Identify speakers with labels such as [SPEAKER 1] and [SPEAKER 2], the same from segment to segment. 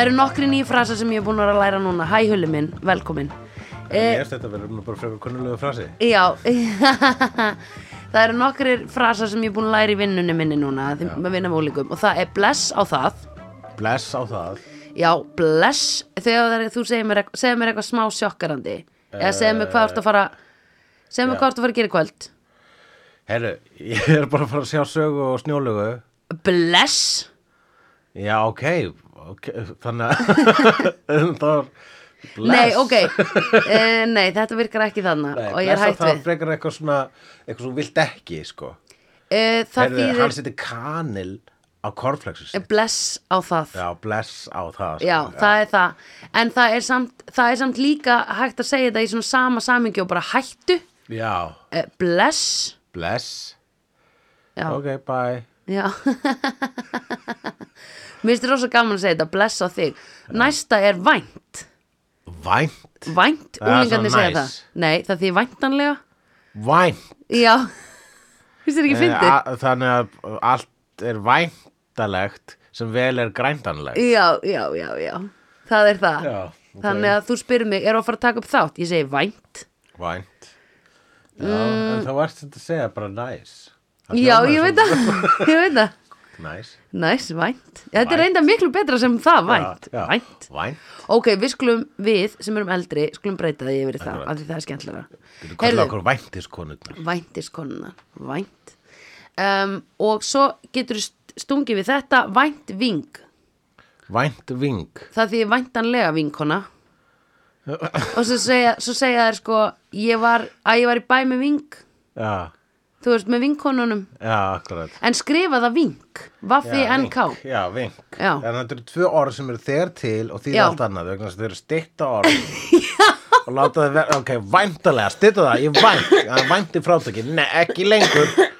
[SPEAKER 1] eru nokkri nýju frasa sem ég er búin að vera að læra núna. Hæ hulli minn, velkomin.
[SPEAKER 2] Ég
[SPEAKER 1] Eh,
[SPEAKER 2] erst þetta verður nú bara frekar kunnulega frasi.
[SPEAKER 1] já, það eru nokkri frasa sem ég er búin að læra í vinnunni minni núna, því
[SPEAKER 2] Já.
[SPEAKER 1] maður vinna með ólíkum. Og það er bless á það.
[SPEAKER 2] Bless á það.
[SPEAKER 1] Já, bless, þegar það er, þú segir mér, eitthvað- segir mér eitthvað smá sjokkarandi. Eða segir mér hvað þú ert að fara, segir mér
[SPEAKER 2] Eh, já.
[SPEAKER 1] hvað þú ert að fara að gera í kvöld.
[SPEAKER 2] Herru, ég er bara að fara að sjá sögu og snjólugu.
[SPEAKER 1] Bless,
[SPEAKER 2] Já, ok. okay. Þannig að það var bless.
[SPEAKER 1] nei, ok, uh, nei, þetta virkar ekki þannig
[SPEAKER 2] Nei,
[SPEAKER 1] og ég er
[SPEAKER 2] bless á
[SPEAKER 1] hægt
[SPEAKER 2] það
[SPEAKER 1] við.
[SPEAKER 2] frekar eitthvað svona, eitthvað sem þú vilt ekki, sko.
[SPEAKER 1] Uh, það
[SPEAKER 2] Herru,
[SPEAKER 1] þýðir
[SPEAKER 2] hann seti kanil á korflexus.
[SPEAKER 1] bless á það.
[SPEAKER 2] Já, bless á það. sko.
[SPEAKER 1] Já, það er það En það er, samt, það er samt líka hægt að segja þetta í svona sama samingi og bara hættu
[SPEAKER 2] Já,
[SPEAKER 1] eh, Bless
[SPEAKER 2] bless.
[SPEAKER 1] Já,
[SPEAKER 2] Ok, bye.
[SPEAKER 1] já Mér finnst þér rosa gaman að segja þetta Bless á þig Næsta er vænt
[SPEAKER 2] Vænt.
[SPEAKER 1] Vænt,
[SPEAKER 2] Það er
[SPEAKER 1] úlingarnir
[SPEAKER 2] svona
[SPEAKER 1] segja
[SPEAKER 2] nice.
[SPEAKER 1] það Nei, það því væntanlega
[SPEAKER 2] Vænt.
[SPEAKER 1] Já Finnst þér ekki fyndið?
[SPEAKER 2] Eh, a- Þannig að allt er væntalegt sem vel er græntanlegt.
[SPEAKER 1] Já, já, já, já Það er það
[SPEAKER 2] Já, ok.
[SPEAKER 1] Þannig að þú spyrir mig, er að fara að taka upp þátt? Ég segi vænt
[SPEAKER 2] Vænt. Já, en þá varst þetta að segja bara næs. Það
[SPEAKER 1] Mm. Já,
[SPEAKER 2] hljómar
[SPEAKER 1] ég veit
[SPEAKER 2] svona
[SPEAKER 1] það, ég veit það
[SPEAKER 2] Næs.
[SPEAKER 1] Næs, vænt. Þetta er
[SPEAKER 2] Vænt.
[SPEAKER 1] reynda miklu betra sem það, vænt.
[SPEAKER 2] Já, já.
[SPEAKER 1] Vænt.
[SPEAKER 2] Vænt.
[SPEAKER 1] Ok, við skulum, við sem erum eldri, skulum breyta því yfir í það,
[SPEAKER 2] Akkurat.
[SPEAKER 1] af því það er skemmtilega.
[SPEAKER 2] Þú kallar
[SPEAKER 1] Heyrðu,
[SPEAKER 2] okkur væntiskonurnar.
[SPEAKER 1] væntiskonuna, vænt. Um, og svo getur stungið við þetta vænt ving.
[SPEAKER 2] Vænt ving.
[SPEAKER 1] Það því væntanlega vinkona. og svo segja, svo segja þær sko, ég var, að ég var í bæ með ving,
[SPEAKER 2] Já,
[SPEAKER 1] þú veist, með vinkonunum.
[SPEAKER 2] já, akkurat.
[SPEAKER 1] En skrifa það ving, vaffi
[SPEAKER 2] Já,
[SPEAKER 1] NK.
[SPEAKER 2] vink. Já, vink.
[SPEAKER 1] Já.
[SPEAKER 2] En þetta eru tvö orð sem eru þegar til og þýða
[SPEAKER 1] Já.
[SPEAKER 2] allt annað vegna þess að þau eru stytta orð. og láta þau vera, ok, væntalega, stytta það, ég vænt, það er vænt í frátaki, nei, ekki lengur.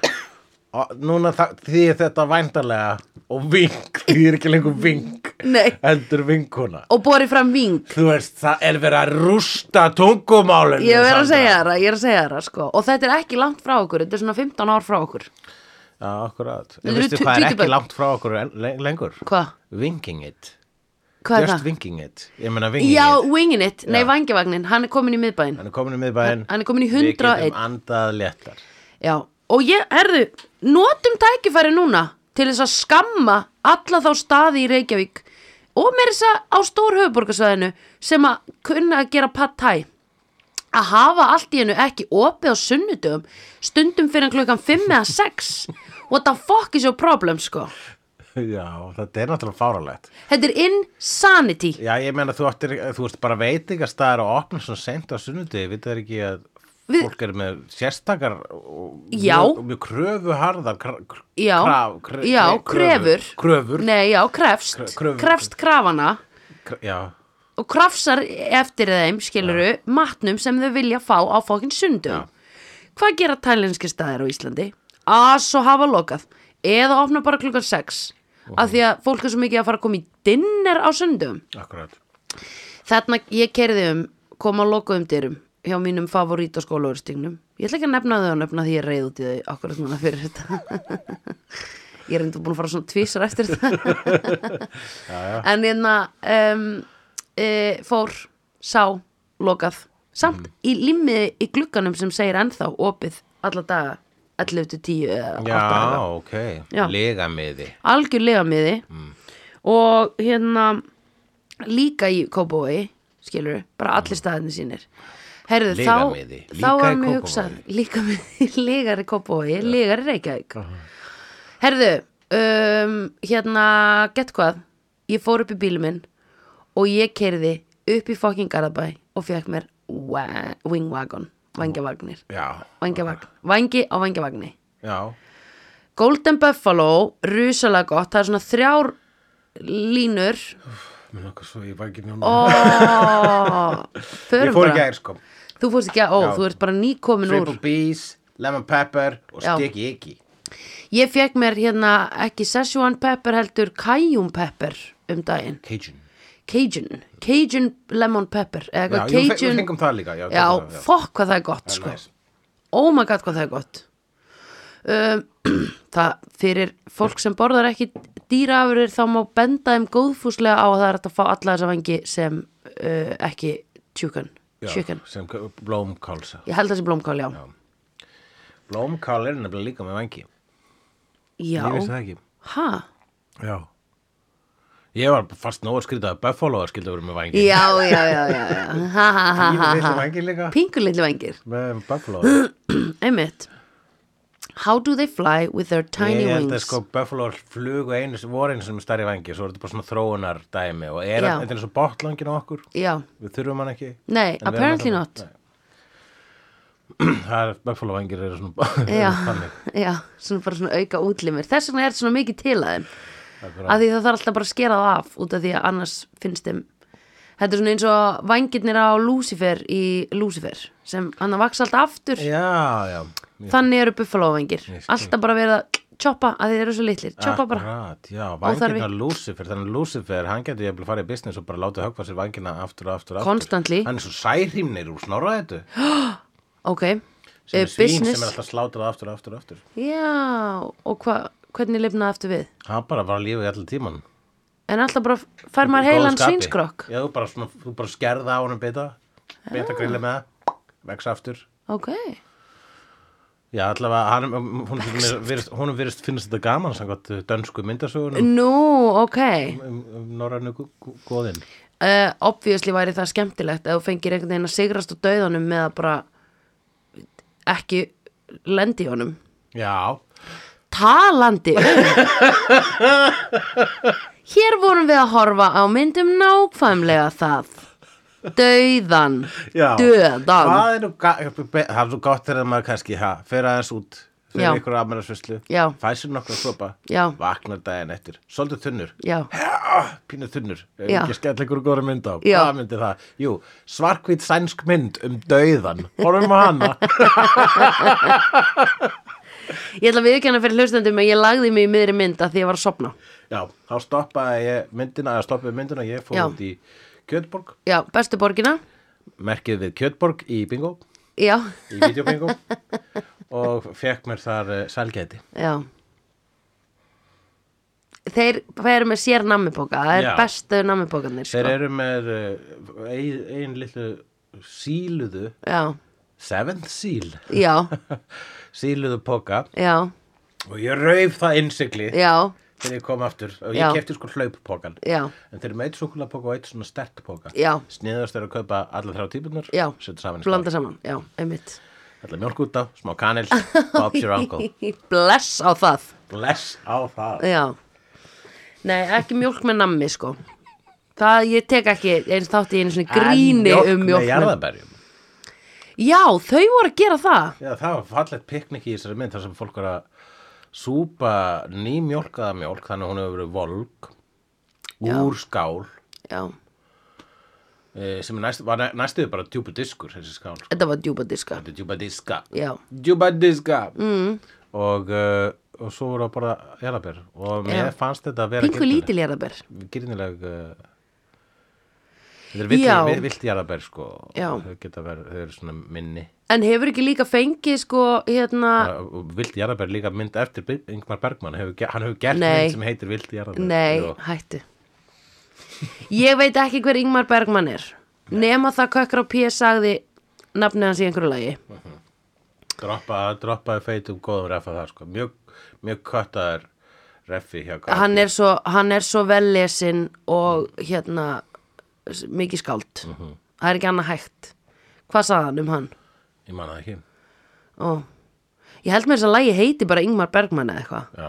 [SPEAKER 2] Og núna það- þýðir þetta væntalega og vink, þýðir ekki lengur vink.
[SPEAKER 1] Nei.
[SPEAKER 2] Heldur vinkuna.
[SPEAKER 1] Og borið fram ving.
[SPEAKER 2] Þú veist, það er verið að rústa tungumálinu.
[SPEAKER 1] Ég er að
[SPEAKER 2] Sandra.
[SPEAKER 1] segja þér það, ég er að segja þér það sko Og þetta er ekki langt frá okkur, þetta er svona 15 ár frá okkur
[SPEAKER 2] Já, akkurat.
[SPEAKER 1] Þetta
[SPEAKER 2] En
[SPEAKER 1] eru
[SPEAKER 2] veistu hvað er
[SPEAKER 1] tvítugbörn.
[SPEAKER 2] ekki langt frá okkur en- le- lengur?
[SPEAKER 1] Hvað?
[SPEAKER 2] Vinking it.
[SPEAKER 1] Hvað er
[SPEAKER 2] Just
[SPEAKER 1] það?
[SPEAKER 2] winging it. Ég meina winging
[SPEAKER 1] Já,
[SPEAKER 2] it.
[SPEAKER 1] wingin it, nei
[SPEAKER 2] Já.
[SPEAKER 1] vangivagnin, hann er komin í miðbæinn
[SPEAKER 2] Hann er komin í miðbæinn.
[SPEAKER 1] Hann er kominn í
[SPEAKER 2] Við
[SPEAKER 1] 101.
[SPEAKER 2] getum andað léttar.
[SPEAKER 1] Já, og ég, herðu, notum tækifæri núna Til þess að skamma alla þá staði í Reykjavík Og mér þess að á stór höfuborgarsvæðinu Sem að kunna að gera pad thai að hafa allt í hennu ekki opið á sunnudöfum stundum fyrir klukkan 5 eða 6 what the fuck is your problem sko
[SPEAKER 2] Já, þetta er náttúrulega fáralegt.
[SPEAKER 1] þetta er insanity
[SPEAKER 2] Já, ég meina þú, áttir, þú ert bara veitingastæðar og opnum svona sent á sunnudegi, við það ekki að
[SPEAKER 1] Við-
[SPEAKER 2] fólk er með sérstakar og
[SPEAKER 1] Já.
[SPEAKER 2] mjög, mjög kröfu harðar kr kr
[SPEAKER 1] Já,
[SPEAKER 2] kraf, kr
[SPEAKER 1] já, krefur.
[SPEAKER 2] kröfur,
[SPEAKER 1] Nei, já, krefst,
[SPEAKER 2] Kre- kröfur.
[SPEAKER 1] krefst krafana
[SPEAKER 2] kr já,
[SPEAKER 1] og krafsar eftir þeim, skiluru, matnum sem þau vilja fá á fókin sundum. Hvað gera tælenski staðir á Íslandi? Að svo hafa lokað eða opna bara klukkan 6 af því að fólk er svo mikið að fara að koma í dinner á sundum.
[SPEAKER 2] akkurat
[SPEAKER 1] Þarna ég kerði um, kom á lokuðum dyrum hjá mínum favorit á skólaverstignum. Ég ætla ekki að nefna þau og nefna því ég reyð út í þau akkurat núna fyrir þetta. ég er enda búin að fara svona tvísar eftir þetta. en hérna um, e, fór, sá, lokað. Samt í limmiði í glugganum sem segir ennþá opið alla daga 11 til 10 eða 8
[SPEAKER 2] Já,
[SPEAKER 1] daga
[SPEAKER 2] ok,
[SPEAKER 1] Já.
[SPEAKER 2] legamiði
[SPEAKER 1] algjörlega miði
[SPEAKER 2] Mm.
[SPEAKER 1] og hérna líka í Kópavogi skilur, bara allir staðinni sínir Herðu,
[SPEAKER 2] Lygamiði,
[SPEAKER 1] þá, þá
[SPEAKER 2] Mm. líka
[SPEAKER 1] var
[SPEAKER 2] í
[SPEAKER 1] mér
[SPEAKER 2] Kópavogi.
[SPEAKER 1] hugsað líka miði, lígar í Kópavogi lígar í Reykjavík Herðu, um, hérna gett hvað, ég fór upp í bílum minn og ég kerði upp í fucking Garðabæ og fekk mér wa- wingwagon, vangjavagnir
[SPEAKER 2] Já,
[SPEAKER 1] vangjavagn, vangi á vangjavagni
[SPEAKER 2] já,
[SPEAKER 1] Golden Buffalo, rusalega gott það er svona þrjár línur
[SPEAKER 2] mér langar svo ég var ekki njóna
[SPEAKER 1] oh,
[SPEAKER 2] Ég
[SPEAKER 1] förum
[SPEAKER 2] fór
[SPEAKER 1] bara
[SPEAKER 2] ekki aðeins kom
[SPEAKER 1] þú fórst ekki að, ó,
[SPEAKER 2] Já.
[SPEAKER 1] þú ert bara nýkomin úr
[SPEAKER 2] Triple B's, Lemon Pepper og
[SPEAKER 1] Já.
[SPEAKER 2] Sticky Icky
[SPEAKER 1] ég fekk mér hérna ekki Szechuan pepper heldur Cajun pepper um daginn,
[SPEAKER 2] Cajun
[SPEAKER 1] Cajun Cajun lemon pepper eða
[SPEAKER 2] Já,
[SPEAKER 1] eitthvað
[SPEAKER 2] jú, fe- við
[SPEAKER 1] Cajun
[SPEAKER 2] fengum það líka Já,
[SPEAKER 1] já,
[SPEAKER 2] það-
[SPEAKER 1] fokk hvað það er gott
[SPEAKER 2] það er
[SPEAKER 1] sko.
[SPEAKER 2] næs.
[SPEAKER 1] oh my god hvað það er gott um, það fyrir fólk sem borðar ekki dýraafurur þá má benda þeim góðfúslega á að það er hægt að fá alla þessa vengi sem uh, ekki tjúkan,
[SPEAKER 2] Já,
[SPEAKER 1] tjúkan.
[SPEAKER 2] sem k- blómkálsa
[SPEAKER 1] Ég held þessi blómkál, já.
[SPEAKER 2] blómkál er nefnilega líka með vangi
[SPEAKER 1] Já.
[SPEAKER 2] ég veist það ekki
[SPEAKER 1] Ha?
[SPEAKER 2] já ég var fast nóg að skrýta að Buffalo skildi að vera með vangi
[SPEAKER 1] Já, já, já, já, já. Ha, ha, ha, ha, ha.
[SPEAKER 2] vangi líka
[SPEAKER 1] Pingulillu vengir.
[SPEAKER 2] með Buffalo
[SPEAKER 1] Einmitt. How do they fly with their tiny
[SPEAKER 2] ég held að
[SPEAKER 1] wings?
[SPEAKER 2] sko Buffalo flugu einu voru einu sem er stærri vangi svo er þetta bara svona þróunar dæmi og er
[SPEAKER 1] Já.
[SPEAKER 2] þetta er eins og botlangin á okkur
[SPEAKER 1] Já.
[SPEAKER 2] við þurfum hann ekki
[SPEAKER 1] Nei,
[SPEAKER 2] En við erum
[SPEAKER 1] apparently not.
[SPEAKER 2] alltaf- Nei. það er Buffalo vangir eru svona
[SPEAKER 1] Já,
[SPEAKER 2] þannig
[SPEAKER 1] já, svona bara svona auka útlimir. Þess vegna er þetta svona mikið til að þeim.
[SPEAKER 2] Akkurat.
[SPEAKER 1] Af því það þarf alltaf bara að skera það af út af því að annars finnst þeim. Þetta er svona eins og vangirnir á Lucifer í Lucifer sem hann að vaksa alltaf aftur.
[SPEAKER 2] já, sko. já
[SPEAKER 1] Þannig eru buffalóvangir.
[SPEAKER 2] Ég skil.
[SPEAKER 1] Alltaf bara verið að choppa að því þeir eru svo litlir. Choppa bara.
[SPEAKER 2] Akkurat, já,
[SPEAKER 1] Óþarfi.
[SPEAKER 2] vangina Lucifer þannig að Lucifer, hann getur ég að fara í business og bara láta högva sér vangina aftur og aftur og aftur.
[SPEAKER 1] Constantly.
[SPEAKER 2] hann er svo særhýmnir úr snorra þetta
[SPEAKER 1] Ok.
[SPEAKER 2] sem
[SPEAKER 1] Eh,
[SPEAKER 2] er svín sem er
[SPEAKER 1] business.
[SPEAKER 2] alltaf slátrað aftur og aftur og aftur
[SPEAKER 1] Já, og hva, hvernig lifnaði aftur við?
[SPEAKER 2] hann bara var að lífa í allir tíman
[SPEAKER 1] En alltaf bara fær maður heilan svínskrokk.
[SPEAKER 2] já, þú bara, svona, þú bara skerða á hann bita bita grilla með það, vex aftur
[SPEAKER 1] Ok.
[SPEAKER 2] Já, allavega, hann, hún, hún, virist, hún virist finnst þetta gaman samkvæmt dönsku myndasögunum
[SPEAKER 1] Nú, ok.
[SPEAKER 2] um, um norrannu góðin.
[SPEAKER 1] uh, obviously væri það skemmtilegt ef þú fengir einhvern veginn að sigrast á dauðanum með að bara ekki lendi honum
[SPEAKER 2] Já,
[SPEAKER 1] talandi um hér vorum við að horfa á myndum nákvæmlega það dauðan
[SPEAKER 2] Já.
[SPEAKER 1] döðan
[SPEAKER 2] Það er nú, ga- það er nú gott þegar maður kannski ha, fer aðeins út
[SPEAKER 1] Já.
[SPEAKER 2] fyrir ykkur afmælarsvislu,
[SPEAKER 1] Já.
[SPEAKER 2] fæsir nokkra sopa,
[SPEAKER 1] Já.
[SPEAKER 2] vaknar daginn eftir, svolítið þunnur,
[SPEAKER 1] já,
[SPEAKER 2] ah, pínu þunnur, ef
[SPEAKER 1] Já.
[SPEAKER 2] ekki skell ykkur góra mynd á,
[SPEAKER 1] Já.
[SPEAKER 2] hvað myndi það? Jú, svarkvít sænsk mynd um dauðan, horfum á hana.
[SPEAKER 1] ég ætla að viðkjanna fyrir hlustendum að ég lagði mig í miðri mynd að því ég var að sopna
[SPEAKER 2] Já, þá stoppaði ég myndina, eða stoppaði myndina, ég fór
[SPEAKER 1] Já.
[SPEAKER 2] út í Kjötborg,
[SPEAKER 1] já, bestu borgina
[SPEAKER 2] merkið við Kjötborg í bingo,
[SPEAKER 1] já,
[SPEAKER 2] í videobingo og fekk mér þar eh, sælgæti.
[SPEAKER 1] já þeir færu með sér nammipoka það er
[SPEAKER 2] Já.
[SPEAKER 1] bestu nammipókarnir sko.
[SPEAKER 2] Þeir eru með uh, ein, ein litlu síluðu,
[SPEAKER 1] Já,
[SPEAKER 2] seventh seal,
[SPEAKER 1] já,
[SPEAKER 2] síluðu poka
[SPEAKER 1] já,
[SPEAKER 2] og ég rauf það innsikli
[SPEAKER 1] já,
[SPEAKER 2] þegar ég kom aftur og
[SPEAKER 1] Já.
[SPEAKER 2] ég kefti sko hlauppokan.
[SPEAKER 1] já,
[SPEAKER 2] En þeir eru með eitt súkulapoka og eitt svona stert poka.
[SPEAKER 1] Já.
[SPEAKER 2] Sniðast er að kaupa alla þrjá típunar,
[SPEAKER 1] já,
[SPEAKER 2] setja saman í
[SPEAKER 1] blanda saman, já, einmitt.
[SPEAKER 2] skál. Alla mjólk út á, smá kanil, Bob's your uncle.
[SPEAKER 1] Bless á það,
[SPEAKER 2] Bless á það.
[SPEAKER 1] já. Nei, ekki mjólk með nammi, sko. Það, ég tek ekki eins þátt í einu svona gríni
[SPEAKER 2] En
[SPEAKER 1] um mjólk
[SPEAKER 2] með
[SPEAKER 1] með...
[SPEAKER 2] jarðaberjum.
[SPEAKER 1] Já, þau voru að gera það.
[SPEAKER 2] Já, það var fallegt piknik í þessari mynd þar sem fólk var að súpa nýmjólkaða mjólk, þannig að hún hefur verið volg úr skál
[SPEAKER 1] Já,
[SPEAKER 2] eh, sem er næst, var næ- næstuði bara djúpa diskur þessi skál, sko.
[SPEAKER 1] þetta var djúbadiska.
[SPEAKER 2] þetta er djúpa diska
[SPEAKER 1] Já,
[SPEAKER 2] djúpa diska mm. og, uh, og svo voru að bara jarðabér og mér
[SPEAKER 1] Já.
[SPEAKER 2] fannst þetta að vera
[SPEAKER 1] pingu lítil jarðabær.
[SPEAKER 2] gyrnileg uh, þetta er
[SPEAKER 1] Já.
[SPEAKER 2] vilti, vilti jarðabér sko
[SPEAKER 1] Já.
[SPEAKER 2] þau geta verið, þau eru svona minni
[SPEAKER 1] En hefur ekki líka fengið, sko, hérna...
[SPEAKER 2] og Vildi Jarðabær líka mynd eftir Byr- Ingmar Bergman, hefur, ge- hann hefur gert
[SPEAKER 1] Nei.
[SPEAKER 2] mynd sem heitir Vildi Jarðabær
[SPEAKER 1] Nei,
[SPEAKER 2] Jú.
[SPEAKER 1] hættu Ég veit ekki hver Ingmar Bergman er nema það kökkur á P.S. sagði nafnið hans í einhverju lagi
[SPEAKER 2] droppa, droppaði feitum góðum reffa það sko. mjög, mjög köttaður reffi hjá Garðabæ.
[SPEAKER 1] hann er, svo, hann er svo vel lesin og hérna s- mikið skáld það er ekki annað hægt Hvað sagði hann um hann?
[SPEAKER 2] ég man það ekki
[SPEAKER 1] Ó. Ég held mér þess að lagi heiti bara Ingmar Bergman eða eitthvað
[SPEAKER 2] Já.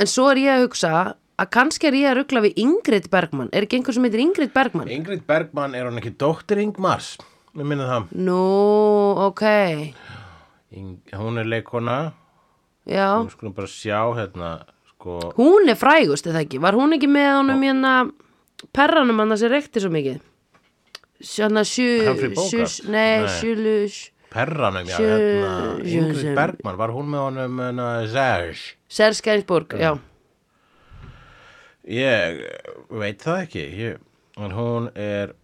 [SPEAKER 1] En svo er ég að hugsa að kannski er ég að rugla við Ingrid Bergman Er ekki einhver sem heitir Ingrid Bergman?
[SPEAKER 2] Ingrid Bergman er hann ekki dóttir Ingmars Mér minna það
[SPEAKER 1] Nú, ok
[SPEAKER 2] Ing, hún er leikona
[SPEAKER 1] Já
[SPEAKER 2] við skulum bara sjá hérna sko,
[SPEAKER 1] Hún er frægust, eða ekki? Var hún ekki með honum hérna perranum hann að sér reykti svo mikið? Sjanna sjö...
[SPEAKER 2] Humphrey Bogart?
[SPEAKER 1] sjö- Nei,
[SPEAKER 2] Nei.
[SPEAKER 1] sjölus...
[SPEAKER 2] perranum já,
[SPEAKER 1] Sjö-
[SPEAKER 2] hérna, Ingrid
[SPEAKER 1] Jönsson.
[SPEAKER 2] Bergman var hún með honum hérna, Serge
[SPEAKER 1] Serskænsborg, já.
[SPEAKER 2] Ég eh, veit það ekki, ég, en hún er,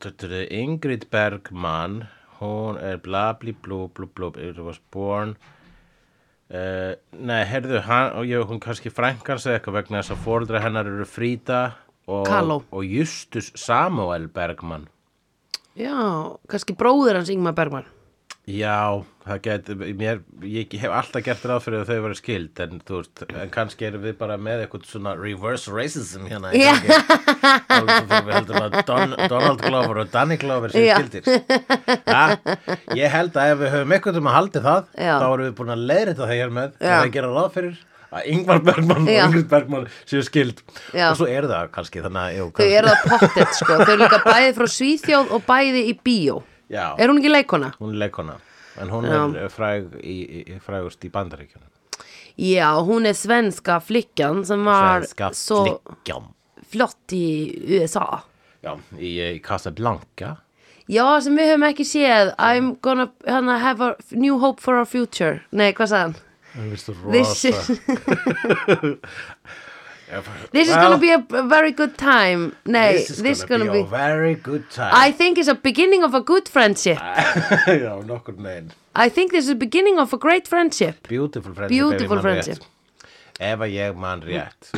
[SPEAKER 2] þetta er Ingrid Bergman, hún er bla bli blú blú blú, it was born Uh, nei, heyrðu, hann og ég, hún kannski frænkans eða eitthvað vegna þess að fóreldra hennar eru Frída og,
[SPEAKER 1] Kaló.
[SPEAKER 2] og Justus Samuel Bergmann.
[SPEAKER 1] Já, kannski bróðir hans Ingmar Bergman
[SPEAKER 2] Já, það geti, mér, ég hef alltaf gert ráð fyrir að þau verið skild en þú veist, en kannski erum við bara með eitthvað svona reverse racism hérna í
[SPEAKER 1] Já.
[SPEAKER 2] gangi. Alveg svo við heldum að Don, Donald Glover og Danny Glover séu
[SPEAKER 1] Já.
[SPEAKER 2] skildir. Ja, ég held að ef við höfum eitthvað um að haldi það,
[SPEAKER 1] Já.
[SPEAKER 2] þá erum við búin að leiðrita það hér með,
[SPEAKER 1] Já.
[SPEAKER 2] þegar það gera ráð fyrir að Ingvar Bergman
[SPEAKER 1] Já.
[SPEAKER 2] og Ingrid Bergman séu skild.
[SPEAKER 1] Já.
[SPEAKER 2] Og svo er það kannski, þannig að, jú,
[SPEAKER 1] Þau
[SPEAKER 2] kannski,
[SPEAKER 1] eru það pottet sko, þau eru líka bæði frá Svíþjóð og bæði í bíó
[SPEAKER 2] já,
[SPEAKER 1] Er hún ekki leikona?
[SPEAKER 2] hún er leikona, en hún
[SPEAKER 1] Já.
[SPEAKER 2] er fræg í, í, í, frægust í bandaríkjunum.
[SPEAKER 1] Já, hún er svenska flikkan sem var
[SPEAKER 2] Svenska
[SPEAKER 1] svo
[SPEAKER 2] flickan.
[SPEAKER 1] flott í USA
[SPEAKER 2] Já, í, eh, í Casablanca
[SPEAKER 1] Já, sem við höfum ekki séð I'm gonna hana, have a new hope for our future Nei, hvað sagði hann? This
[SPEAKER 2] This
[SPEAKER 1] is, this is gonna be a a very good time Nei,
[SPEAKER 2] This is gonna, be, a very good time
[SPEAKER 1] I think it's a beginning of a good friendship
[SPEAKER 2] Já, nokkur neginn
[SPEAKER 1] I think this is the beginning of a great friendship
[SPEAKER 2] Beautiful friendship
[SPEAKER 1] Beautiful friendship.
[SPEAKER 2] ef ég man rétt. Ef að ég man rétt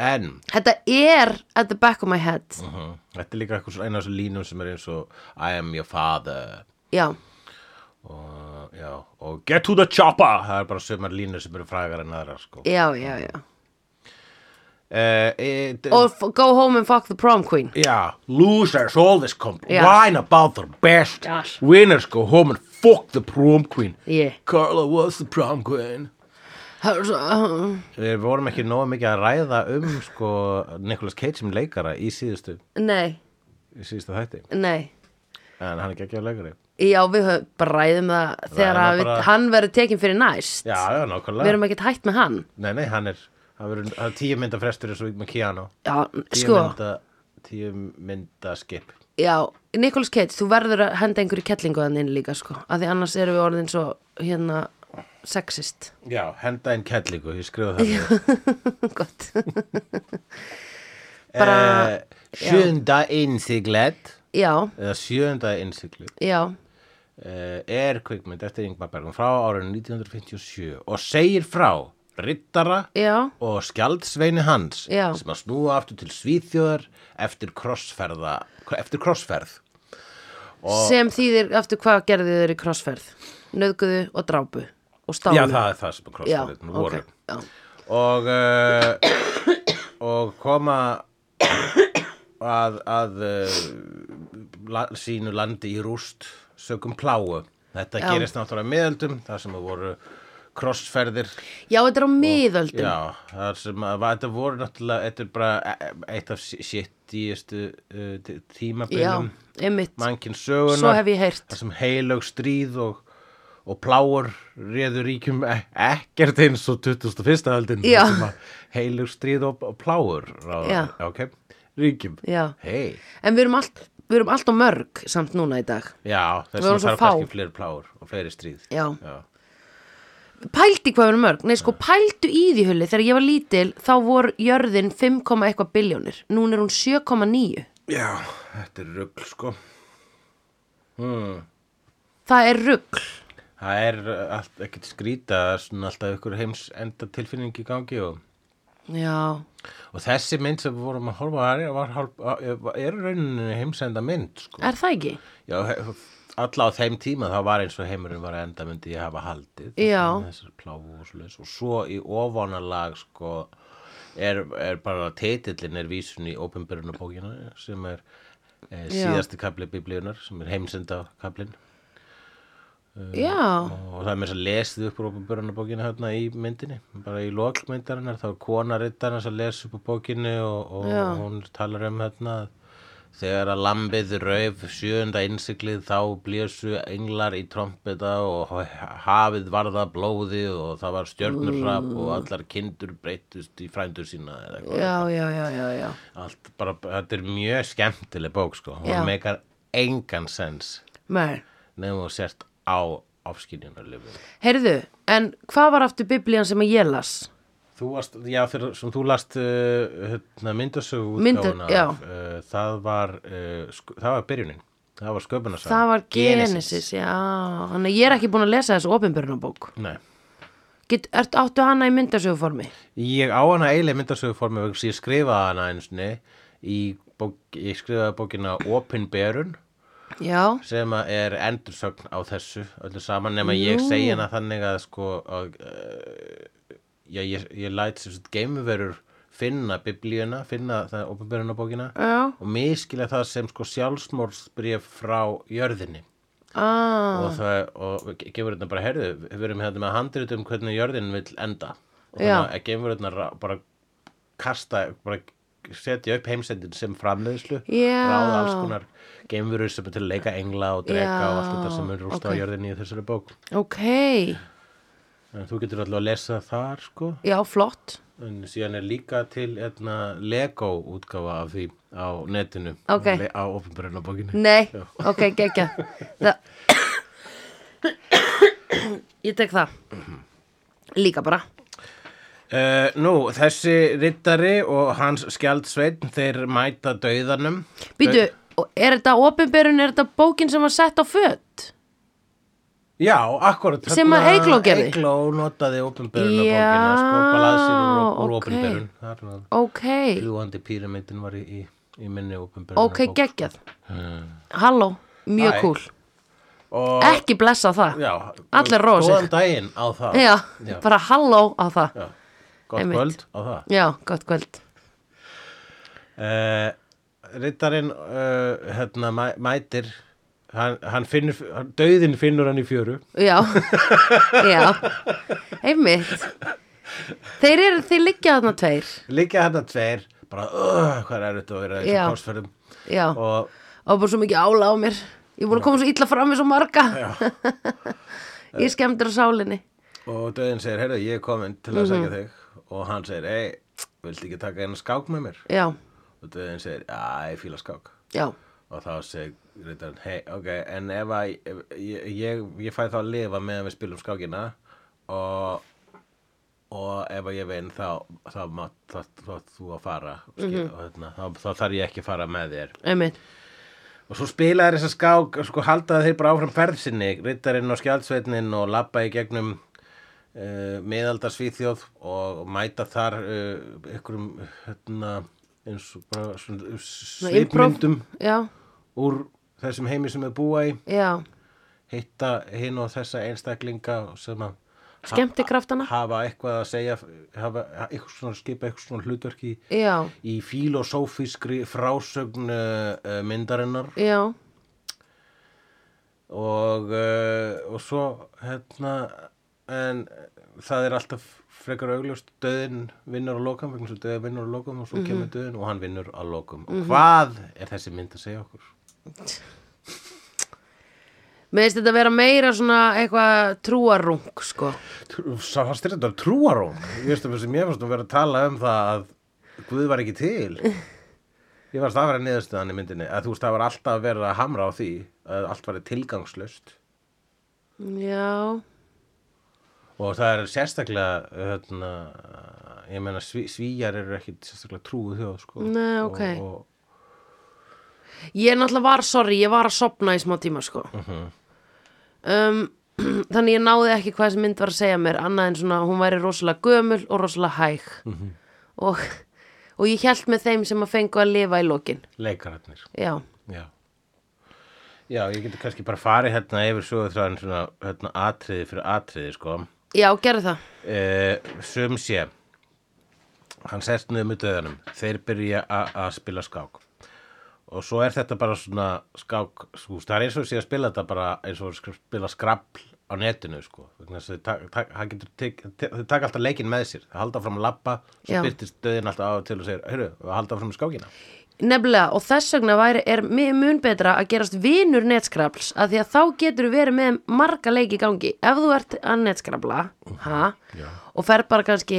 [SPEAKER 2] En,
[SPEAKER 1] Þetta er at the back of my head
[SPEAKER 2] mhm, þetta er líka eitthvað svona eina af þessu línum sem er eins og I am your father
[SPEAKER 1] Já,
[SPEAKER 2] og, já, og get to the chopper Það er bara sömar línur sem eru frægar en aðra sko. uh,
[SPEAKER 1] já, já, já
[SPEAKER 2] e, d-
[SPEAKER 1] Og f- go home and fuck the prom queen
[SPEAKER 2] Já, losers always complain
[SPEAKER 1] Já.
[SPEAKER 2] about their best
[SPEAKER 1] Já.
[SPEAKER 2] Winners go home and fuck the prom queen
[SPEAKER 1] Yeah
[SPEAKER 2] Carla was the prom queen
[SPEAKER 1] uh,
[SPEAKER 2] Við vorum ekki nógu mikið að ræða um sko Nicolas Cage sem leikara í síðustu,
[SPEAKER 1] Nei,
[SPEAKER 2] í síðustu þætti
[SPEAKER 1] nei
[SPEAKER 2] En hann er ekki að leikari
[SPEAKER 1] Já, við höfum bara ræðum það þegar
[SPEAKER 2] það
[SPEAKER 1] að
[SPEAKER 2] bara-
[SPEAKER 1] við, hann verður tekin fyrir næst
[SPEAKER 2] Já, já,
[SPEAKER 1] Við
[SPEAKER 2] nákvæmlega
[SPEAKER 1] erum ekkert hætt með hann
[SPEAKER 2] Nei, nei, hann er, hann verður, hann er tíu mynda frestur eins og með Keanu
[SPEAKER 1] Já,
[SPEAKER 2] Tíu
[SPEAKER 1] sko,
[SPEAKER 2] mynda, tíu mynda skip
[SPEAKER 1] já, Nicholas Cage, þú verður að henda einhverju kettlingu þannig inn líka, sko Af því annars erum við orðin svo, hérna, sexist
[SPEAKER 2] Já, henda inn kellingu, ég skrifa það niður.
[SPEAKER 1] Gott Bara-
[SPEAKER 2] eh, Sjönda innsiglett
[SPEAKER 1] Já,
[SPEAKER 2] eða sjönda innsiglið
[SPEAKER 1] já,
[SPEAKER 2] uh, er kvikmynd eftir Ingmar Bergman frá árið 1957 og segir frá rittara
[SPEAKER 1] já
[SPEAKER 2] og skjaldsveini hans
[SPEAKER 1] Já.
[SPEAKER 2] sem að snúa aftur til Svíþjóðar eftir krossferða eftir krossferð
[SPEAKER 1] sem þýðir aftur hvað gerðu þeir í krossferð nöðguðu og drápu og stálu
[SPEAKER 2] Já, það er það sem að
[SPEAKER 1] Já,
[SPEAKER 2] krossferðin
[SPEAKER 1] ok,
[SPEAKER 2] voru
[SPEAKER 1] já.
[SPEAKER 2] og uh, og koma að, að uh, la, sínu landi í rúst sögum pláu þetta
[SPEAKER 1] Já.
[SPEAKER 2] gerist náttúrulega á miðöldum þar sem að voru krossferðir
[SPEAKER 1] já, þetta er á miðöldum
[SPEAKER 2] Já, það sem að var, þetta voru náttúrulega, þetta er bara e- e- eitt af sittíustu uh, tí-
[SPEAKER 1] já
[SPEAKER 2] tímabilum
[SPEAKER 1] einmitt,
[SPEAKER 2] mannkinn sögunar.
[SPEAKER 1] Svo hef ég heyrt.
[SPEAKER 2] Það sem heilög stríð og, og pláur réðu ríkjum e ekkert eins og 21. öldin.
[SPEAKER 1] Já.
[SPEAKER 2] þar sem að Heilög stríð og, og pláur ráða,
[SPEAKER 1] Já.
[SPEAKER 2] ok, ríkjum.
[SPEAKER 1] já
[SPEAKER 2] Hei,
[SPEAKER 1] en við erum, allt, við erum allt á mörg samt núna í dag
[SPEAKER 2] já,
[SPEAKER 1] Við
[SPEAKER 2] þess
[SPEAKER 1] vorum
[SPEAKER 2] vegna
[SPEAKER 1] svo
[SPEAKER 2] þarf
[SPEAKER 1] fá.
[SPEAKER 2] kannski fleiri pláur og fleiri stríð.
[SPEAKER 1] Já.
[SPEAKER 2] Já.
[SPEAKER 1] pældi hvað við erum mörg, nei sko pældu í því hulli þegar ég var lítil þá voru jörðin 5, eitthvað biljónir núna er hún 7,9
[SPEAKER 2] Já, þetta er rugl, sko.
[SPEAKER 1] það er rugl
[SPEAKER 2] Það er uh, allt, ekkert skrýta, það er svona alltaf ykkur heims enda tilfinning í gangi og,
[SPEAKER 1] já,
[SPEAKER 2] og þessi mynd sem við vorum að horfa að var, var, er í rauninni heimsenda mynd, sko.
[SPEAKER 1] er það ekki?
[SPEAKER 2] Já, alla á þeim tíma þá var eins og heimurinn var að enda myndi ég hafa haldið.
[SPEAKER 1] Já.
[SPEAKER 2] Þessar pláfu og svoleiðis og svo í ofanalag, sko, er, er bara titillin er vísun í opimbyrjunabókina sem er eh,
[SPEAKER 1] Já.
[SPEAKER 2] síðasti kapli biblíunar sem er heimsenda kaplinn.
[SPEAKER 1] Eh, já,
[SPEAKER 2] og það er mér að lesið upp úr ofinbörunabókinu hérna í myndinni bara í lokmyndarinnar þá er kona rittarins að lesa upp úr bókinu og,
[SPEAKER 1] Já.
[SPEAKER 2] og hún talar um hérna að þegar að lambið rauf sjöunda innsiklið þá blésu englar í trompeta og hafið varða blóði og það var stjörnurrap
[SPEAKER 1] Mm.
[SPEAKER 2] og allar kindur breyttust í frændur sína eða eitthvað
[SPEAKER 1] já, já, já, já, já.
[SPEAKER 2] allt bara, þetta er mjög skemmtileg bók sko,
[SPEAKER 1] Já.
[SPEAKER 2] hún meikar engan sens
[SPEAKER 1] Nei.
[SPEAKER 2] nefnum þú sért á ofskynjunarlifinu
[SPEAKER 1] heyrðu, en hvað var aftur biblían sem að ég las?
[SPEAKER 2] Þú varst, já, þegar sem þú last uh, hérna, myndasögu
[SPEAKER 1] Mynda- já.
[SPEAKER 2] uh, það var uh, sku, það var byrjunin, það var sköpunarsaga
[SPEAKER 1] Það var Genesis, já. Þannig að ég er ekki búin að lesa þessu opinbjörnabók.
[SPEAKER 2] Nei,
[SPEAKER 1] Get, ert, áttu hana í myndasöguformi?
[SPEAKER 2] Ég á hana eiginlega myndasöguformi vegna þess að ég skrifaði hana einsni í bók, ég skrifaði bókina Opinberun
[SPEAKER 1] Já,
[SPEAKER 2] sem að er endursögn á þessu öllu saman nema ég segi hana þannig að sko að, uh, já, ég, ég læt sem sagt geimverur finna biblíuna, finna það Opinberuna bókina
[SPEAKER 1] já,
[SPEAKER 2] og miskilja það sem sko sjálfsmórsbréf frá jörðinni
[SPEAKER 1] ah,
[SPEAKER 2] og, það, og ge- geimverurnar bara heyrðu, við erum hérna með handrit um hvernig jörðin vill enda og
[SPEAKER 1] Já.
[SPEAKER 2] þannig að geimverurnar ra- bara kasta, bara setja upp heimsendin sem framleiðslu
[SPEAKER 1] Já.
[SPEAKER 2] ráða alls konar geimverur sem er til að leika engla og drega
[SPEAKER 1] Já,
[SPEAKER 2] og allt þetta sem er rústa
[SPEAKER 1] ok.
[SPEAKER 2] á jörðinni í þessari bók
[SPEAKER 1] ok,
[SPEAKER 2] en þú getur alltaf að lesa þar sko
[SPEAKER 1] já, flott,
[SPEAKER 2] en síðan er líka til etna, Lego útgáfa af því á netinu
[SPEAKER 1] Ok.
[SPEAKER 2] le- á ofinbjörna bókinu
[SPEAKER 1] nei, ok, gekkja, það, ég tek það, líka bara,
[SPEAKER 2] Uh, nú, þessi rittari og hans skjaldsveitn, þeir mæta dauðanum.
[SPEAKER 1] býtu, og er þetta opinberun, er þetta bókin sem var sett á fött?
[SPEAKER 2] Já, akkurat.
[SPEAKER 1] Sem að Eygló gerði.
[SPEAKER 2] Eigló notaði opinberuna
[SPEAKER 1] Já,
[SPEAKER 2] bókina, sko, balaðsir úr, úr
[SPEAKER 1] ok.
[SPEAKER 2] opinberun. Það er það.
[SPEAKER 1] Ok,
[SPEAKER 2] Ljúandi píramidin var í, í, í minni opinberuna
[SPEAKER 1] ok, geggjað, halló, mjög
[SPEAKER 2] Æ.
[SPEAKER 1] cool,
[SPEAKER 2] Og,
[SPEAKER 1] ekki blessa það,
[SPEAKER 2] já.
[SPEAKER 1] allir róa sig.
[SPEAKER 2] Góðan daginn á það.
[SPEAKER 1] já,
[SPEAKER 2] Já.
[SPEAKER 1] bara halló á það,
[SPEAKER 2] Já. Gott
[SPEAKER 1] Einmitt.
[SPEAKER 2] kvöld á það.
[SPEAKER 1] já, gott kvöld,
[SPEAKER 2] uh, Rittarinn uh, hérna, mæ, mætir hann, hann finnur, hann, döðin finnur hann í fjöru
[SPEAKER 1] Já, já, einmitt. Þeir eru, þeir liggja þarna tveir,
[SPEAKER 2] líka hérna tveir bara, uh, hvað er þetta að vera
[SPEAKER 1] Já.
[SPEAKER 2] í þessum korsferðum
[SPEAKER 1] já, og
[SPEAKER 2] og
[SPEAKER 1] bara svo mikið ála á mér. Ég er búin að koma svo illa fram með svo marga. Ég skemmtir á sálinni.
[SPEAKER 2] Og döðin segir, heyrðu, ég er komin til að segja þig og hann segir, ei, viltu ekki taka einu skák með mér?
[SPEAKER 1] Já,
[SPEAKER 2] Og döðin segir, já, ég fíla skák.
[SPEAKER 1] já,
[SPEAKER 2] Og þá segir rittarinn, hei, ok, en ef að ef, ég, ég, ég fæ þá að lifa meðan við spilum skákina og, og ef að ég vinn þá, þá, má, þá, þá, þá þú að fara skil, og hérna, þá, þá þarf ég ekki að fara með þér.
[SPEAKER 1] einmitt.
[SPEAKER 2] Og svo spila þér þessa skák, sko halda þeir bara áfram ferð sinni, rittarinn og skjaldsveitnin og labba í gegnum uh, miðaldarsvíþjóð og mæta þar uh, ykkurum, hérna, eins og bara svona
[SPEAKER 1] Svona improv.
[SPEAKER 2] svipmyndum
[SPEAKER 1] Já,
[SPEAKER 2] úr þessum heimi sem við búa í,
[SPEAKER 1] já,
[SPEAKER 2] hitta hinn og þessa einstaklinga sem að
[SPEAKER 1] Skemmti kraftana.
[SPEAKER 2] hafa eitthvað að segja, hafa eitthvað svona skipa eitthvað svona hlutverki í,
[SPEAKER 1] já,
[SPEAKER 2] í filosófískri frásögn uh, uh, myndarinnar
[SPEAKER 1] já,
[SPEAKER 2] og, uh, og svo hérna en það er alltaf frekar augljóst döðin vinnur á lokum vegna svo döðin vinnur á lokum og svo kemur döðin og hann vinnur á lokum og hvað er þessi mynd að segja okkur?
[SPEAKER 1] mér finnst þetta að vera meira svona eitthvað trúarung, sko.
[SPEAKER 2] Trú- Sá fannst þér þetta trúarón Ég veist um þessi mér fannst að vera að tala um það að Guð var ekki til Ég varst að vera niðurstöðan í myndinni að þú veist það var alltaf að vera að hamra á því að allt var tilgangslust
[SPEAKER 1] Já,
[SPEAKER 2] og það er sérstaklega hérna, ég meina sví, svíjar eru ekki sérstaklega trúið þjóð sko.
[SPEAKER 1] Nei, ok.
[SPEAKER 2] og, og,
[SPEAKER 1] Ég náttúrulega var, sorry, ég var að sopna í smá tíma sko um, Þannig ég náði ekki hvað þessi mynd var að segja mér annað en svona, hún væri rosalega gömul og rosalega hæg og, og ég held með þeim sem að fengu að lifa í lokin
[SPEAKER 2] leikararnir
[SPEAKER 1] Já,
[SPEAKER 2] Já. Já, ég getur kannski bara farið hérna yfir sögur þræðin svona hérna, atriði fyrir atriði sko.
[SPEAKER 1] já, gerðu það
[SPEAKER 2] uh, sum sé hann sest niður með döðanum þeir byrja a- að spila skák og svo er þetta bara svona skák, sko, það er eins og sé að spila þetta bara eins og sk- spila skrapl á netinu sko Vegna þess að þau tak- tak- hann getur tek- te- þau taka alltaf leikinn með sér þau halda fram að labba,
[SPEAKER 1] Já.
[SPEAKER 2] svo byrtist döðin alltaf á og til og segir, heyrðu, við halda fram skákina
[SPEAKER 1] Nefnilega, og þess vegna væri, er mi- mun betra að gerast vinur netskrafls að því að þá getur þú verið með marga leiki í gangi ef þú ert að netskrafla ha, og fer bara kannski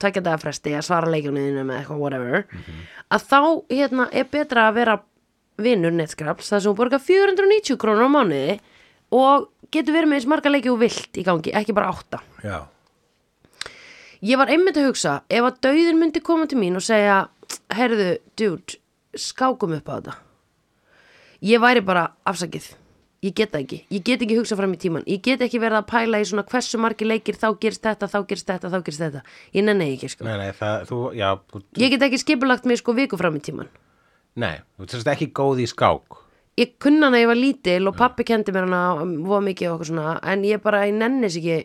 [SPEAKER 1] tvekja daga fresti að svara leikjunniðinu með eitthvað whatever að þá hérna, er betra að vera vinur netskrafls þar sem þú borgar 490 krónur á mánuði og getur verið með eins marga leiki og vilt í gangi, ekki bara átta
[SPEAKER 2] Já.
[SPEAKER 1] Ég var einmitt að hugsa, ef að dauðin myndi koma til mín og segja, heyrðu, dude, skákum upp á þetta. Ég væri bara afsakið. ég get það ekki, ég get ekki hugsa fram í tíman ég get ekki verið að pæla í svona hversu margir leikir þá gerist þetta, þá gerist þetta, þá gerist þetta ég nenni því ekki sko
[SPEAKER 2] Nei, nei, það, þú, já, þú,
[SPEAKER 1] ég get ekki skipulagt mig sko viku fram í tíman
[SPEAKER 2] nei, þú sérst ekki góð í skák.
[SPEAKER 1] ég kunna hana að ég var lítil og pappi kendi mér hana voða mikið og okkur svona en ég bara, ég nennis ekki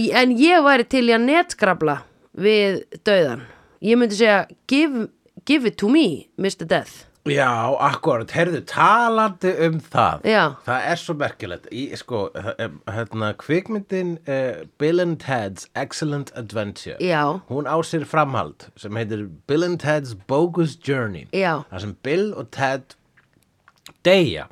[SPEAKER 1] Í- en ég væri til í að netgrabla við döðan ég myndi segja give, give it to me, Mr. Death
[SPEAKER 2] Já, akkurat, heyrðu, talandi um það.
[SPEAKER 1] Já.
[SPEAKER 2] Það er svo merkilegt. Í, sko, h- hérna, kvikmyndin uh, Bill and Ted's Excellent Adventure.
[SPEAKER 1] já,
[SPEAKER 2] Hún á sér framhald sem heitir Bill and Ted's Bogus Journey.
[SPEAKER 1] Já.
[SPEAKER 2] Það sem Bill og Ted deyja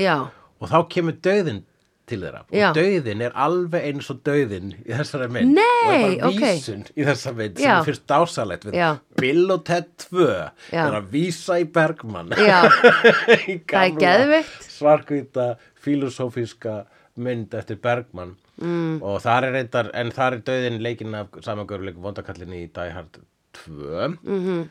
[SPEAKER 1] já,
[SPEAKER 2] og þá kemur dauðin til þeirra
[SPEAKER 1] Já.
[SPEAKER 2] og dauðin er alveg eins og dauðin í þessari mynd
[SPEAKER 1] Nei,
[SPEAKER 2] og það er bara
[SPEAKER 1] ok.
[SPEAKER 2] vísun í þessari mynd sem
[SPEAKER 1] Já.
[SPEAKER 2] er fyrst dásalegt við
[SPEAKER 1] Já.
[SPEAKER 2] Bill og Ted 2
[SPEAKER 1] Já.
[SPEAKER 2] er að vísa í Bergmann
[SPEAKER 1] Já.
[SPEAKER 2] í
[SPEAKER 1] Það er
[SPEAKER 2] gamla
[SPEAKER 1] geðveikt.
[SPEAKER 2] svarkvita filosófíska mynd eftir Bergmann mm. og þar er reyndar en þar er dauðin leikinn af samangaurleik vondakallinni í Die Hard 2 mm
[SPEAKER 1] Mhm.
[SPEAKER 2] -hmm.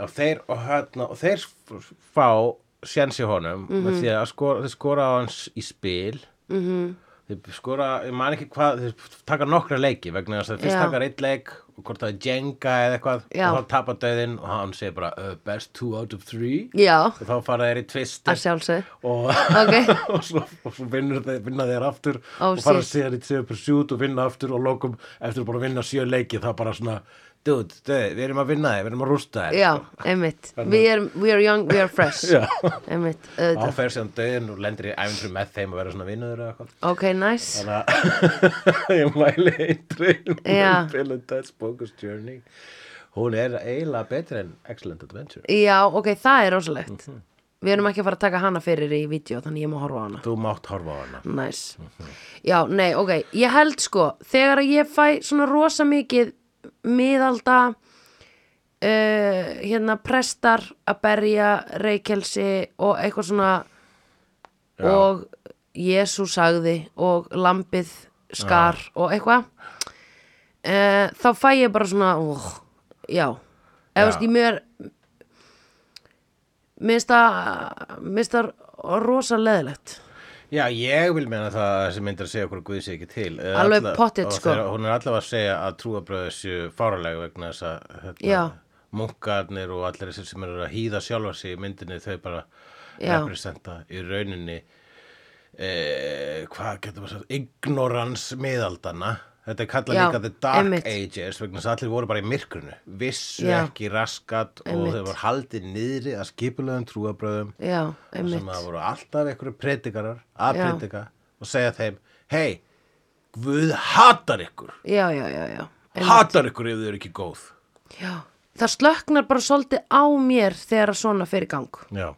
[SPEAKER 2] og þeir og, hérna, og þeir f- fá sjensi honum mm
[SPEAKER 1] Mhm.
[SPEAKER 2] -hmm. því að skora, þeir skora á hans í spil mm -hmm. þeir skora, ég man ekki hvað þeir taka nokkra leiki vegna þess að fyrst
[SPEAKER 1] Já.
[SPEAKER 2] taka eitt leik og hvort það er Jenga eða eitthvað
[SPEAKER 1] Já.
[SPEAKER 2] og þá tapar döðin og hann segir bara uh, best two out of three
[SPEAKER 1] já
[SPEAKER 2] og þá fara þeir í tvist
[SPEAKER 1] að sjálfsög
[SPEAKER 2] og,
[SPEAKER 1] Ok.
[SPEAKER 2] og svo, og svo vinnur þeir, vinna þeir aftur
[SPEAKER 1] Ó,
[SPEAKER 2] og fara
[SPEAKER 1] shit.
[SPEAKER 2] síðan í 7 pursuit og vinna aftur og lokum eftir að búin að vinna sjö leiki það bara svona, dude, dude, við erum að vinna þeir við erum að rústa þeir
[SPEAKER 1] Já, einmitt We are, we are young, we are fresh
[SPEAKER 2] Já.
[SPEAKER 1] Einmitt, Uh,
[SPEAKER 2] Þá
[SPEAKER 1] auðvitað
[SPEAKER 2] fer síðan döðin og lendir í æfintrum með þeim að vera svona vinnuður eða eitthvað
[SPEAKER 1] Ok, nice
[SPEAKER 2] Þannig að ég mæli eindrið
[SPEAKER 1] Já.
[SPEAKER 2] Bill and Ted's Bogus Journey Hún er eiginlega betri en Excellent Adventure
[SPEAKER 1] Já, ok, það er rosalegt Við erum ekki að fara að taka hana fyrir í vídeo Þannig ég má horfa á hana
[SPEAKER 2] Þú mátt horfa á hana
[SPEAKER 1] Nice
[SPEAKER 2] Mhm.
[SPEAKER 1] Já, nei, ok, ég held sko Þegar að ég fæ svona rosa mikið Miðalda uh, Hérna prestar Að berja reykelsi Og eitthvað svona
[SPEAKER 2] Já.
[SPEAKER 1] Og Jésu sagði Og lambið skar Og eitthvað uh, Þá fæ ég bara svona oh, Já,
[SPEAKER 2] Já.
[SPEAKER 1] eða veist ég mér Minnst það Minnst það rosa leðilegt
[SPEAKER 2] Já, ég vil meina það að þessi myndir að segja okkur að Guði sé ekki til Eða
[SPEAKER 1] Alveg
[SPEAKER 2] alla-
[SPEAKER 1] pottet,
[SPEAKER 2] og
[SPEAKER 1] sko.
[SPEAKER 2] þegar- Hún er allavega að segja að trúabröðu séu fáralega vegna þess að
[SPEAKER 1] Já.
[SPEAKER 2] hérna, munkarnir og allir þessir sem eru að hýða sjálfa sig í myndinni þau bara
[SPEAKER 1] Já.
[SPEAKER 2] representa í rauninni eh, hvað getur maður sagt ignorans miðaldana þetta er kallað
[SPEAKER 1] Já,
[SPEAKER 2] líka the dark
[SPEAKER 1] einmitt.
[SPEAKER 2] ages vegna þess að allir voru bara í myrkrunu vissu
[SPEAKER 1] Já.
[SPEAKER 2] ekki raskat og
[SPEAKER 1] Einmitt.
[SPEAKER 2] þau voru haldið niðri að skipulegum trúabröðum
[SPEAKER 1] Já,
[SPEAKER 2] þar sem
[SPEAKER 1] einmitt
[SPEAKER 2] að voru alltaf einhverju predikarar að
[SPEAKER 1] Já.
[SPEAKER 2] predika og segja þeim hei, Guð hatar ykkur
[SPEAKER 1] Já, já, já, já. En,
[SPEAKER 2] hatar ykkur ef þau eru ekki góð
[SPEAKER 1] já Það slöknar bara svolítið á mér þegar að svona fer í gang
[SPEAKER 2] já,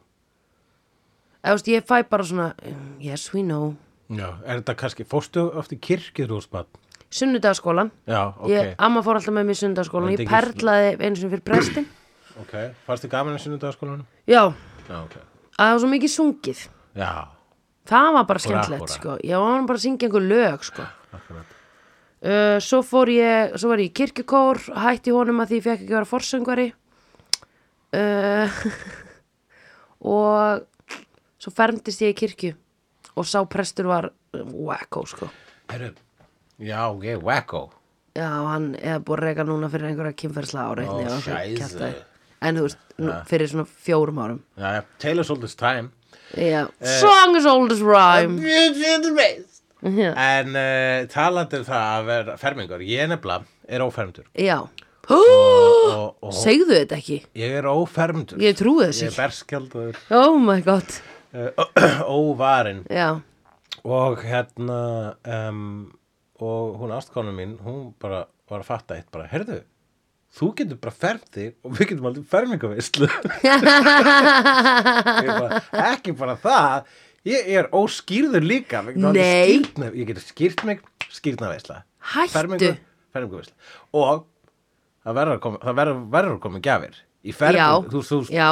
[SPEAKER 1] Eða, veist, Ég fæ bara svona mm, Yes, we know
[SPEAKER 2] já. er þetta kannski, fórstu oft í kirkjur húsmann?
[SPEAKER 1] Sunnudagaskólan
[SPEAKER 2] já, ok,
[SPEAKER 1] ég, Amma fór alltaf með mér í sunnudagaskólan
[SPEAKER 2] En
[SPEAKER 1] Ég
[SPEAKER 2] þetta ekki-
[SPEAKER 1] perlaði eins og fyrir prestin
[SPEAKER 2] ok fannst þið gaman í sunnudagaskólanum?
[SPEAKER 1] Já,
[SPEAKER 2] já, ok,
[SPEAKER 1] að það var svo mikið sungið
[SPEAKER 2] já
[SPEAKER 1] Það var bara
[SPEAKER 2] húrra.
[SPEAKER 1] skemmtilegt, sko Ég var bara að syngja einhver lög, sko
[SPEAKER 2] Akkurat.
[SPEAKER 1] uh, Svo fór ég, svo var ég í kirkjukór Hætti honum að því ég fekk ekki að vera forsöngvari uh, Og Svo fermdist ég í kirkju Og sá prestur var uh, Wacko, sko
[SPEAKER 2] Herru, já, ok, wacko
[SPEAKER 1] Já, hann eða búið að reyka núna fyrir einhverja kynferðsla áreitni
[SPEAKER 2] Ó,
[SPEAKER 1] og
[SPEAKER 2] scheisse.
[SPEAKER 1] kjaftaði. En þú veist, nú, fyrir svona fjórum árum
[SPEAKER 2] já, já, Taylor's Oldest Time
[SPEAKER 1] Já,
[SPEAKER 2] Eh.
[SPEAKER 1] song is old as rhyme Já,
[SPEAKER 2] en uh, talandi um það að vera fermingur ég nefnilega er ófermdur
[SPEAKER 1] já.
[SPEAKER 2] og, og
[SPEAKER 1] Segðu þetta ekki
[SPEAKER 2] ég er ófermdur
[SPEAKER 1] Ég trúi þess
[SPEAKER 2] Ég er
[SPEAKER 1] ekki
[SPEAKER 2] berskjaldur,
[SPEAKER 1] Oh my god
[SPEAKER 2] uh, óvarin
[SPEAKER 1] Já,
[SPEAKER 2] og hérna um, og hún ástkonu mín hún bara var að fatta eitt bara, heyrðu þú getur bara fermt þig og við getum aldrei fermingaveislu Ég bara, ekki bara það ég er óskýrður líka vegna þess að
[SPEAKER 1] Nei.
[SPEAKER 2] skírna, ég get skýrt mig, skýrnaveisla
[SPEAKER 1] Hættu.
[SPEAKER 2] fermingu, fermingaveisla og það verður að koma, það verður, verður að koma gjafir í fermingu, þú, þú,
[SPEAKER 1] já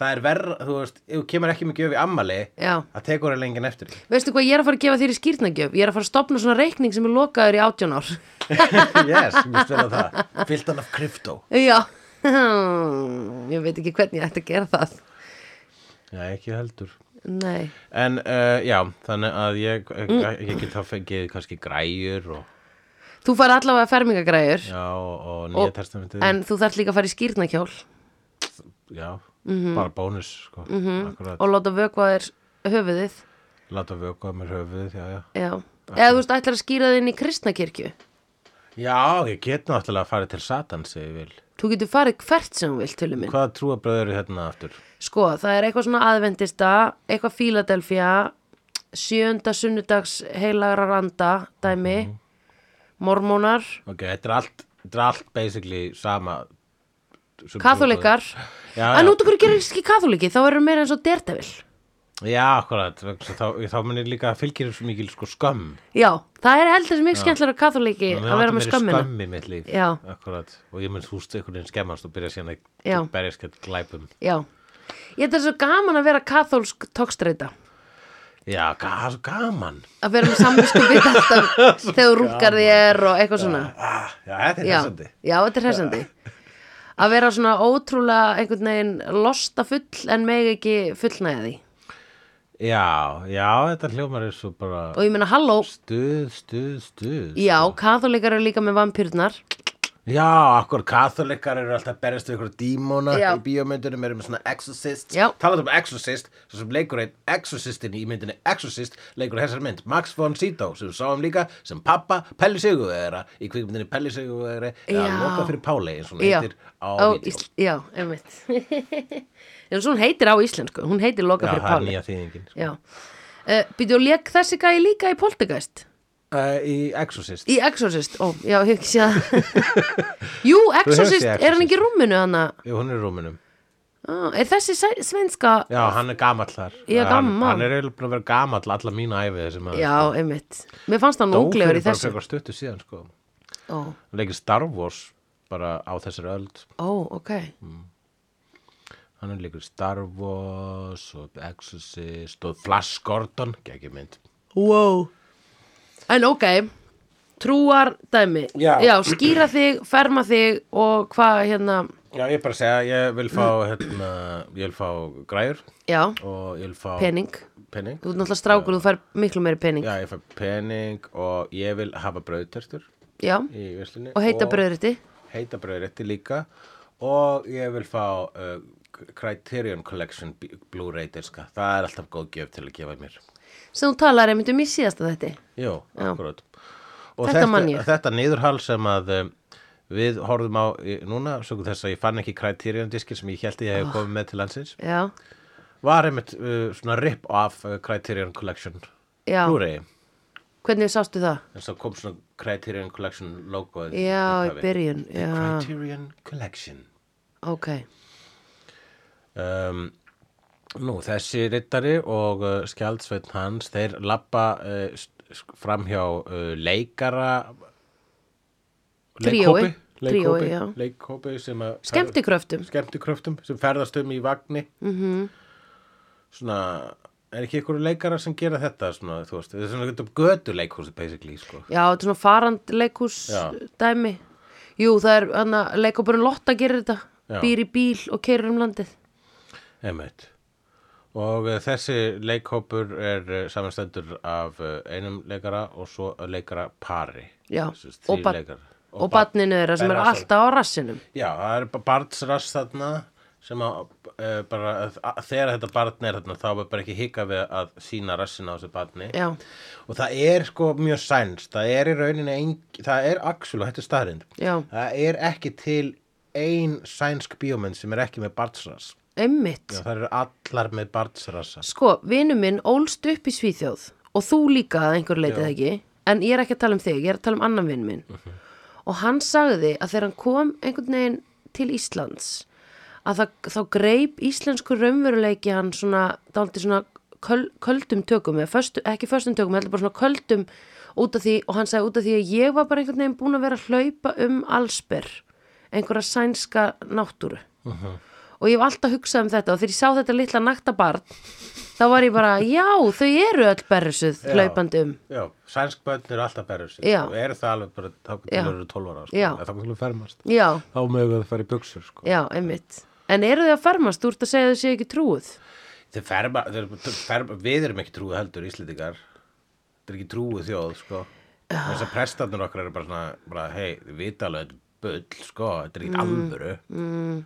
[SPEAKER 2] það er verra, þú veist, ef þú kemur ekki með gjöf í ammali,
[SPEAKER 1] Já.
[SPEAKER 2] það tekur það lengin eftir því.
[SPEAKER 1] Veistu hvað ég er að fara að gefa þér í skýrnagjöf? Ég er að fara að stopna svona reikning sem er lokaður í átján ár.
[SPEAKER 2] yes, mér spila það. Fyltan af krypto.
[SPEAKER 1] Já, ég veit ekki hvernig ég ætti að gera það.
[SPEAKER 2] Já, ekki heldur.
[SPEAKER 1] Nei,
[SPEAKER 2] En uh, já, þannig að ég, uh,
[SPEAKER 1] Mm.
[SPEAKER 2] ég, ég get þá fengið kannski græjur og,
[SPEAKER 1] þú fær allavega fermingagræður
[SPEAKER 2] já, og, og nýja
[SPEAKER 1] Og-
[SPEAKER 2] testamentið.
[SPEAKER 1] en þú þarf líka að fara í skýrnakjól
[SPEAKER 2] Já, bara bónus, sko. Mm
[SPEAKER 1] Mhm.
[SPEAKER 2] Akkurat,
[SPEAKER 1] og láta vökva þér höfuðið
[SPEAKER 2] láta vökuða mér höfuðið, já, já.
[SPEAKER 1] Já, eða þú veist, ætlar að skýra þig inn í kristnakirkju
[SPEAKER 2] Já, ég get náttúrulega að fara til Satans ef ég vil.
[SPEAKER 1] Þú getur farið hvert sem þú vilt, til minn
[SPEAKER 2] Hvaða trúabröður eru hérna aftur?
[SPEAKER 1] Sko, það er eitthvað svona aðvendista, eitthvað Fíladelfía, sjönda sunnudags heilagra randa dæmi,
[SPEAKER 2] Mhm.
[SPEAKER 1] mormónar,
[SPEAKER 2] Ok, þetta er allt, þetta er allt basically sama. sem
[SPEAKER 1] katholikar.
[SPEAKER 2] Já, já.
[SPEAKER 1] En út okkur gerir ekki katholiki, þá erum meira eins og dertavil.
[SPEAKER 2] Já, akkurat, vegna þess að þá, þá munir líka fylgir svo mikil sko skömm
[SPEAKER 1] Já, það er heldur sem mikið skemmtilega katholiki
[SPEAKER 2] Mér
[SPEAKER 1] að vera með
[SPEAKER 2] vantar meiri
[SPEAKER 1] skömmina.
[SPEAKER 2] skömm í mitt líf
[SPEAKER 1] Já.
[SPEAKER 2] Akkurat, og ég mun húst einhvern veginn skemmast og byrja síðan
[SPEAKER 1] Já.
[SPEAKER 2] að berjast gett glæpum
[SPEAKER 1] Já, ég þetta er svo gaman að vera katholsk tókstreita.
[SPEAKER 2] Já, ga- það er svo gaman
[SPEAKER 1] Að vera með samvisku bit alltaf þegar þú rúkar þér og eitthvað svona.
[SPEAKER 2] ah, Já, þetta er
[SPEAKER 1] já,
[SPEAKER 2] þessandi
[SPEAKER 1] já, þetta er hressandi að vera svona ótrúlega einhvern veginn losta full en meg ekki fullnæði því
[SPEAKER 2] Já, já, þetta hljómar er svo bara
[SPEAKER 1] og ég meina halló,
[SPEAKER 2] Stuð, stuð, stuð
[SPEAKER 1] já, katholikar eru líka með vampýrnar
[SPEAKER 2] Já, akkur katholikar eru alltaf að berjast við ykkur dímona
[SPEAKER 1] Já.
[SPEAKER 2] í bíómyndunum eru með svona exorcist
[SPEAKER 1] Já.
[SPEAKER 2] Talað um exorcist, svo sem leikur einn exorcistin í myndinni exorcist leikur þessar mynd Max von Sydow sem við sáum líka sem pappa Pelli Sigurvegara í kvikmyndinni Pelli Sigurvegara eða
[SPEAKER 1] Já.
[SPEAKER 2] loka fyrir Páli eins og hún
[SPEAKER 1] já,
[SPEAKER 2] heitir á
[SPEAKER 1] Ó,
[SPEAKER 2] vídeó.
[SPEAKER 1] ísl, já, einmitt en svo hún heitir á íslensku hún heitir
[SPEAKER 2] Já,
[SPEAKER 1] loka fyrir
[SPEAKER 2] það er
[SPEAKER 1] Páli
[SPEAKER 2] nýja þýðingin sko.
[SPEAKER 1] já, uh, býtu og lék þessi gæi líka í Poltergeist
[SPEAKER 2] uh, Í exorcist
[SPEAKER 1] í Exorcist, ó, já, ég hef ekki séð það jú,
[SPEAKER 2] hefur séð
[SPEAKER 1] Exorcist, er hann
[SPEAKER 2] Exorcist.
[SPEAKER 1] ekki í rúminu hann að,
[SPEAKER 2] Jú, hún er í rúminum
[SPEAKER 1] er þessi sæ- svenska
[SPEAKER 2] Já, hann er gamall þar
[SPEAKER 1] Já,
[SPEAKER 2] hann,
[SPEAKER 1] gamall.
[SPEAKER 2] hann er eiginlega búin að vera gamall alla mína æfi þessi maður
[SPEAKER 1] já, einmitt mér fannst hann
[SPEAKER 2] Dó
[SPEAKER 1] unglegur
[SPEAKER 2] fyrir
[SPEAKER 1] í
[SPEAKER 2] bara
[SPEAKER 1] þessu
[SPEAKER 2] frekar stuttu síðan sko
[SPEAKER 1] ó,
[SPEAKER 2] Hann leikir Star Wars bara á þessari öld
[SPEAKER 1] ó, ok
[SPEAKER 2] Hann er leikur Star Wars og Exorcist og Flash Gordon, ekki mynd
[SPEAKER 1] Wow En ok, trúar dæmi
[SPEAKER 2] Já.
[SPEAKER 1] skýra þig, ferma þig og hvað hérna
[SPEAKER 2] Já, ég er bara að segja, ég vil fá hérna, ég vil fá græjur
[SPEAKER 1] Já,
[SPEAKER 2] og ég vil fá
[SPEAKER 1] pening
[SPEAKER 2] pening.
[SPEAKER 1] Þú ert náttúrulega strákur, þú fær miklu meiri pening Já,
[SPEAKER 2] Já, ég fæ pening og ég vil hafa brauðtertur í verslinni
[SPEAKER 1] og heita bröðriti
[SPEAKER 2] heita brauðrétti líka og ég vil fá uh, Criterion Collection B- Blu-ray diska, það er alltaf góð gjöf til að gefa mér
[SPEAKER 1] sem þú talar einmitt um í síðasta þetta
[SPEAKER 2] Jú, akkurat og
[SPEAKER 1] Þetta man ég.
[SPEAKER 2] þetta niðurhal sem að um, við horfum á í- núna, sögum þess að ég fann ekki Criterion diskin sem ég held að ég
[SPEAKER 1] Ah.
[SPEAKER 2] hef komið með til landsins
[SPEAKER 1] Já,
[SPEAKER 2] var einmitt uh, svona rip af uh, Criterion Collection
[SPEAKER 1] já,
[SPEAKER 2] Blu-ray
[SPEAKER 1] hvernig sástu það?
[SPEAKER 2] en svo kom svona Criterion Collection logoð í
[SPEAKER 1] Já, í
[SPEAKER 2] upphafi.
[SPEAKER 1] byrjun Já,
[SPEAKER 2] Criterion Collection
[SPEAKER 1] ok
[SPEAKER 2] um, Nú, þessi rittari og uh, skjaldsveitn hans, þeir lappa uh, framhjá uh, leikara
[SPEAKER 1] Tríói.
[SPEAKER 2] leikhópi, leikhópi,
[SPEAKER 1] Tríói, já.
[SPEAKER 2] leikhópi sem að
[SPEAKER 1] Skemmtikröftum Mhm.
[SPEAKER 2] skemmtikröftum sem ferðast um í vagni mm -hmm. svona er ekki ykkur leikara sem gera þetta svona, þú veist, þetta er svona götu leikhúsi basically, sko
[SPEAKER 1] Já, þetta er svona farand leikhús
[SPEAKER 2] Já.
[SPEAKER 1] dæmi Jú, það er hana, leikopurinn Lotta gerir þetta
[SPEAKER 2] Já.
[SPEAKER 1] Býr í bíl og keirir um landið
[SPEAKER 2] Einmitt. Og uh, þessi leikhópur er uh, samanstendur af uh, einum leikara og svo leikara pari.
[SPEAKER 1] Já,
[SPEAKER 2] og,
[SPEAKER 1] og barn- og batninu þeirra sem er
[SPEAKER 2] Barnasson.
[SPEAKER 1] alltaf á rassinum
[SPEAKER 2] Já, það er bara barnsrass þarna sem að, uh, bara, að, þegar þetta barn er þarna þá er bara ekki hika við að sína rassin á þessu barni.
[SPEAKER 1] já,
[SPEAKER 2] Og það er sko mjög sænst, það er í rauninni, ein, það er axul og þetta er staðrind.
[SPEAKER 1] já,
[SPEAKER 2] Það er ekki til ein sænsk bíómynd sem er ekki með barnsrass.
[SPEAKER 1] einmitt
[SPEAKER 2] Já, það eru allar með barnsrassa.
[SPEAKER 1] sko, vinur minn ólst upp í Svíþjóð og þú líka að einhver leitið ekki en ég er ekki að tala um þig, ég er að tala um annan vinn minn og hann sagði að þegar hann kom einhvern veginn til Íslands að það, þá greip íslensku raunveruleiki hann svona, dálítið svona köl, köldum tökum, eða föstu, ekki föstum tökum heldur bara svona köldum út af því og hann sagði út af því að ég var bara einhvern veginn búin að vera að hlaupa um allsber einhverja sænska náttúru og ég hef alltaf hugsað um þetta og þegar ég sá þetta litla nakta barn þá var ég bara, já, þau eru öll berrisuð hlaupandi um
[SPEAKER 2] Já, sænsk börn eru alltaf berur sig
[SPEAKER 1] Já.
[SPEAKER 2] og eru það alveg bara þá
[SPEAKER 1] Já.
[SPEAKER 2] til eru 12 ára sko.
[SPEAKER 1] Já.
[SPEAKER 2] eða þá til að fermast
[SPEAKER 1] já,
[SPEAKER 2] þá mögum við að fara í buksur sko.
[SPEAKER 1] já, einmitt en eru þau að fermast, þú ert að segja að þau séu ekki trúið
[SPEAKER 2] Þeir ferma, þeir ferma, við erum ekki trúið heldur Íslendingar Þetta er ekki trúið þjóð, sko Þess
[SPEAKER 1] Ah.
[SPEAKER 2] að prestandur okkar eru bara svona bara, hei, þið vita alveg, þetta er bull, sko Þetta er ekki alvöru mm.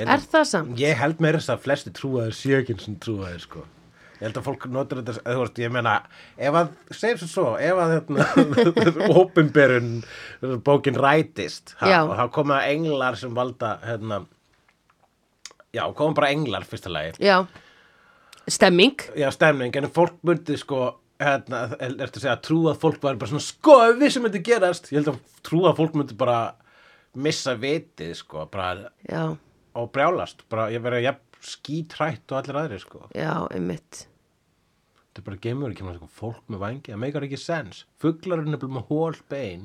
[SPEAKER 1] Er það samt?
[SPEAKER 2] Ég held meira þess að flesti trúaðir séu ekki sem trúaðir, sko Ég held að fólk notur þetta, eða, þú veist, ég meina ef að, segjum sem svo, ef að hérna, opinberun bókin rætist ha,
[SPEAKER 1] Já.
[SPEAKER 2] og þá koma englar sem valda hérna, já, koma bara englar fyrsta lagi
[SPEAKER 1] Já Stemming
[SPEAKER 2] já, stemning, en fólk myndi sko hérna, ertu að segja að trú að fólk var bara svona sko, ef við sem myndi gerast ég held að trú að fólk myndi bara missa vitið, sko, bara
[SPEAKER 1] Já,
[SPEAKER 2] og brjálast, bara ég verið jafn skítrætt og allir aðrir, sko
[SPEAKER 1] já, einmitt
[SPEAKER 2] þetta er bara gemur ekki, maður, sko, fólk með vangi það meikar ekki sens, fuglar eru nefnilega með hól bein,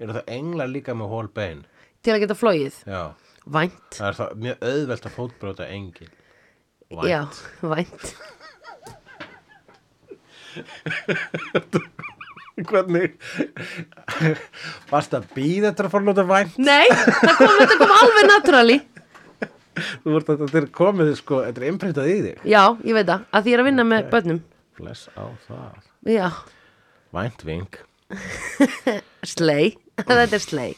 [SPEAKER 2] eru það englar líka með hól bein,
[SPEAKER 1] Til að geta flóið
[SPEAKER 2] já
[SPEAKER 1] Vænt
[SPEAKER 2] það er það mjög auðvelt að fótbrjóta engil Vænt.
[SPEAKER 1] Já, vænt
[SPEAKER 2] hvernig varst að býða þetta að fara að nota vænt
[SPEAKER 1] Nei, það kom, þetta kom alveg naturally
[SPEAKER 2] Þú vart að þetta er komið, sko, þetta er innprintað í þig.
[SPEAKER 1] Já, ég veit það, að því ég er að vinna með börnum
[SPEAKER 2] Bless á það.
[SPEAKER 1] Já,
[SPEAKER 2] Vænt vink.
[SPEAKER 1] slei Þetta er slei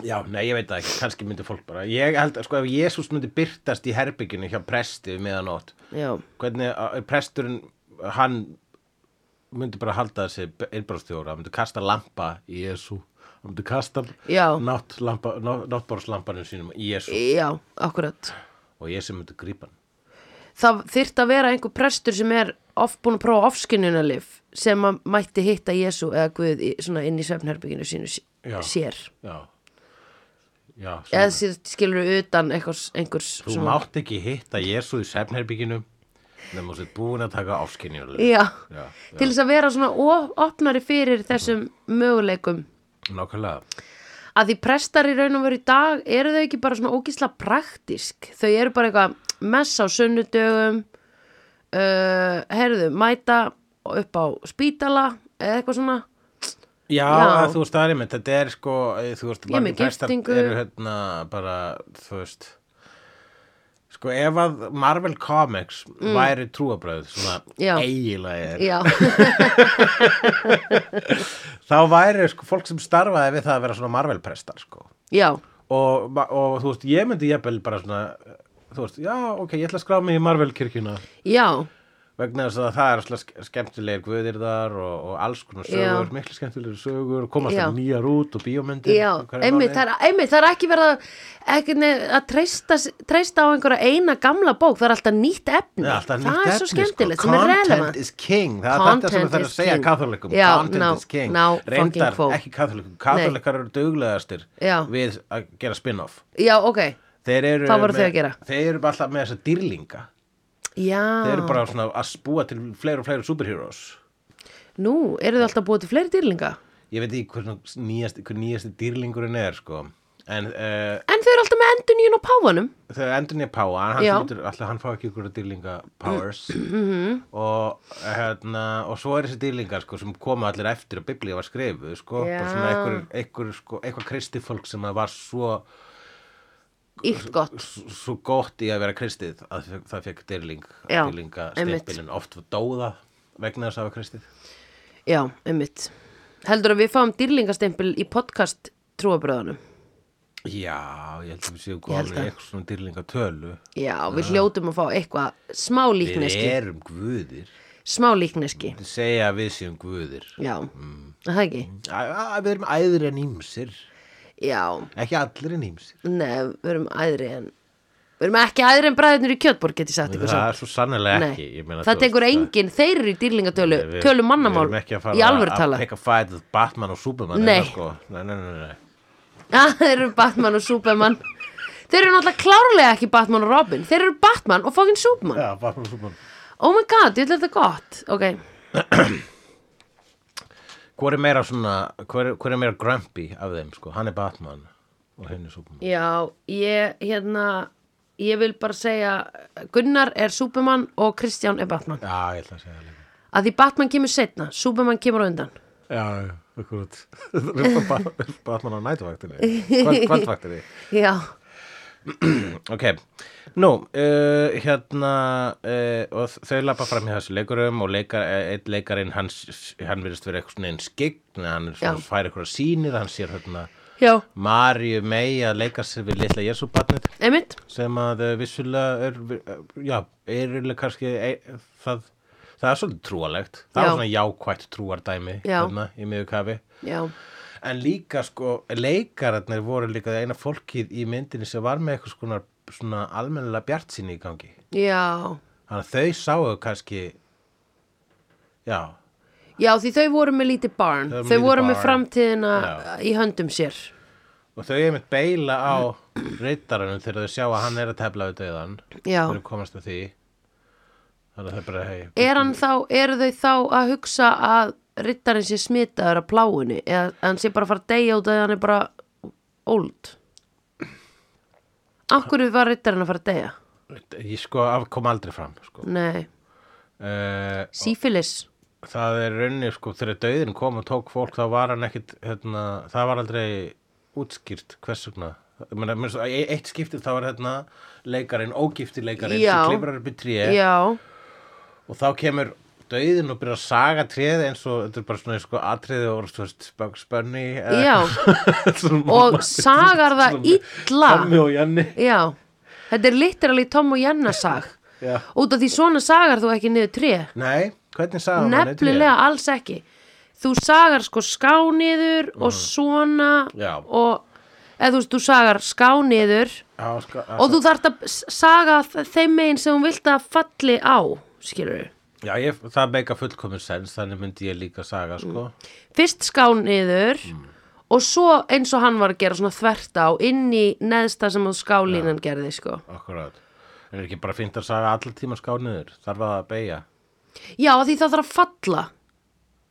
[SPEAKER 2] Já, nei, ég veit það ekki, kannski myndi fólk bara. Ég held að, sko, ef Jésús myndi byrtast í herbyggjunni hjá presti við meðanótt,
[SPEAKER 1] Já,
[SPEAKER 2] hvernig að- presturinn, hann myndi bara halda þessi innbráðstjóra, hann myndi kasta lampa í Jésú, hann myndi kasta
[SPEAKER 1] Já.
[SPEAKER 2] náttlampa- ná- náttborðslampanum sínum í Jésú
[SPEAKER 1] já, akkurat
[SPEAKER 2] og Jésu myndi grípa hann.
[SPEAKER 1] Það þyrft að vera einhver prestur sem er off, búin að prófa ofskinnunarlif sem að mætti hitta Jésu eða Guð í, svona inn í svefnherbygginu sínu s-
[SPEAKER 2] Já.
[SPEAKER 1] sér
[SPEAKER 2] Já. Já, svona.
[SPEAKER 1] eða sér skilur utan einhvers, einhvers
[SPEAKER 2] Þú mátt ekki hitta Jésu í sefnherbygginu nema þú sér búin að taka áskynjulega.
[SPEAKER 1] Já,
[SPEAKER 2] Já,
[SPEAKER 1] til þess að vera svona o- opnari fyrir þessum möguleikum
[SPEAKER 2] Nákvæmlega.
[SPEAKER 1] að því prestar í raun og veru í dag eru þau ekki bara svona ógísla praktisk þau eru bara eitthvað messa á sunnudögum uh, herðu, mæta upp á spítala eða eitthvað svona
[SPEAKER 2] Já,
[SPEAKER 1] Já.
[SPEAKER 2] að þú veist það er einmitt, þetta er sko, eh, þú veist,
[SPEAKER 1] Ég er með
[SPEAKER 2] margir prestar
[SPEAKER 1] giftingu.
[SPEAKER 2] eru hérna bara, þú veist, sko ef að Marvel Comics væri trúabröð, svona
[SPEAKER 1] Mm. Já.
[SPEAKER 2] eiginlega er,
[SPEAKER 1] já,
[SPEAKER 2] þá væri sko fólk sem starfaði við það að vera svona Marvel prestar, sko.
[SPEAKER 1] já,
[SPEAKER 2] Og, ma- og þú veist, ég myndi jafnvel bara svona, eh, þú veist, já, ok, ég ætla að skrá mig í Marvel kirkjuna.
[SPEAKER 1] já
[SPEAKER 2] vegna þess að það er alltaf skemmtilegir guðir þar og, og alls konar sögur,
[SPEAKER 1] Já.
[SPEAKER 2] miklu skemmtilegir sögur og komast
[SPEAKER 1] Já.
[SPEAKER 2] það nýjar út og bíómyndir
[SPEAKER 1] já,
[SPEAKER 2] og hverju
[SPEAKER 1] einmitt
[SPEAKER 2] máli.
[SPEAKER 1] það, er, einmitt það er ekki verið að, ekki, nei, að treysta, s- treysta á einhverja eina gamla bók það er alltaf nýtt efni
[SPEAKER 2] Já, alltaf
[SPEAKER 1] það
[SPEAKER 2] nýtt
[SPEAKER 1] er
[SPEAKER 2] efni,
[SPEAKER 1] svo skemmtilegt,
[SPEAKER 2] sko.
[SPEAKER 1] sem er
[SPEAKER 2] Content
[SPEAKER 1] relevant
[SPEAKER 2] is king, það er þetta sem
[SPEAKER 1] Content
[SPEAKER 2] það
[SPEAKER 1] is
[SPEAKER 2] er að segja
[SPEAKER 1] king.
[SPEAKER 2] katholikum
[SPEAKER 1] Já,
[SPEAKER 2] Content
[SPEAKER 1] now-
[SPEAKER 2] is king,
[SPEAKER 1] now fucking
[SPEAKER 2] reyndar
[SPEAKER 1] quote.
[SPEAKER 2] ekki katholikum Katholikar eru duglegastir
[SPEAKER 1] Já.
[SPEAKER 2] við að gera spin-off
[SPEAKER 1] já, ok,
[SPEAKER 2] Þeir eru
[SPEAKER 1] Hvað voru
[SPEAKER 2] með-
[SPEAKER 1] þau að gera?
[SPEAKER 2] Þeir eru bara alltaf með þessa dýrlinga
[SPEAKER 1] já
[SPEAKER 2] Þeir eru bara svona að spúa til fleiri og fleiri superheroes
[SPEAKER 1] nú, eru þið alltaf búið til fleiri dýrlinga
[SPEAKER 2] Ég veit ekki hvernig nýjasti, hver nýjasti dýrlingurinn er sko En uh,
[SPEAKER 1] en þau eru alltaf með endur nýjun á páfanum
[SPEAKER 2] þegar endurinn er Páa hann,
[SPEAKER 1] Já.
[SPEAKER 2] hlutur, alltaf, hann fá ekki ykkur dýrlinga powers
[SPEAKER 1] Mhm.
[SPEAKER 2] og, hérna, og svo er þessi dýrlingar sko, sem koma allir eftir að biblíu var skrifuð sko, bara
[SPEAKER 1] Já.
[SPEAKER 2] svona einhver, einhver, sko, eitthvað kristifólk sem að var svo,
[SPEAKER 1] Íkt gott
[SPEAKER 2] svo gott í að vera kristið að fe- það fekk dýrling
[SPEAKER 1] Já,
[SPEAKER 2] dýrlinga
[SPEAKER 1] einmitt.
[SPEAKER 2] stimpilinn oft dóða vegna þess að hafa kristið
[SPEAKER 1] Já, einmitt Heldur að við fáum dýrlingastempil í podcast trúabröðunum
[SPEAKER 2] Já, ég held að við séum
[SPEAKER 1] held
[SPEAKER 2] komin í
[SPEAKER 1] það.
[SPEAKER 2] eitthvað svona dýrlingatölu
[SPEAKER 1] Já, við hljótum að fá eitthvað smá
[SPEAKER 2] Við
[SPEAKER 1] líkneski
[SPEAKER 2] erum guðir
[SPEAKER 1] Smá líkneski,
[SPEAKER 2] Þið segja að við séum guðir
[SPEAKER 1] já
[SPEAKER 2] Mm.
[SPEAKER 1] Er Það ekki?
[SPEAKER 2] Að- að Við erum æðri en ímsir
[SPEAKER 1] Já,
[SPEAKER 2] Ekki allir en ímsir.
[SPEAKER 1] nei, við erum æðri en Við erum ekki æðri en bræðinir í Kjötborg get ég sagt
[SPEAKER 2] Það
[SPEAKER 1] ykkur samt
[SPEAKER 2] er svo sannlega
[SPEAKER 1] Nei,
[SPEAKER 2] ekki. Ég meina,
[SPEAKER 1] það
[SPEAKER 2] þú
[SPEAKER 1] tekur
[SPEAKER 2] veist,
[SPEAKER 1] enginn, þeir eru í dýrlingatölu,
[SPEAKER 2] það- við-
[SPEAKER 1] tölu mannamál
[SPEAKER 2] Við erum ekki að
[SPEAKER 1] í
[SPEAKER 2] fara
[SPEAKER 1] alvöru tala.
[SPEAKER 2] að peka fight with Batman og Superman.
[SPEAKER 1] Nei.
[SPEAKER 2] hérna, Sko. Nei, nei, nei, nei.
[SPEAKER 1] Já, þeir eru Batman og Superman. þeir eru náttúrulega klárlega ekki Batman og Robin, þeir eru Batman og fucking Superman.
[SPEAKER 2] Já, Batman og Superman.
[SPEAKER 1] Oh my god, ég ætla þetta gott Ok,
[SPEAKER 2] Hvor er meira svona, hver, hver er meira grumpy af þeim, sko? Hann er Batman og henni er Superman.
[SPEAKER 1] já, ég hérna Ég vil bara segja Gunnar er Superman og Kristján er Batman
[SPEAKER 2] Já, ég ætla að segja það líka.
[SPEAKER 1] Að því Batman kemur setna, Superman kemur á undan
[SPEAKER 2] Já, já, akkurat. Batman á nætuvaktinni. Kvöldvaktinni.
[SPEAKER 1] Já,
[SPEAKER 2] ok, nú uh, hérna uh, og þau lappa fram hjá þessu leikurum og leikar, eitt leikarinn hann, hann virðist verið eitthvað svona einn skign hann er
[SPEAKER 1] Já.
[SPEAKER 2] svona, fær eitthvað sýnir, hann sér hérna
[SPEAKER 1] Já,
[SPEAKER 2] Maríu mei að leika sér við litla Jésúbarnið
[SPEAKER 1] einmitt
[SPEAKER 2] sem að eh, vissulega er, eh, já, er eiginlega kannski e, það, það er svolítið trúalegt
[SPEAKER 1] Já.
[SPEAKER 2] það er svona jákvætt trúardæmi hérna
[SPEAKER 1] Já.
[SPEAKER 2] í miður kafi
[SPEAKER 1] Já,
[SPEAKER 2] en líka sko, leikararnir voru líka eina fólkið í myndinni sem var með eitthvað svona, svona almennilega bjartsýni í gangi
[SPEAKER 1] já
[SPEAKER 2] þannig að þau sáu kannski já,
[SPEAKER 1] Já, því þau voru með lítið barn
[SPEAKER 2] Þau voru
[SPEAKER 1] Þau
[SPEAKER 2] með lítið
[SPEAKER 1] voru með
[SPEAKER 2] barn.
[SPEAKER 1] framtíðina
[SPEAKER 2] Já.
[SPEAKER 1] í höndum sér
[SPEAKER 2] og þau einmitt beila á reytaranum þegar þau sjá að hann er að tefla við döðan
[SPEAKER 1] Já.
[SPEAKER 2] þau komast að því þannig að þau bara hei
[SPEAKER 1] Er hann þá, eru þau þá að hugsa að rittarinn sé smitaður af pláinu eða að hann sé bara að fara að deyja út að hann er bara old Af hverju var rittarinn að fara að deyja?
[SPEAKER 2] ég sko af- kom aldrei fram sko.
[SPEAKER 1] Nei,
[SPEAKER 2] uh,
[SPEAKER 1] sífilis
[SPEAKER 2] það er raunni sko þegar döðin kom og tók fólk þá var hann ekkit hérna, það var aldrei útskýrt hvers vegna Ég meina, mér svo- í eitt skiptið þá var hérna leikarinn, ógifti leikarinn
[SPEAKER 1] Já.
[SPEAKER 2] sem klifrar upp í tré
[SPEAKER 1] Já,
[SPEAKER 2] og þá kemur döðin og byrjar að saga tréð eins og þetta er bara svona sko, atriði og þú veist, spöggspenni
[SPEAKER 1] já og sagar það illa
[SPEAKER 2] Tommi og Janni
[SPEAKER 1] Já, þetta er literally Tom og Jenna sag
[SPEAKER 2] Já.
[SPEAKER 1] Út af því svona sagar þú ekki niður tré
[SPEAKER 2] Nei, hvernig saga maður tré?
[SPEAKER 1] Nefnilega alls ekki Þú sagar sko skániður og svona
[SPEAKER 2] Já.
[SPEAKER 1] og eða þú veist, þú sagar skániður
[SPEAKER 2] Já, sko,
[SPEAKER 1] og þú þarft að s- saga þ- þeim megin sem hún vilt að falli á skilur
[SPEAKER 2] Já, ég, það meika fullkomun sens, þannig myndi ég líka saga, sko.
[SPEAKER 1] Mm. fyrst skániður og svo eins og hann var að gera svona þvert á inn í neðsta sem þú skálínan gerði sko
[SPEAKER 2] Akkurát. Er ekki bara fínt að saga allar tíma skániður? Þarf það að beigja?
[SPEAKER 1] Já, af því það þarf að falla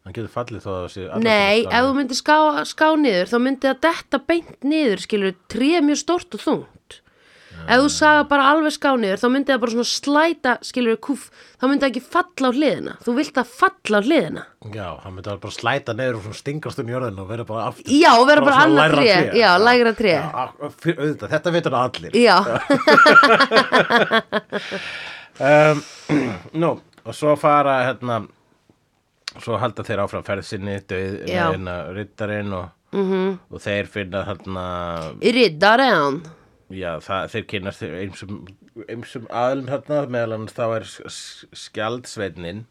[SPEAKER 2] Hann getur fallið þó að það sé allar
[SPEAKER 1] Nei, ef þú myndir ská, ská niður þá myndi það detta beint niður skilur, tréð mjög stort og þungt ef þú saga bara alveg ská niður þá myndi það bara svona slæta skilur, kúf, þá myndi það ekki falla á hliðina þú vilt að falla á hliðina
[SPEAKER 2] Já, hann myndi alveg bara slæta neður og svona stingast um jörðin og vera bara aftur.
[SPEAKER 1] Já, og vera bara
[SPEAKER 2] svona
[SPEAKER 1] annað
[SPEAKER 2] lægra
[SPEAKER 1] tré. Já, lægra tré.
[SPEAKER 2] Já, ak- fyr- auðvitað, þetta veitur allir.
[SPEAKER 1] Já,
[SPEAKER 2] Um, nú, og svo fara, hérna, svo halda þeir áfram ferð sinni, döið,
[SPEAKER 1] Já. Mhm.
[SPEAKER 2] hérna, rittarinn og, mm -hmm. og þeir finna, hérna,
[SPEAKER 1] riddaren
[SPEAKER 2] Já, það, þeir kynast þeir einsum, einsum aðlum þarna meðal annars þá er S- S- skjaldsveitnin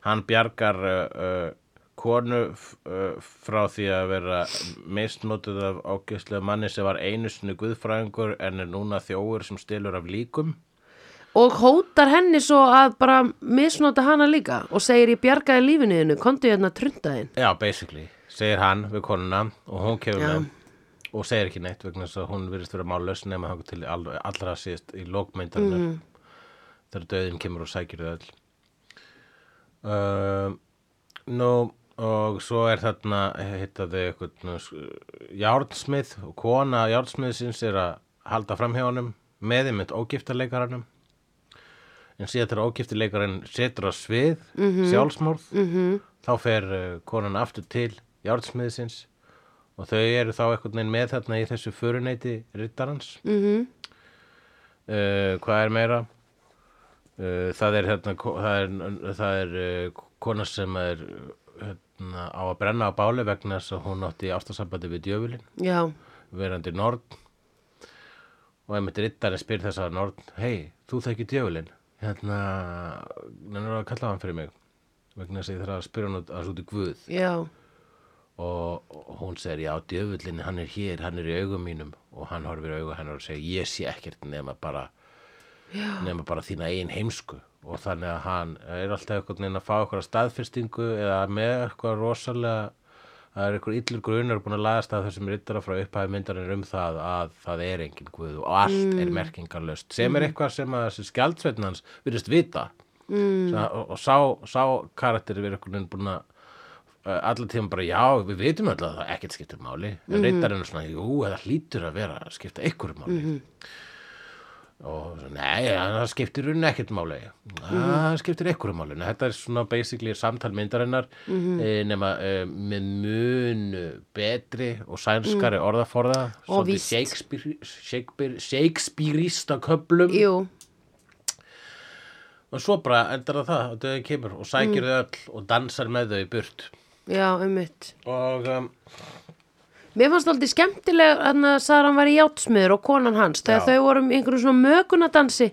[SPEAKER 2] hann bjargar uh, uh, konu f- uh, frá því að vera misnótuð af ágæslega manni sem var einu sinni guðfræðingur en er núna þjófur sem stilur af líkum
[SPEAKER 1] og hótar henni svo að bara misnota hana líka og segir ég bjargaði lífinu þínu, komdu hérna trundaðin
[SPEAKER 2] Já, basically, segir hann við konuna og hún kemur með og segir ekki neitt vegna þess að hún virðist vera málaus nema hann til all, allra síðast í lókmyndarinu þegar döðin kemur og sækir þau öll um, Nú, og svo er þarna hitta þau eitthvað járnsmið og kona járnsmiðsins er að halda fram hjá honum með þeim með ógiftarleikaranum en síðan þegar ógiftarleikarinn setur á svið sjálfsmórð -hmm. þá fer uh, konan aftur til járnsmiðsins og þau eru þá eitthvað neginn með þarna í þessu föruneyti rittarans mm -hmm. Eh, hvað er meira? Uh, það er hérna ko- það er, það er uh, kona sem er uh, hérna, á að brenna á báli vegna þess að hún átti ástasambandi við djöfulin
[SPEAKER 1] Já,
[SPEAKER 2] verandi norn og einmitt rittari spyr þess að norn hei, þú þekkir djöfulin hérna, nennur að kalla hann fyrir mig vegna þess að ég þarf að spyrja hann að svo til guð
[SPEAKER 1] já,
[SPEAKER 2] og, og hún segir já, djöfullin hann er hér, hann er í augum mínum og hann horfir í augum hennar og segir ég sé ekkert nema bara nema bara þína eigin heimsku og þannig að hann er alltaf eitthvað neina að fá eitthvað staðfestingu eða með eitthvað rosalega það er eitthvað illur grunar búin að lagast að þessum rittara frá upphæði myndarinn um það að það er engin guð og allt er merkingarlöst sem er eitthvað sem að þessi skjaldsveitn hans virðist vita mm. Sa, og, og sá, sá karakteri verið eitthvað neina búin að allar tíma bara já, við vitum alltaf að það ekkert skiptir máli en mm -hmm. reyndar svona, jú, það hlýtur að vera að skipta einhverju máli mm og svo, nei, það skiptir hún ekkert máli
[SPEAKER 1] Mhm.
[SPEAKER 2] það skiptir einhverju máli Nei, þetta er svona basically samtal myndarinnar
[SPEAKER 1] Mhm.
[SPEAKER 2] eh, nema eh, með munu betri og sænskari orðaforða
[SPEAKER 1] Mm. Og
[SPEAKER 2] svolítið
[SPEAKER 1] víst.
[SPEAKER 2] Shakespeare, Shakespeare, Shakespeareista köplum
[SPEAKER 1] Jú,
[SPEAKER 2] og svo bara endar það það og döðið kemur og
[SPEAKER 1] Mm.
[SPEAKER 2] sækir þau öll og dansar með þau í burt
[SPEAKER 1] já, um mitt
[SPEAKER 2] og um,
[SPEAKER 1] Mér fannst það aldrei skemmtileg að Saran var í játsmiður og konan hans þegar
[SPEAKER 2] Já.
[SPEAKER 1] þau vorum í einhverjum svona mögunadansi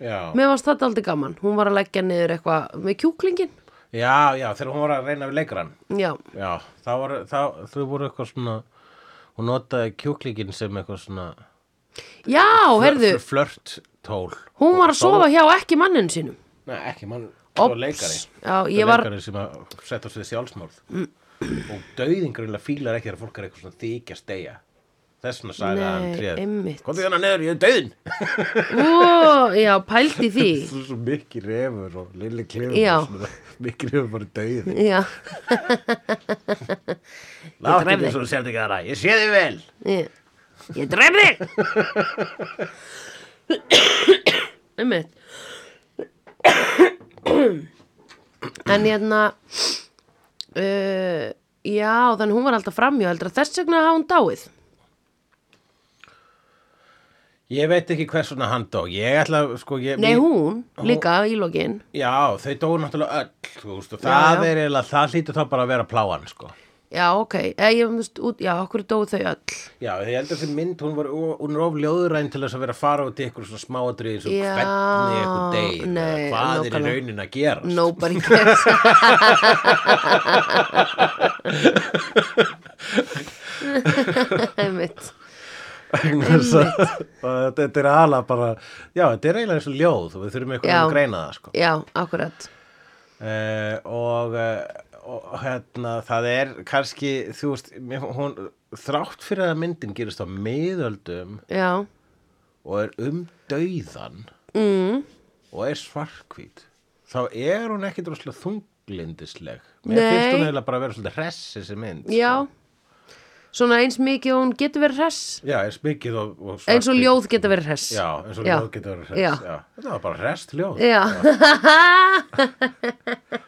[SPEAKER 2] já.
[SPEAKER 1] Mér fannst þetta aldrei gaman Hún var að leggja niður eitthvað með kjúklingin
[SPEAKER 2] já, já, þegar hún var að reyna við leikran
[SPEAKER 1] Já,
[SPEAKER 2] Já, það var, það, þau voru eitthvað svona, hún notaði kjúklingin sem eitthvað svona
[SPEAKER 1] já, heyrðu
[SPEAKER 2] fl- flört tól.
[SPEAKER 1] Hún var að sofa hjá ekki manninu sínum
[SPEAKER 2] Nei, ekki, mann, það
[SPEAKER 1] Ops.
[SPEAKER 2] var leikari.
[SPEAKER 1] Já,
[SPEAKER 2] Það
[SPEAKER 1] ég
[SPEAKER 2] var
[SPEAKER 1] var- Mm.
[SPEAKER 2] leikari sem að setja á sig sjálfsmorð. Og dauðingurlega fílar ekki þegar fólk er eitthvað svona þykja steigja. Þess vegna sagði hann
[SPEAKER 1] Nei,
[SPEAKER 2] tréð.
[SPEAKER 1] einmitt.
[SPEAKER 2] Hvað því þannig neður, ég er dauðin.
[SPEAKER 1] Ó, já, pældi því
[SPEAKER 2] Svo, svo mikið refur og lilli klefur.
[SPEAKER 1] Já.
[SPEAKER 2] Mikið refur bara dauðin.
[SPEAKER 1] Já,
[SPEAKER 2] Láttu
[SPEAKER 1] drep
[SPEAKER 2] ekki
[SPEAKER 1] þig.
[SPEAKER 2] svo sért ekki aðra. Ég sé þig vel.
[SPEAKER 1] ég, ég dref þig Einmitt En hérna uh, Já, þannig hún var alltaf framjá heldur að þess vegna hafa hún dáið
[SPEAKER 2] Ég veit ekki hvers svona hann dó. Ég ætla, sko, ég...
[SPEAKER 1] Nei,
[SPEAKER 2] mér-
[SPEAKER 1] hún, líka í lokin
[SPEAKER 2] Já, þau dóu náttúrulega öll, þú veist, og það
[SPEAKER 1] já.
[SPEAKER 2] er eiginlega, það hlýtur þá bara að vera pláan, sko.
[SPEAKER 1] Já, ok, eða ég veist út, já, okkur dóu þau öll
[SPEAKER 2] Já, ég held að þessi mynd, hún, var, ó- hún er of ljóðræn til þess að vera að fara út í ykkur svona smáadrið eins og
[SPEAKER 1] Já,
[SPEAKER 2] hvernig ykkur deyr,
[SPEAKER 1] nei,
[SPEAKER 2] eða hvað er í
[SPEAKER 1] nákvæmlega.
[SPEAKER 2] raunin að gera.
[SPEAKER 1] Nobody cares Einmitt
[SPEAKER 2] þetta er ala bara, já, þetta er eiginlega eins og ljóð og við þurfum eitthvað
[SPEAKER 1] Já.
[SPEAKER 2] að greina það, sko.
[SPEAKER 1] Já, akkurat
[SPEAKER 2] Eh, og, eh, og hérna, það er kannski, þú veist, mér- hún, þrátt fyrir að myndin gerist á miðöldum,
[SPEAKER 1] Já,
[SPEAKER 2] og er um dauðan
[SPEAKER 1] Mm.
[SPEAKER 2] og er svarkvít þá er hún ekkit rosalega þunglindisleg mér
[SPEAKER 1] Nei.
[SPEAKER 2] finnst hún eiginlega bara að vera svolítið hress þessi mynd sko.
[SPEAKER 1] já Svona eins mikið og hún getur verið hress
[SPEAKER 2] sko. já, er smikið og, og svarkvít
[SPEAKER 1] Eins og ljóð getur verið hress
[SPEAKER 2] já, eins og
[SPEAKER 1] Já.
[SPEAKER 2] ljóð getur verið hress
[SPEAKER 1] Já.
[SPEAKER 2] já. þetta var bara hress ljóð
[SPEAKER 1] Já,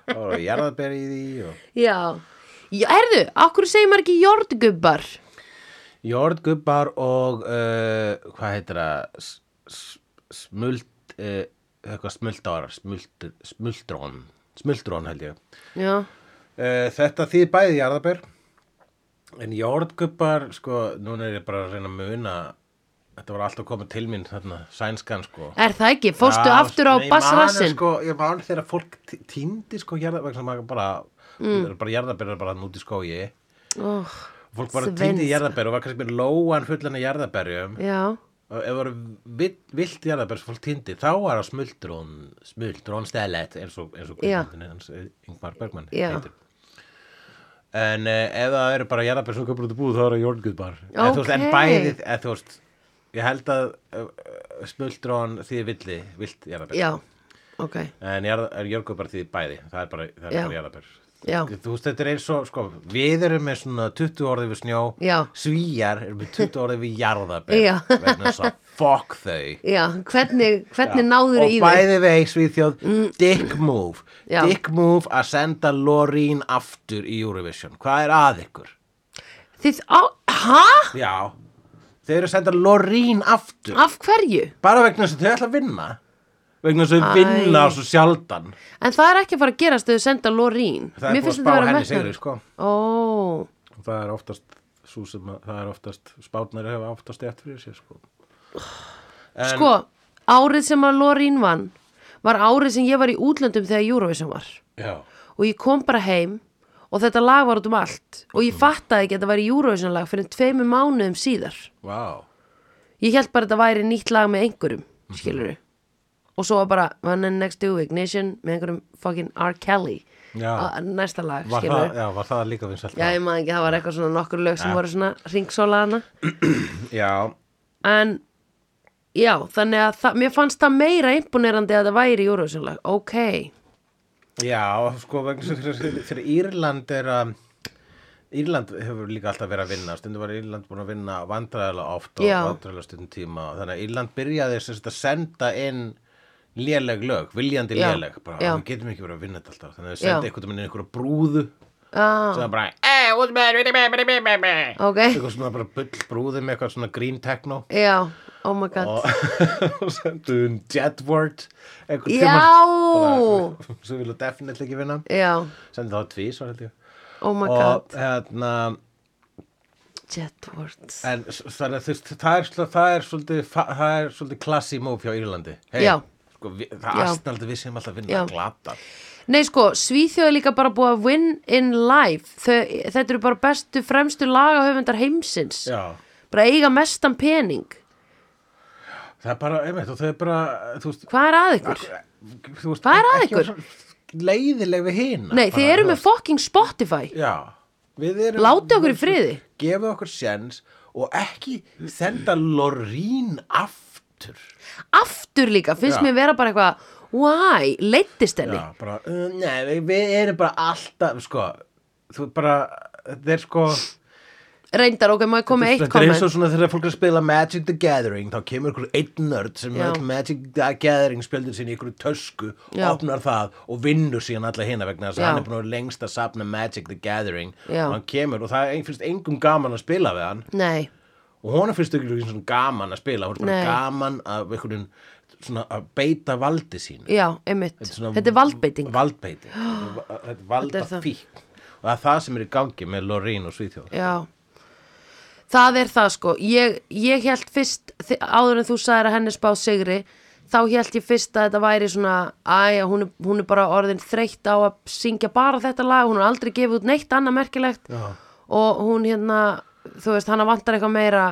[SPEAKER 2] það var jarðaberi í því og...
[SPEAKER 1] já Já, herðu, akkur segir maður ekki jordgubbar
[SPEAKER 2] jordgubbar og uh, hvað heitir það S- s- smult uh, eitthvað smultárar smult, smultrón smultrón held ég
[SPEAKER 1] Já,
[SPEAKER 2] Eh, Þetta þýð bæði jarðabær en jordgubbar sko, núna er ég bara að reyna að muna þetta var alltaf komið til mín þarna, sænskan sko
[SPEAKER 1] er það ekki? Fórstu
[SPEAKER 2] Já,
[SPEAKER 1] aftur á
[SPEAKER 2] nei, ég man
[SPEAKER 1] bassrassin?
[SPEAKER 2] sko, ég man þegar fólk tí- týndi sko jarðabær vegna maður bara, mm. bara jarðabær er bara þarna úti í skógi
[SPEAKER 1] oh,
[SPEAKER 2] fólk bara
[SPEAKER 1] Svenska.
[SPEAKER 2] týndi jarðabær og var kannski með lóan fullan af jarðabærjum
[SPEAKER 1] Já,
[SPEAKER 2] og ef það voru vill- hérna villt jarðabær sem fólk týndi þá var það smuldrón smuldrón stælet eins og, eins og
[SPEAKER 1] Já.
[SPEAKER 2] kvikmyndin hans eh, Ingmar Bergman
[SPEAKER 1] Já.
[SPEAKER 2] heitir en uh, ef það eru bara jarðabær sem köpur út í búð þá eru jórnguðbar en, þú veist, en
[SPEAKER 1] Ókei.
[SPEAKER 2] bæði en, þú veist, ég held að uh, smuldrón því villi vilt jarðabær
[SPEAKER 1] já, ok
[SPEAKER 2] en jórnguðbar því bæði það er bara, það er
[SPEAKER 1] Já.
[SPEAKER 2] bara jarðabær
[SPEAKER 1] Já,
[SPEAKER 2] Þú veist, þetta er eins og, sko, við erum með svona 20 orðið við snjó,
[SPEAKER 1] Já.
[SPEAKER 2] svíjar erum með 20 orðið við jarðabær,
[SPEAKER 1] Já.
[SPEAKER 2] vegna þess að fuck þau.
[SPEAKER 1] já, hvernig, hvernig náður
[SPEAKER 2] og
[SPEAKER 1] í þau? Mm.
[SPEAKER 2] bæði vei Svíþjóð dick move
[SPEAKER 1] Já.
[SPEAKER 2] dick move að senda Lorín aftur í Eurovision, hvað er að ykkur?
[SPEAKER 1] Þið, á, hæ?
[SPEAKER 2] já, þeir eru að senda Lorín aftur,
[SPEAKER 1] Af hverju?
[SPEAKER 2] bara vegna þess að þau ætla að vinna vegna þess að þau
[SPEAKER 1] Æ.
[SPEAKER 2] vinna svo sjaldan
[SPEAKER 1] En það er ekki að fara að gerast þegar þau senda Lorín.
[SPEAKER 2] það er búið að spá henni sigri sko.
[SPEAKER 1] Ó,
[SPEAKER 2] Og það er oftast svo sem að, það er oftast spátnari hefa oftast eftir fyrir sér sko. En-
[SPEAKER 1] sko, árið sem að Lorín vann var árið sem ég var í útlöndum þegar Eurovision var.
[SPEAKER 2] já,
[SPEAKER 1] Og ég kom bara heim og þetta lag var út um allt. Og ég fattaði ekki að þetta væri Eurovision lag fyrir tveimur mánuðum síðar.
[SPEAKER 2] wow
[SPEAKER 1] Ég held bara að þetta væri nýtt lag með einhverjum, skilur Og svo var bara One and Next to Ignition með einhverjum fucking R. Kelly.
[SPEAKER 2] já,
[SPEAKER 1] Að- Næsta lag,
[SPEAKER 2] var
[SPEAKER 1] skilur
[SPEAKER 2] það, já, var það líka vinsælt
[SPEAKER 1] Ah, Já, ég maður ekki, það var eitthvað svona nokkur lög sem voru svona ringsólaðana
[SPEAKER 2] já,
[SPEAKER 1] En, já, þannig að það, mér fannst það meira imponerandi að það væri júruvísjónlag Ok,
[SPEAKER 2] Já, sko, vegna sem fyrir, fyrir Írland er að Írland hefur líka alltaf verið að vinna stundum var Írland búin að vinna vandræðilega oft og
[SPEAKER 1] Já.
[SPEAKER 2] vandræðilega stundum tíma og þannig að Írland byrjaði sem sagt að senda inn léleg lög, viljandi
[SPEAKER 1] Já.
[SPEAKER 2] léleg bara,
[SPEAKER 1] Já.
[SPEAKER 2] við getum ekki verið að vinna þetta alltaf þannig að
[SPEAKER 1] Já.
[SPEAKER 2] senda einhvern veginn einhverja brúðu
[SPEAKER 1] Já,
[SPEAKER 2] sem það bara,
[SPEAKER 3] Eh, what's the matter with the baby, baby, baby?
[SPEAKER 1] ok,
[SPEAKER 2] eitthvað svona bara bull brúðu með eitthvað svona green techno
[SPEAKER 1] já, oh my god
[SPEAKER 2] og og sendu um Jedward einhvern
[SPEAKER 1] Já.
[SPEAKER 2] tímann, bara, sem vilja definitely ekki vinna
[SPEAKER 1] Já,
[SPEAKER 2] sendi þá tvís var held ég
[SPEAKER 1] oh my god,
[SPEAKER 2] og hérna
[SPEAKER 1] Jetwords
[SPEAKER 2] en s- þannig að þú veist það er, sl- það er svolítið fa- það er svolítið klassi móf hjá Írlandi hey,
[SPEAKER 1] Já.
[SPEAKER 2] sko, vi, það
[SPEAKER 1] Já.
[SPEAKER 2] er alltaf við sem alltaf að vinna
[SPEAKER 1] Já.
[SPEAKER 2] að glata
[SPEAKER 1] Nei sko, Svíþjóð er líka bara búið að win in life Þau, Þetta eru bara bestu fremstu lagahöfundar heimsins
[SPEAKER 2] já
[SPEAKER 1] Bara eiga mestan pening
[SPEAKER 2] það er bara, einmitt, og þau er bara þú veist,
[SPEAKER 1] Hvað er að ykkur?
[SPEAKER 2] þú veist
[SPEAKER 1] Hvað er að
[SPEAKER 2] ekki
[SPEAKER 1] ykkur?
[SPEAKER 2] vera svo leiðileg við hina
[SPEAKER 1] Nei, þið eru með fucking Spotify
[SPEAKER 2] já, við erum
[SPEAKER 1] Látið okkur í friði
[SPEAKER 2] gefa okkur sjens og ekki senda lorín aftur
[SPEAKER 1] Aftur líka, finnst
[SPEAKER 2] Já.
[SPEAKER 1] mér vera bara eitthvað Why, leittist henni
[SPEAKER 2] já, bara, uh, nei, við, við erum bara alltaf sko, þú bara þetta er sko
[SPEAKER 1] Reyndar, ok, má ég koma með eitt
[SPEAKER 2] Þetta er eins
[SPEAKER 1] komment
[SPEAKER 2] og svona þegar fólk er að spila Magic the Gathering þá kemur ykkur einn nörd sem
[SPEAKER 1] Já.
[SPEAKER 2] er all Magic the Gathering spjöldin sinni í ykkur tösku
[SPEAKER 1] Já.
[SPEAKER 2] opnar það og vinnur síðan alla hina vegna þess
[SPEAKER 1] Já.
[SPEAKER 2] að hann er búin að vera lengst að sapna Magic the Gathering
[SPEAKER 1] Já.
[SPEAKER 2] og hann kemur og það er- finnst engum gaman að spila við hann
[SPEAKER 1] Nei,
[SPEAKER 2] og honum finnst ekki svona gaman að spila hún er bara
[SPEAKER 1] Nei.
[SPEAKER 2] gaman að, einhverjum, svona, að beita valdi sín
[SPEAKER 1] já, einmitt
[SPEAKER 2] svona-
[SPEAKER 1] Þetta er valdbeiting
[SPEAKER 2] valdbeiting þetta er
[SPEAKER 1] það.
[SPEAKER 2] valdafík og það er það sem er í gangi með Lorín og Svíþjóð
[SPEAKER 1] Já Það er það sko Ég, ég held fyrst, þi- áður en þú sagðir að henni spá sigri þá held ég fyrst að þetta væri svona æja, hún, er- hún er bara orðin þreytt á að syngja bara þetta lag hún er aldrei gefið út neitt annað merkilegt
[SPEAKER 2] Já.
[SPEAKER 1] og hún hérna þú veist, hana vantar eitthvað meira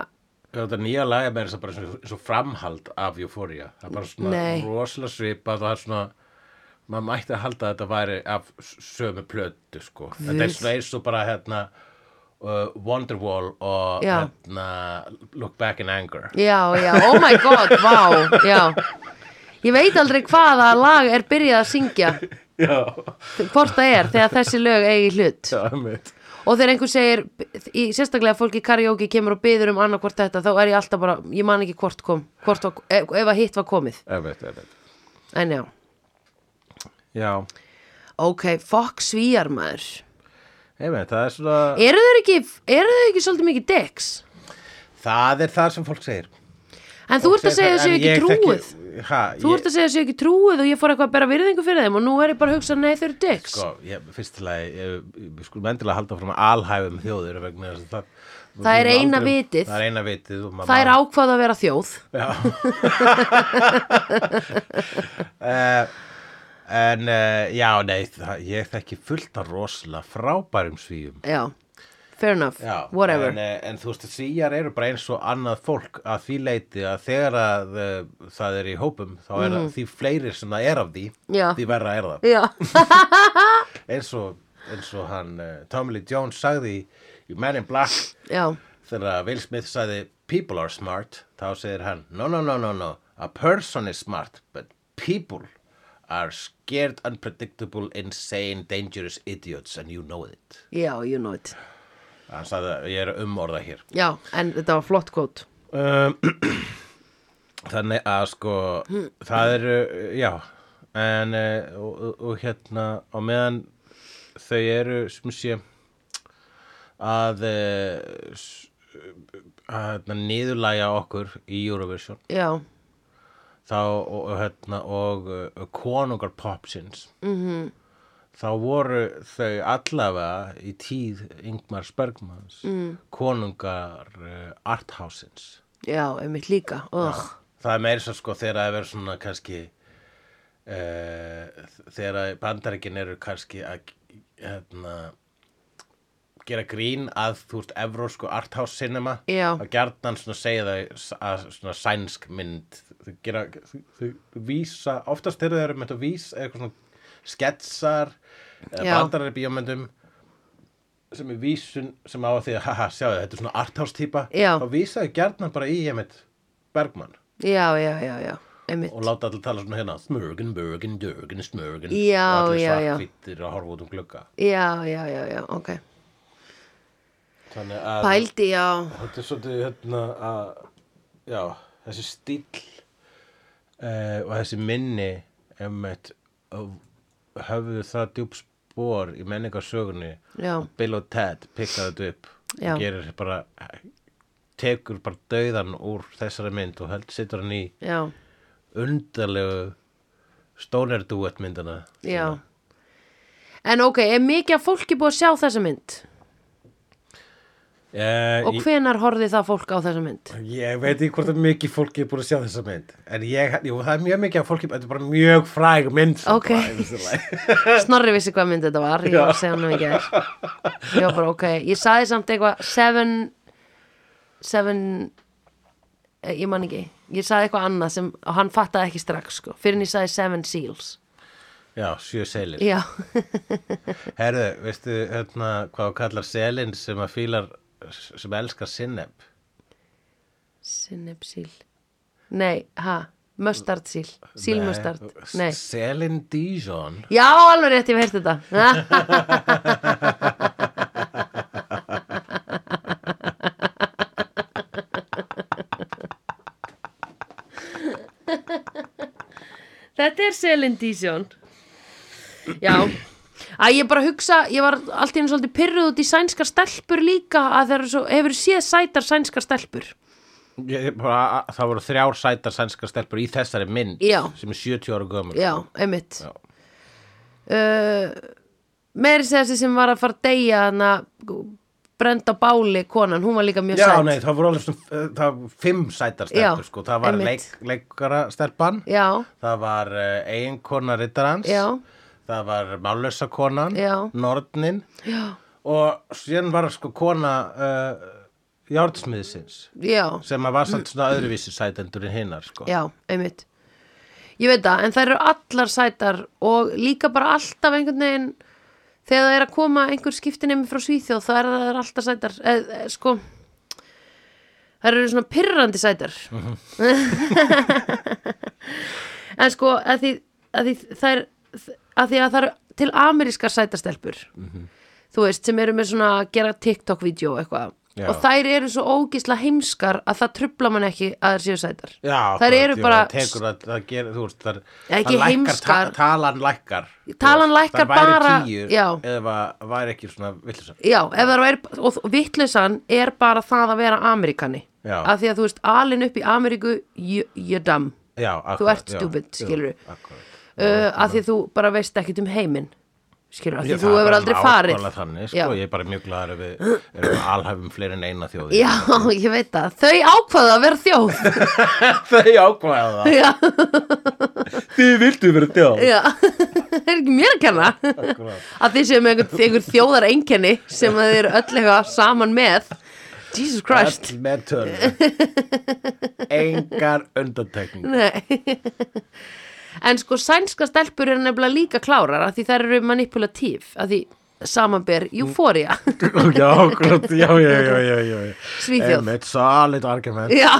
[SPEAKER 2] Já, þetta nýja lag er meira þess að bara eins og framhald af Euphoria. Það er bara svona
[SPEAKER 1] Nei.
[SPEAKER 2] rosalega svipað og það er svona, maður mætti að halda að þetta væri af s- sömu plötu, sko. Þetta er
[SPEAKER 1] Guð.
[SPEAKER 2] svona eins og bara, hérna, uh, Wonderwall og,
[SPEAKER 1] Já.
[SPEAKER 2] hérna, Look Back in Anger.
[SPEAKER 1] Já, já, oh my god, vá Já Ég veit aldrei hvaða lag er byrjað að syngja
[SPEAKER 2] Já,
[SPEAKER 1] hvort það er þegar þessi lög eigi hlut
[SPEAKER 2] já, mitt.
[SPEAKER 1] og þegar einhver segir í, sérstaklega fólk í karaoke kemur og byður um annað hvort þetta þá er ég alltaf bara, ég man ekki hvort kom hvort var, ef, ef að hitt var komið
[SPEAKER 2] Emitt, emitt.
[SPEAKER 1] en já,
[SPEAKER 2] Já,
[SPEAKER 1] ok, fokk svíjar maður
[SPEAKER 2] emitt, það er svona,
[SPEAKER 1] eru þau ekki, eru þau ekki svolítið mikið deks
[SPEAKER 2] það er það sem fólk segir.
[SPEAKER 1] en þú ert að segja þessu ekki trúið
[SPEAKER 2] Hæ,
[SPEAKER 1] þú ert að segja þessu ekki trúið og ég fór eitthvað að bera virðingu fyrir þeim og nú er ég bara að hugsa, nei þau eru deks
[SPEAKER 2] Sko, ég, fyrst til að við skulum endilega halda fram að alhæfum þjóðir vegna þess að það,
[SPEAKER 1] Það er
[SPEAKER 2] við
[SPEAKER 1] eina
[SPEAKER 2] aldrei-
[SPEAKER 1] vitið.
[SPEAKER 2] Það er eina vitið og maður-
[SPEAKER 1] það er ákvað að vera þjóð
[SPEAKER 2] Eh, En uh, já, nei, það, ég þekki fullt af rosalega frábærum svíum
[SPEAKER 1] já, fair enough,
[SPEAKER 2] Já,
[SPEAKER 1] whatever
[SPEAKER 2] en, eh, en þú veist, svíjar eru bara eins og annað fólk að því leiti að þegar að uh, það er í hópum þá er mm. því fleiri sem það er af því
[SPEAKER 1] Mhm. Já.
[SPEAKER 2] því verra er það
[SPEAKER 1] já,
[SPEAKER 2] eins og, eins og hann uh, Tommy Lee Jones sagði í, í Men in Black
[SPEAKER 1] já,
[SPEAKER 2] þegar Will Smith sagði people are smart þá segir hann no no no no no a person is smart but people are scared unpredictable insane dangerous idiots and you know it
[SPEAKER 1] já, you know it
[SPEAKER 2] hann sagði að ég er umorða hér
[SPEAKER 1] já, en þetta var flott kvót
[SPEAKER 2] um, þannig að sko það eru já en eh, og, og, og hérna á meðan þau eru sem sé að eh, s- að hérna, niðurlæja okkur í Eurovision
[SPEAKER 1] já,
[SPEAKER 2] þá og, og, hérna, og uh, konungar popsins mm -hmm. þá voru þau allavega í tíð Ingmar Bergmans mm. konungar uh, arthousins
[SPEAKER 1] Já, einmitt líka oh.
[SPEAKER 2] það er meira svo sko þegar það er verið svona kannski uh, þegar að bandaríkin eru kannski að hérna, gera grín að þú veist evrósku arthouse cinema
[SPEAKER 1] Já.
[SPEAKER 2] að gjarnan svona segja þau s- að svona sænsk mynd þau gera, þau, þau vísa oftast þegar þau eru með að vísa eitthvað svona sketsar eða
[SPEAKER 1] Já.
[SPEAKER 2] bandarar í bíómyndum sem er vísun sem á að því að haha, sjáðu, þetta er svona arthouse típa
[SPEAKER 1] Já.
[SPEAKER 2] þá vísa þau gjarnan bara í ég mitt Bergmann
[SPEAKER 1] Já, já, já, já, einmitt
[SPEAKER 2] og láta allir tala svona hérna smörgin, börgin, dörgin, smörgin
[SPEAKER 1] Já,
[SPEAKER 2] og allir
[SPEAKER 1] já, já.
[SPEAKER 2] svartfittir að horfa út um glugga
[SPEAKER 1] Já, já, já, já, ok
[SPEAKER 2] Þannig að
[SPEAKER 1] Pældi, já
[SPEAKER 2] þetta er svolítið hérna að, já, þessi stíl uh, og þessi minni, emmett, höfðu það djúb spór í menningarsögunni
[SPEAKER 1] Já.
[SPEAKER 2] og Bill og Ted pikkaðu þetta upp
[SPEAKER 1] Já.
[SPEAKER 2] og gerir bara, tekur bara dauðan úr þessari mynd og held, setur hann í
[SPEAKER 1] Já,
[SPEAKER 2] undarlegu stónerdúett myndina.
[SPEAKER 1] já En ok, er mikið af fólki búið að sjá þessa mynd?
[SPEAKER 2] Uh,
[SPEAKER 1] Og hvenar horfði það fólk á þessa mynd?
[SPEAKER 2] Ég veit ekki hvort að mikið fólki er búin að sjá þessa mynd En ég, jú, það er mjög mikið að fólki Þetta er bara mjög fræg mynd samt
[SPEAKER 1] Ok.
[SPEAKER 2] bara, í þessu lagi.
[SPEAKER 1] Snorri vissi hvað mynd þetta var, ég var að segja hann um ekki þér Ég var bara ok, ég saði samt eitthvað Seven Seven eh, Ég man ekki, ég saði eitthvað annað sem og hann fattaði ekki strax sko, fyrir en ég saði Seven Seals
[SPEAKER 2] Já, sjö selin
[SPEAKER 1] Já,
[SPEAKER 2] Herðu, veistu hérna hvað þú kallar selin sem að fílar sem elskar sinneb
[SPEAKER 1] Sineb Seal Nei, ha, Mustard Seal Sílmustard, nei
[SPEAKER 2] Selin Dijon
[SPEAKER 1] Já, alveg rétt, ég hef heyrt þetta Þetta er Selin Dísjón Já Að ég bara hugsa, ég var allt í einu svolítið pyrruð út í sænskar stelpur líka að það eru svo, hefur séð sætar sænskar stelpur
[SPEAKER 2] ég, bara, Það voru þrjár sætar sænskar stelpur í þessari mynd
[SPEAKER 1] Já.
[SPEAKER 2] sem er 70 ára gömur
[SPEAKER 1] Já, einmitt
[SPEAKER 2] Já.
[SPEAKER 1] Uh, Meiri segja þessi sem var að fara að deyja hana, brenda báli konan, hún var líka mjög
[SPEAKER 2] Já,
[SPEAKER 1] sæt
[SPEAKER 2] nei, það voru alveg svona, eh, það voru fimm sætar
[SPEAKER 1] Já,
[SPEAKER 2] stelpur sko. Það var
[SPEAKER 1] einmitt.
[SPEAKER 2] leik, leikara stelpan
[SPEAKER 1] Já,
[SPEAKER 2] Það var uh, eiginkona rittarans
[SPEAKER 1] Já.
[SPEAKER 2] Það var málösa konan
[SPEAKER 1] Já.
[SPEAKER 2] Nornin
[SPEAKER 1] já,
[SPEAKER 2] Og síðan var sko kona uh, Járnsmiðsins
[SPEAKER 1] já,
[SPEAKER 2] Sem að var samt svona öðruvísi sætendur en hinnar sko
[SPEAKER 1] já, einmitt Ég veit það, en þær eru allar sætar og líka bara alltaf einhvern veginn þegar það er að koma einhver skiptinemi frá Svíþjóð þá er það alltaf sætar e, e, sko þær eru svona pirrandi sætar en sko að því, að því þær að því að það eru til amerískar sætastelpur
[SPEAKER 2] Mhm.
[SPEAKER 1] þú veist, sem eru með svona að gera TikTok-vídeó eitthvað
[SPEAKER 2] Já.
[SPEAKER 1] og þær eru svo ógisla heimskar að það trubla mann ekki að þær séu sætar
[SPEAKER 2] Já,
[SPEAKER 1] Þær
[SPEAKER 2] akkurat,
[SPEAKER 1] eru
[SPEAKER 2] jú,
[SPEAKER 1] bara-
[SPEAKER 2] það tekur að, það ger, þú veist, þar,
[SPEAKER 1] Ekki
[SPEAKER 2] það lækkar, ta,
[SPEAKER 1] heimskar.
[SPEAKER 2] talan lækkar þú
[SPEAKER 1] Talan
[SPEAKER 2] veist,
[SPEAKER 1] lækkar
[SPEAKER 2] þær væru
[SPEAKER 1] bara-
[SPEAKER 2] tíu,
[SPEAKER 1] já.
[SPEAKER 2] eða væri ekki svona villisam
[SPEAKER 1] Já, ef það er, og vittlusan er bara það að vera Amerikani
[SPEAKER 2] Já.
[SPEAKER 1] að því að þú veist, alin upp í Ameríku you- you're dumb
[SPEAKER 2] já, akkurat,
[SPEAKER 1] ert stupid, skilurðu.
[SPEAKER 2] við
[SPEAKER 1] uh, að því að þú bara veist ekkit um heiminn skilur, að því
[SPEAKER 2] Ég-
[SPEAKER 1] að þú
[SPEAKER 2] það er
[SPEAKER 1] hefur
[SPEAKER 2] bara
[SPEAKER 1] aldrei
[SPEAKER 2] nákvæmlega
[SPEAKER 1] farið
[SPEAKER 2] þannig, sko,
[SPEAKER 1] Já.
[SPEAKER 2] ég er bara mjög glæður ef við erum alhæfum fleiri en eina þjóði
[SPEAKER 1] Já, ég veit það, þau ákvaðu að vera þjóð
[SPEAKER 2] Þau ákvæða það
[SPEAKER 1] Já,
[SPEAKER 2] Þið vildu vera þjóð
[SPEAKER 1] já Það er ekki mér að kenna
[SPEAKER 2] Akkurat.
[SPEAKER 1] að þið séum einhver, einhver þjóðar einkenni sem að þið eru öll eitthvað saman með Jesus Christ
[SPEAKER 2] Öll með törn Engar undantekning
[SPEAKER 1] Nei En sko sænska stelpur eru nefnilega líka klárar af því þær eru manipulatív af því samanber
[SPEAKER 2] Mm.
[SPEAKER 1] euphoria
[SPEAKER 2] Já, akkurat, já, já, já, já, já.
[SPEAKER 1] Svíþjóð.
[SPEAKER 2] Einmitt solid argument
[SPEAKER 1] Já,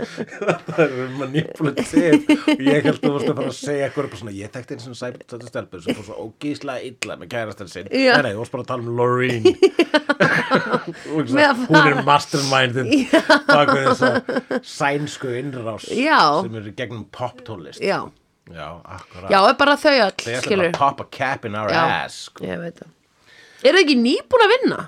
[SPEAKER 2] Það eru manipulativ og ég held þú vorst að fara að segja eitthvað upp á svona, ég tekti eins og sættu stelpur sem fór svo ógíslega illa með kærastan sinn
[SPEAKER 1] Já.
[SPEAKER 2] Nei, nei, þú vorst bara að tala um Loreen Hún
[SPEAKER 1] Með að
[SPEAKER 2] hún er mastermindin bak við þessa sænsku innrás
[SPEAKER 1] Já.
[SPEAKER 2] sem eru gegnum poptólist
[SPEAKER 1] já,
[SPEAKER 2] Já, akkurat
[SPEAKER 1] já, er bara þau
[SPEAKER 2] Þau
[SPEAKER 1] öll
[SPEAKER 2] ætla bara
[SPEAKER 1] skilur
[SPEAKER 2] að pop a cap in our
[SPEAKER 1] Já.
[SPEAKER 2] ass sko.
[SPEAKER 1] Ég veit það Eru þau ekki nýbúin að vinna?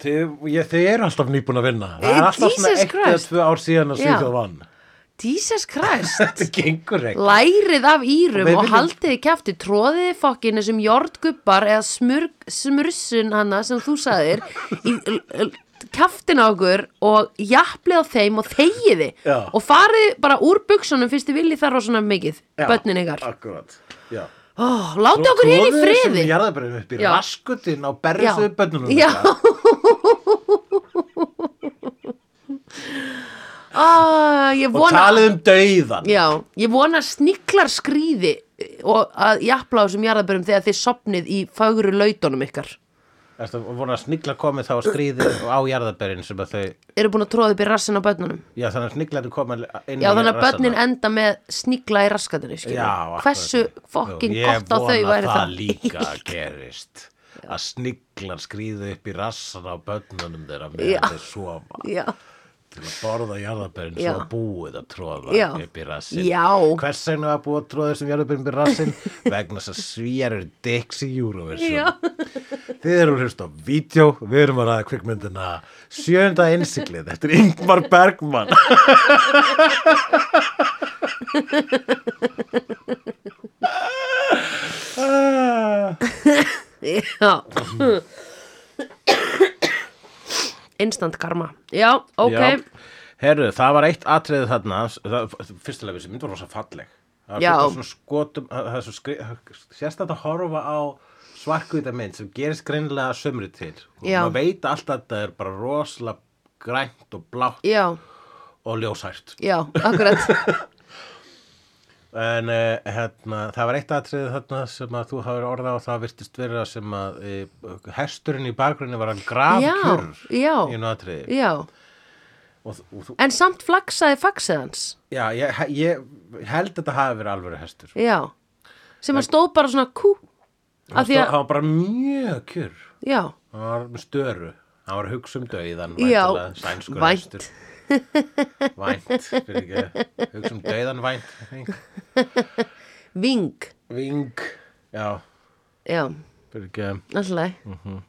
[SPEAKER 2] Þið, ég, þið eru alltaf nýbúin að vinna Það
[SPEAKER 1] Eh,
[SPEAKER 2] er alltaf svona
[SPEAKER 1] Jesus
[SPEAKER 2] eitt eða
[SPEAKER 1] Christ.
[SPEAKER 2] tvö ár síðan að
[SPEAKER 1] Já.
[SPEAKER 2] Svíþjóð vann
[SPEAKER 1] Jesus Christ
[SPEAKER 2] Þetta gengur ekki
[SPEAKER 1] Lærið af írum
[SPEAKER 2] Við
[SPEAKER 1] og
[SPEAKER 2] viljum-
[SPEAKER 1] haldið í kjafti tróðiði fokkin þessum jordgubbar eða smurg, smursun hana sem þú sagðir í l- l- kjaftin á okkur og jafnlið á þeim og þegiði
[SPEAKER 2] Já.
[SPEAKER 1] og farið bara úr buksunum fyrst þið viljið þar rosanum mikið
[SPEAKER 2] Já,
[SPEAKER 1] börnin ykkar
[SPEAKER 2] Akkurat, já
[SPEAKER 1] oh, Láta okkur hér í
[SPEAKER 2] Troðið
[SPEAKER 1] friði
[SPEAKER 2] þessum jarðarberjum upp í
[SPEAKER 1] Já.
[SPEAKER 2] raskutin á berðuðu
[SPEAKER 1] Já.
[SPEAKER 2] bönnunum
[SPEAKER 1] Já.
[SPEAKER 2] ykkar.
[SPEAKER 1] ah, Ég
[SPEAKER 2] og
[SPEAKER 1] vona
[SPEAKER 2] talið um dauðan
[SPEAKER 1] Já, ég vona sniklar skrýði og að jafnla á þessum jarðabörum þegar þið sopnið í fagru lautunum ykkar
[SPEAKER 2] Ertu að vona að snigla komið þá að skrýði á jarðarberjum sem að þau
[SPEAKER 1] eru búin að tróða upp í rassin á börnunum
[SPEAKER 2] já þannig að sniglar eru komið inn
[SPEAKER 1] Já, þannig
[SPEAKER 2] í
[SPEAKER 1] að
[SPEAKER 2] rassana.
[SPEAKER 1] börnin enda með sníkla í raskatinu, skilur.
[SPEAKER 2] Já, akkurat.
[SPEAKER 1] Hversu
[SPEAKER 2] Jú,
[SPEAKER 1] fokkin gott á þau væri
[SPEAKER 2] Ég vona
[SPEAKER 1] það.
[SPEAKER 2] það líka gerist að sniglar skrýðu upp í rassana á börnunum þeirra
[SPEAKER 1] Já.
[SPEAKER 2] meðan þeir sofa
[SPEAKER 1] já,
[SPEAKER 2] til að borða jarðabærin
[SPEAKER 1] Já.
[SPEAKER 2] svo að búið að tróða
[SPEAKER 1] Já.
[SPEAKER 2] upp í rassin
[SPEAKER 1] Já.
[SPEAKER 2] hvers vegna var búið að tróða þessum jarðabærin upp í rassin vegna þess að svíjar eru dicks í Eurovision
[SPEAKER 1] já.
[SPEAKER 2] Þið eru hlust á vídeo, við erum að ræða kvikmyndina sjönda innsiklið, þetta er Ingmar Bergman.
[SPEAKER 1] Já
[SPEAKER 4] Instant karma
[SPEAKER 1] Já, ok
[SPEAKER 2] Já. Herru, það var eitt atriðið þarna, það- fyrstilega þessi mynd var rosa falleg. Það
[SPEAKER 1] Já.
[SPEAKER 2] var fullt af svona skotum, það það er svo skri, sérst að horfa á svarkvita mynd sem gerist greinlega sömri til.
[SPEAKER 1] Já.
[SPEAKER 2] Og maður veit alltaf að það er bara rosalega grænt og blátt
[SPEAKER 1] Já,
[SPEAKER 2] og ljósært.
[SPEAKER 1] já, akkurat
[SPEAKER 2] En uh, hérna, það var eitt atriðið þarna sem að þú hafði orðað og það virtist vera sem að uh, hesturinn í bakgrunni var að grafa
[SPEAKER 1] Já,
[SPEAKER 2] kjur
[SPEAKER 1] já.
[SPEAKER 2] í einu atriði.
[SPEAKER 1] Já,
[SPEAKER 2] Og, þú- og þú,
[SPEAKER 1] en samt flaksaði faxið hans
[SPEAKER 2] já, ég, ég held að þetta hafi verið alvöru hestur.
[SPEAKER 1] Já, sem að stóð bara svona kú
[SPEAKER 2] Hann
[SPEAKER 1] Af því
[SPEAKER 2] stóð-
[SPEAKER 1] að,
[SPEAKER 2] hann var bara mjög kjur.
[SPEAKER 1] já,
[SPEAKER 2] Hann var með störu. Hann var að hugsa um döiðan,
[SPEAKER 1] Já,
[SPEAKER 2] væntanlega, sænskur
[SPEAKER 1] vænt.
[SPEAKER 2] hestur. Vænt, fyrir ekki. Hugsa um döiðan vænt. Ving.
[SPEAKER 1] ving
[SPEAKER 2] Ving. Já,
[SPEAKER 1] Já,
[SPEAKER 2] fyrir ekki.
[SPEAKER 1] alltaf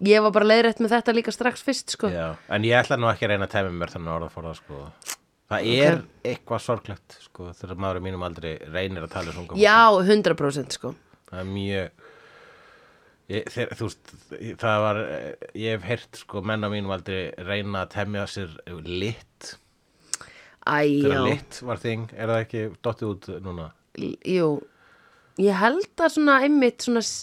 [SPEAKER 1] Ég var bara leiðrætt með þetta líka strax fyrst sko
[SPEAKER 2] Mhm. Já, en ég ætla nú ekki að reyna að tæmi mér þannig orðaforða sko. Það er eitthvað sorglegt sko, þegar maður í mínum aldrei reynir að tala svona.
[SPEAKER 1] Já, 100% sko
[SPEAKER 2] Það er mjög... Ég, þeir, þú veist, það var, ég hef heyrt sko menn á mínum aldrei reyna að temja sér lit,
[SPEAKER 1] Æ,
[SPEAKER 2] þegar
[SPEAKER 1] já,
[SPEAKER 2] lit var þing, er það ekki dottið út núna?
[SPEAKER 1] jú Ég held að svona einmitt svona s-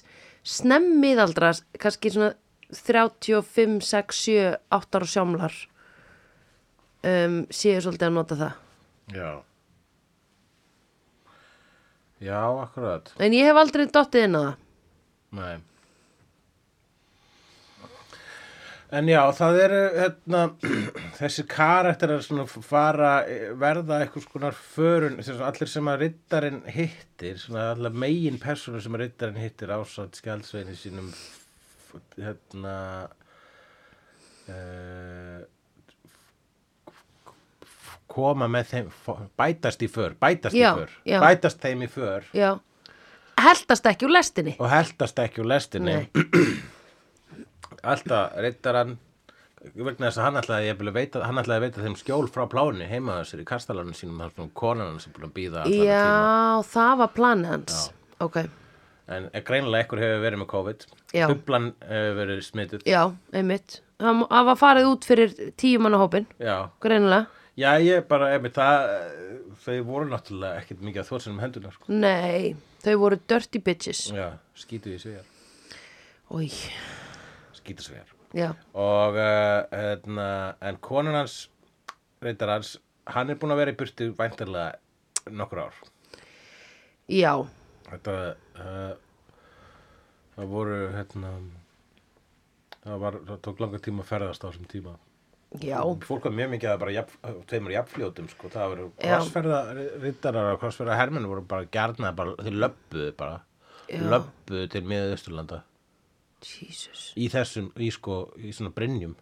[SPEAKER 1] snemmiðaldra kannski svona 35, 6, 7, 8 ára sjámlar um, séu svolítið að nota það
[SPEAKER 2] Já. Já, akkurat.
[SPEAKER 1] En ég hef aldrei dottið inn á það.
[SPEAKER 2] Nei. En já, það eru hérna, þessir karakterar svona fara, e, verða eitthvað skonar förun, sem svona allir sem að riddarinn hittir, svona allar megin persónu sem að riddarinn hittir ásamt skjaldsveginni sínum f- hérna uh, koma með þeim fo- bætast í för, bætast
[SPEAKER 1] Já,
[SPEAKER 2] í för
[SPEAKER 1] já.
[SPEAKER 2] bætast þeim í för
[SPEAKER 1] Já. Heldast ekki úr lestinni.
[SPEAKER 2] og heldast ekki úr lestinni alltaf reyttarann vegna þess að hann ætlaði að veita, hann ætlaði að veita þeim skjól frá pláni heima þessir í kastalanum sínum þar svona konan hans er búin að býða allan tíma
[SPEAKER 1] Já, það var planið hans. Ok,
[SPEAKER 2] en eh, greinilega ekkur hefur verið með COVID
[SPEAKER 1] Já.
[SPEAKER 2] bublan hefur verið smituð
[SPEAKER 1] já, einmitt. Það það var farið út fyrir tíu manna hópin,
[SPEAKER 2] já,
[SPEAKER 1] greinilega.
[SPEAKER 2] já ég bara emi, það, eh, þau voru náttúrulega ekkert mikið að þvóðsinn um hendunar sko.
[SPEAKER 1] Nei, þau voru dirty bitches.
[SPEAKER 2] já, skítu í svegar
[SPEAKER 1] Új,
[SPEAKER 2] skítu svegar
[SPEAKER 1] já,
[SPEAKER 2] og uh, hérna, en konun hans reyndar hans, hann er búin að vera í burtu væntarlega nokkur ár
[SPEAKER 1] já,
[SPEAKER 2] þetta uh, það voru hérna það var, það tók langan tíma að ferðast á þessum tíma
[SPEAKER 1] já,
[SPEAKER 2] fólk var mjög mikið að bara jafn, tveimur jafnfljótum sko, það voru
[SPEAKER 1] Já.
[SPEAKER 2] krossferða rittarar og krossferða hermenn voru bara gjarnar, bara, þeir löbbuðu bara
[SPEAKER 1] Já.
[SPEAKER 2] löbbuðu til miða Östurlanda
[SPEAKER 1] Jesus,
[SPEAKER 2] í þessum, í sko, í svona brynjum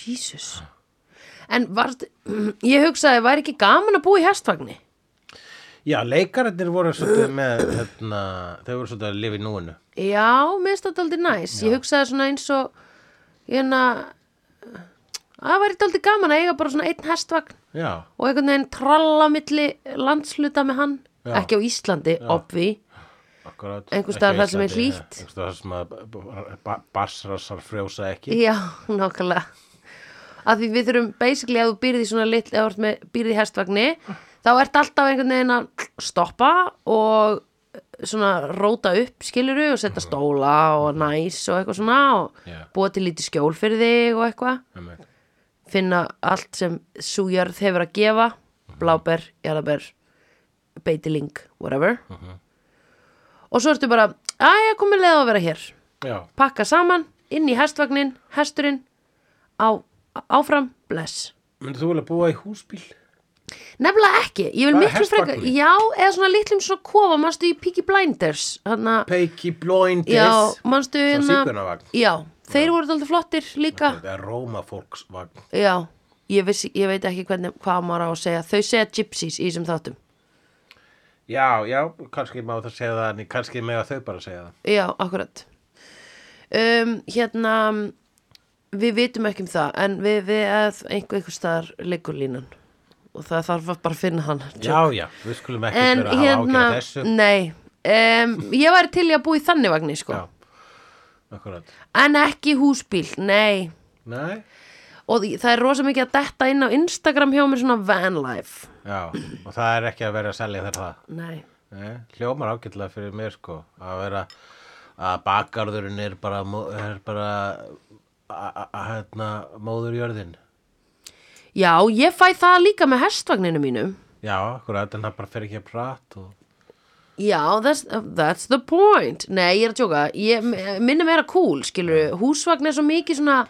[SPEAKER 1] Jesus.
[SPEAKER 2] Ah.
[SPEAKER 1] En var, ég hugsaði, væri ekki gaman að búa í hestvagni?
[SPEAKER 2] Já, leikararnir voru svolítið með, hérna, þau voru svolítið að lifa í núinu.
[SPEAKER 1] Já, mér finnst þetta aldrei næs. Ég hugsaði svona eins og, hérna, það væri aldrei gaman að eiga bara svona einn hestvagn
[SPEAKER 2] Já,
[SPEAKER 1] og einhvern veginn tralla á milli landsluta með hann.
[SPEAKER 2] Já.
[SPEAKER 1] Ekki á Íslandi, obvi.
[SPEAKER 2] akkurat.
[SPEAKER 1] Einhvers staðar þar sem er hlýtt.
[SPEAKER 2] Einhvers staðar þar sem að b- b- b- barsrassar frjósa ekki.
[SPEAKER 1] Já, nákvæmlega. Að því við þurfum, basically, að þú býrði í svona litli, eða þú ert með býrði í hestvagni, þá ert alltaf einhvern veginn að stoppa og eh, svona róta upp, skiluru, og setja stóla og næs og eitthvað svona og
[SPEAKER 2] Já.
[SPEAKER 1] búa til lítið skjól fyrir þig og eitthvað.
[SPEAKER 2] Einmitt.
[SPEAKER 1] finna allt sem svo jörð hefur að gefa bláber, jarðaber beitiling, whatever og svo ertu bara aðja, komið leið á að vera hér
[SPEAKER 2] Já,
[SPEAKER 1] pakka saman, inn í hestvagnin hesturinn á, áfram, bless
[SPEAKER 2] myndið þú vilja búa í húsbíl?
[SPEAKER 1] Nefnilega ekki, ég vil
[SPEAKER 2] Bara
[SPEAKER 1] miklu frekar
[SPEAKER 2] hestvagninn.
[SPEAKER 1] Já, eða svona litlum svona kofa Manstu í Peaky Blinders Hanna,
[SPEAKER 2] Peiki Blindis
[SPEAKER 1] Já, manstu hérna
[SPEAKER 2] sígaunavagn.
[SPEAKER 1] Já, þeir voru dálítið flottir líka
[SPEAKER 2] Þetta er Rómafólksvagn
[SPEAKER 1] Já, ég, vissi, ég veit ekki hvernig, hvað maður á að segja Þau segja gypsies í þessum þáttum
[SPEAKER 2] Já, já, kannski má það segja það en kannski með þau bara segja það
[SPEAKER 1] Já, akkurat um, Hérna Við vitum ekki um það En við, við að einhver einhver staðar liggur línan Og það þarf að bara finna hann
[SPEAKER 2] Já, já, við skulum ekki
[SPEAKER 1] En
[SPEAKER 2] vera að hafa
[SPEAKER 1] hérna,
[SPEAKER 2] ágjörð þessu
[SPEAKER 1] nei um, Ég væri til í að búa í þannig vagni sko.
[SPEAKER 2] Já, akkurat
[SPEAKER 1] En ekki húsbíl, nei
[SPEAKER 2] Nei,
[SPEAKER 1] Og því- það er rosa mikið að detta inn á Instagram hjá mér svona van life
[SPEAKER 2] já, og það er ekki að vera að selja þér það
[SPEAKER 1] Nei
[SPEAKER 2] Nei, hljómar ágætlega fyrir mér sko að vera að bakgarðurinn er bara, mó- er bara a- a- a- hérna móðurjörðin
[SPEAKER 1] Já, ég fæ það líka með hestvagninu mínum
[SPEAKER 2] já, akkurat, en það bara fer ekki að prat og...
[SPEAKER 1] Já, that's, that's the point Nei, ég er að tjóka ég, Minna meira cool, skilur Húsvagn er svo mikið svona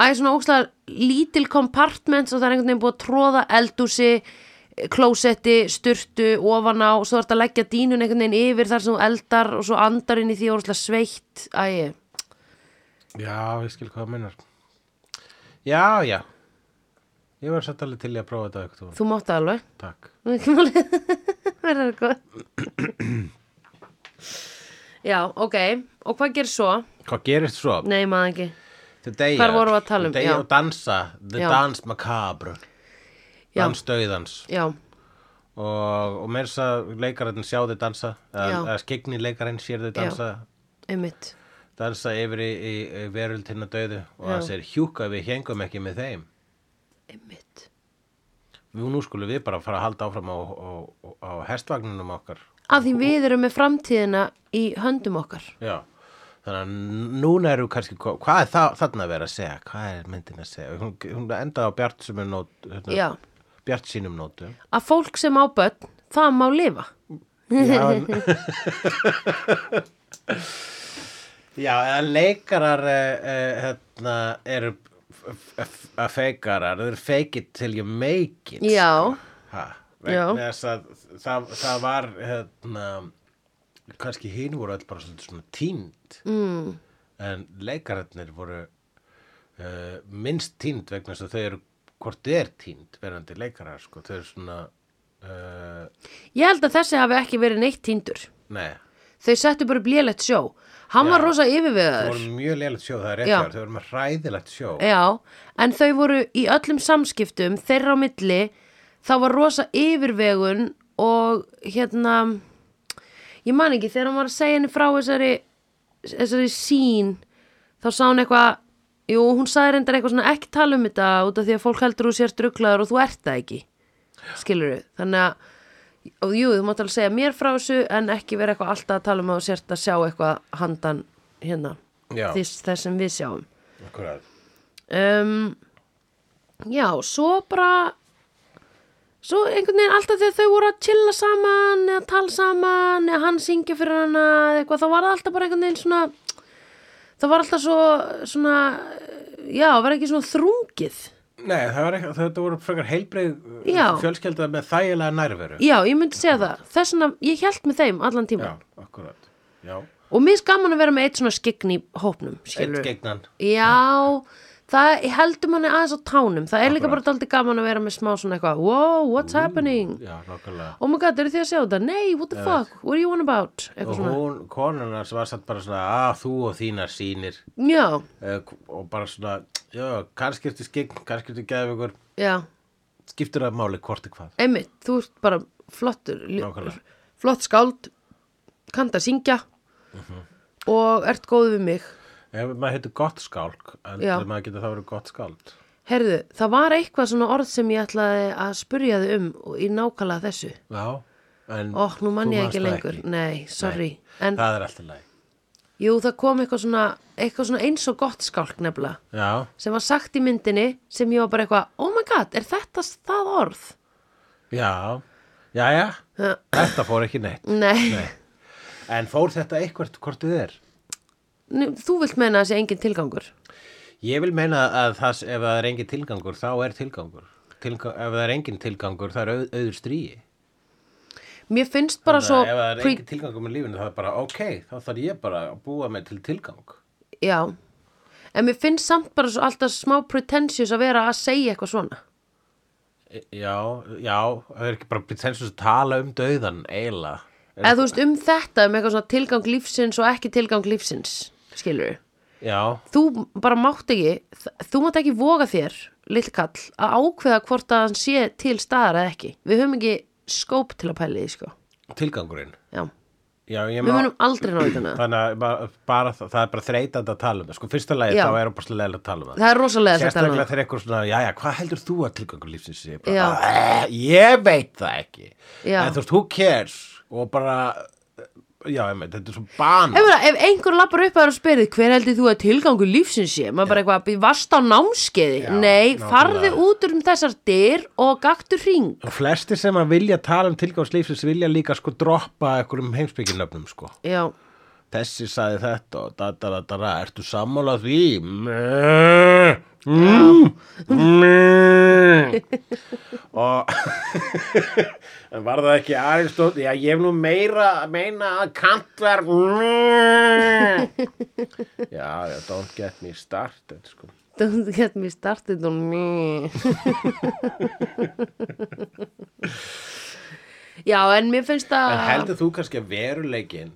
[SPEAKER 1] Æ, svona ókslega lítil compartments og það er einhvern veginn búið að tróða eldúsi klósetti, sturtu ofan á, svo þarf að leggja dínun einhvern veginn yfir þar sem þú eldar og svo andar inn í því og ókslega sveitt Æ,
[SPEAKER 2] já, ég skil hvað það minnar já, já ég var satt alveg til í að prófa þetta eitthvað
[SPEAKER 1] þú mátt það alveg
[SPEAKER 2] takk
[SPEAKER 1] Nú ekki máli Verður það góð Já, ok Og hvað gerir svo?
[SPEAKER 2] hvað gerist svo?
[SPEAKER 1] Nei, maður ekki
[SPEAKER 2] Today,
[SPEAKER 1] Hvar vorum við að tala um?
[SPEAKER 2] Today
[SPEAKER 1] Já.
[SPEAKER 2] og dansa, the
[SPEAKER 1] Já.
[SPEAKER 2] dance macabre
[SPEAKER 1] Já.
[SPEAKER 2] dans döðans
[SPEAKER 1] Já,
[SPEAKER 2] og, og meir þess að leikarinn sjá þau dansa
[SPEAKER 1] Já.
[SPEAKER 2] eða skegni leikarinn sér þau dansa
[SPEAKER 1] einmitt
[SPEAKER 2] dansa yfir í, í, í veröldina döðu og það sér hjúka við hengum ekki með þeim
[SPEAKER 1] Einmitt
[SPEAKER 2] Nú, nú skulum við bara fara að halda áfram á, á, á hestvagninum okkar
[SPEAKER 1] Af því við erum með framtíðina í höndum okkar.
[SPEAKER 2] Já, þannig að núna eru kannski, ko- hvað er það, þarna að vera að segja? Hvað er myndin að segja? Hún, hún endaði á bjart sínum nótum
[SPEAKER 1] Já.
[SPEAKER 2] hérna, bjart sínum nótum
[SPEAKER 1] Að fólk sem á börn, það má lifa.
[SPEAKER 2] Já, en- Já, eða leikarar eh, eh, hérna, eru f- f- að feikarar, þeir eru fake it till you make it
[SPEAKER 1] Já.
[SPEAKER 2] sko. ha,
[SPEAKER 1] Já.
[SPEAKER 2] vegna þess að það, það var hérna, kannski hinn voru öll bara svolítið svona tínd mm. en leikararnir voru uh, minnst tínd vegna þess að þau eru hvort þau er tínd verandi leikarar sko, þau eru svona uh,
[SPEAKER 1] Ég held að þessi hafi ekki verið neitt týndur.
[SPEAKER 2] neða
[SPEAKER 1] Þau settu bara blíðlegt sjó. Hann var rosa
[SPEAKER 2] Þau
[SPEAKER 1] yfirvegaður.
[SPEAKER 2] voru mjög leilægt sjó, það er rétt
[SPEAKER 1] Já. Eh,
[SPEAKER 2] hjá, þau voru með hræðilegt sjó.
[SPEAKER 1] Já, en þau voru í öllum samskiptum, þeirra á milli, þá var rosa yfirvegun og hérna, ég man ekki, þegar hann var að segja henni frá þessari, þessari sín, þá sá hann eitthvað, jú, hún sagði reyndar eitthvað svona ekki tala um þetta út af því að fólk heldur þú sér struglaður og þú ert það ekki, skilur þau, þannig að, og jú, þú mátt alveg segja mér frá þessu en ekki vera eitthvað alltaf að tala um að þú sért að sjá eitthvað handan hérna,
[SPEAKER 2] Já.
[SPEAKER 1] þess, þess sem við sjáum
[SPEAKER 2] Akkurat.
[SPEAKER 1] um, Já, svo bara Svo einhvern veginn alltaf þegar þau voru að chilla saman eða tala saman eða hann syngja fyrir hana eða eitthvað, þá var það alltaf bara einhvern veginn svona það var alltaf svo svona, já, var ekki svona þrungið
[SPEAKER 2] Nei, það var ekki, þetta voru frekar heilbreið
[SPEAKER 1] Já.
[SPEAKER 2] fjölskelda með þægilega nærveru.
[SPEAKER 1] Já, ég myndi segja það, þess vegna ég held með þeim allan tíma
[SPEAKER 2] Já, akkurat. Já,
[SPEAKER 1] og mér er gaman að vera með eitt svona skyggn í hópnum,
[SPEAKER 2] eitt
[SPEAKER 1] skilur
[SPEAKER 2] gegnan.
[SPEAKER 1] Já, það heldur manni aðeins á tánum, það er líka bara
[SPEAKER 2] Akkurat.
[SPEAKER 1] daldið gaman að vera með smá svona eitthvað, wow, what's happening
[SPEAKER 2] Já, nokkulega.
[SPEAKER 1] oh my god, eru þið að sjá þetta? Nei, what the fuck, what are you on about?
[SPEAKER 2] Og
[SPEAKER 1] Eitthvað svona.
[SPEAKER 2] hún, konan hans var satt bara svona, að þú og þínar sýnir
[SPEAKER 1] Já,
[SPEAKER 2] eh, og bara svona, já, kannski ertu skegn, kannski ertu geðveikur,
[SPEAKER 1] já,
[SPEAKER 2] skiptir það máli hvort er hvað.
[SPEAKER 1] einmitt, þú ert bara flottur, ljó-
[SPEAKER 2] Nákvæmlega.
[SPEAKER 1] flott skáld, kannt að syngja
[SPEAKER 2] Mhm.
[SPEAKER 1] og ert góð við mig.
[SPEAKER 2] Ef Eh, maður heitir gott skálk,
[SPEAKER 1] Já.
[SPEAKER 2] heldur maður getur það verið gott skáld.
[SPEAKER 1] Herðu, það var eitthvað svona orð sem ég ætlaði að spurja þið um og- í nákvæmlega þessu.
[SPEAKER 2] Já, en
[SPEAKER 1] Ó, nú mann
[SPEAKER 2] þú
[SPEAKER 1] ég
[SPEAKER 2] manst
[SPEAKER 1] ekki
[SPEAKER 2] það
[SPEAKER 1] lengur. Nei, sorry. En
[SPEAKER 2] Það er alltaf læg.
[SPEAKER 1] jú, það kom eitthvað svona, eitthvað svona eins og gott skálk nefnilega
[SPEAKER 2] Já,
[SPEAKER 1] sem var sagt í myndinni sem ég var bara eitthvað, oh my god, er þetta það orð?
[SPEAKER 2] Já, já, já,
[SPEAKER 1] Já.
[SPEAKER 2] þetta fór ekki neitt.
[SPEAKER 1] Nei.
[SPEAKER 2] Nei. En fór þetta eitthvað hvort þið er?
[SPEAKER 1] Nú, Þú vilt meina að það sé engin tilgangur
[SPEAKER 2] Ég vil meina að það, ef það er engin tilgangur, þá er tilgangur. tilgang, ef það er engin tilgangur það er auð, auður stríi
[SPEAKER 1] Mér finnst bara svo
[SPEAKER 2] ef það er
[SPEAKER 1] pre-
[SPEAKER 2] engin tilgangur með lífinu það er bara ok, þá þarf ég bara að búa mig til tilgang
[SPEAKER 1] Já En mér finnst samt bara svo alltaf smá pretentious að vera að segja eitthvað svona
[SPEAKER 2] E- já, já, það er ekki bara pretentious að tala um döðan eiginlega
[SPEAKER 1] Eða þú veist um þetta um eitthvað svona tilgang lífsins og ekki tilgang lífsins skilur
[SPEAKER 2] já,
[SPEAKER 1] þú bara mátt ekki þ- þú mátt ekki voga þér lill kall að ákveða hvort að hann sé til staðar eða ekki við höfum ekki skóp til að pæli því sko
[SPEAKER 2] tilgangurinn
[SPEAKER 1] Já.
[SPEAKER 2] já, ég
[SPEAKER 1] við
[SPEAKER 2] meina-
[SPEAKER 1] munum aldrei ná utan það
[SPEAKER 2] Þannig að bara, bara, það það er bara þreytandi að tala um það. Sko, fyrsta lagi
[SPEAKER 1] Já.
[SPEAKER 2] þá er opaslega leil að tala um það.
[SPEAKER 1] það er rosalega þetta
[SPEAKER 2] Sérstaklega þegar eitthvað svona, já, já, hvað heldur þú að tilgangur lífsins sé?
[SPEAKER 1] Já.
[SPEAKER 2] Bara, "Eh, ég veit það ekki.
[SPEAKER 1] Já.
[SPEAKER 2] En þú veist, who cares? Og bara, eh, já, ég veit, þetta er svo bana.
[SPEAKER 1] Ef, ef einhver lappar upp að þér og spyrir hver heldur þú að tilgangu lífsins sé maður bara eitthvað, "Bí- varst á námskeiði
[SPEAKER 2] Já,
[SPEAKER 1] nei,
[SPEAKER 2] nákvæmlega.
[SPEAKER 1] farðu út um þessar dyr og gaktu hring
[SPEAKER 2] Og flesti sem að vilja tala um tilgangs lífsins vilja líka sko droppa einhverjum heimsbygginöfnum, sko.
[SPEAKER 1] já,
[SPEAKER 2] Þessi saði þetta og da, da, da, da, da, ertu sammála því? Mm, mm, mm. og en var það ekki Aristótt já ég hef nú meira að meina að kant var já já don't get me started sko.
[SPEAKER 1] don't get me started on me já, en mér finnst að
[SPEAKER 2] en heldur þú kannski að veruleikin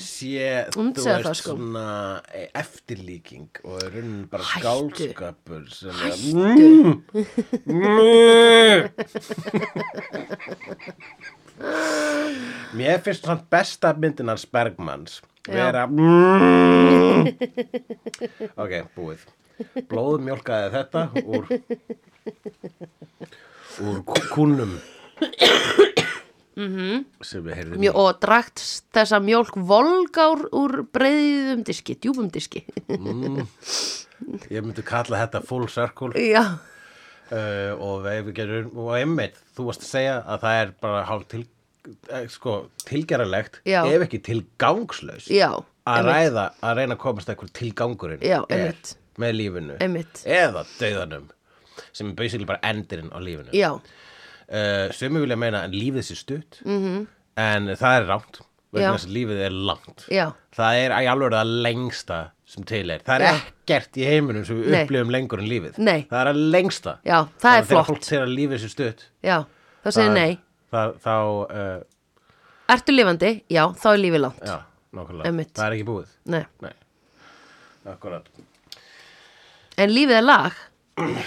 [SPEAKER 2] sé
[SPEAKER 1] myndi
[SPEAKER 2] þú
[SPEAKER 1] segja það, sko.
[SPEAKER 2] svona e, eftirlíking og er raunin bara
[SPEAKER 1] Hættu.
[SPEAKER 2] skálskapur sem Mm. er mér finnst svona besta myndin hans Bergmans vera Mm. ok, búið blóð mjólkaði þetta úr úr kúnum
[SPEAKER 1] Mhm.
[SPEAKER 2] sem við heyrðum í
[SPEAKER 1] Mjó, og drakt þessa mjólk volgár úr breiðum diski, djúpum diski
[SPEAKER 2] Ég myndi kalla þetta full circle
[SPEAKER 1] já,
[SPEAKER 2] uh, og, ef við gerum, og einmitt, þú varst að segja að það er bara hálf til, eh, sko, tilgerðarlegt
[SPEAKER 1] Já.
[SPEAKER 2] ef ekki tilgangslaus
[SPEAKER 1] já,
[SPEAKER 2] að ræða að reyna að komast eitthvað tilgangurinn
[SPEAKER 1] Já,
[SPEAKER 2] er
[SPEAKER 1] einmitt.
[SPEAKER 2] með lífinu
[SPEAKER 1] Einmitt.
[SPEAKER 2] eða döðanum sem er basically bara endurinn á lífinu
[SPEAKER 1] já
[SPEAKER 2] uh, Sumi vilja meina að lífið sé stutt -hmm. en það er rámt
[SPEAKER 1] Já.
[SPEAKER 2] vegna þess að lífið er langt
[SPEAKER 1] Já.
[SPEAKER 2] það er í alveg það lengsta sem til er, það er
[SPEAKER 1] Já.
[SPEAKER 2] ekkert í heiminum sem við
[SPEAKER 1] Nei.
[SPEAKER 2] upplifum lengur en lífið
[SPEAKER 1] Nei.
[SPEAKER 2] það er að lengsta
[SPEAKER 1] Já, það
[SPEAKER 2] Þannig
[SPEAKER 1] er
[SPEAKER 2] að þegar
[SPEAKER 1] flott.
[SPEAKER 2] fólk segir að lífið sé stutt
[SPEAKER 1] já, þá segir
[SPEAKER 2] það-
[SPEAKER 1] nei
[SPEAKER 2] það, þá, uh,
[SPEAKER 1] ertu lifandi, já, þá er lífið langt
[SPEAKER 2] já, nákvæmlega
[SPEAKER 1] Einmitt.
[SPEAKER 2] það er ekki búið
[SPEAKER 1] nei,
[SPEAKER 2] Nei. akkurat
[SPEAKER 1] en lífið er lag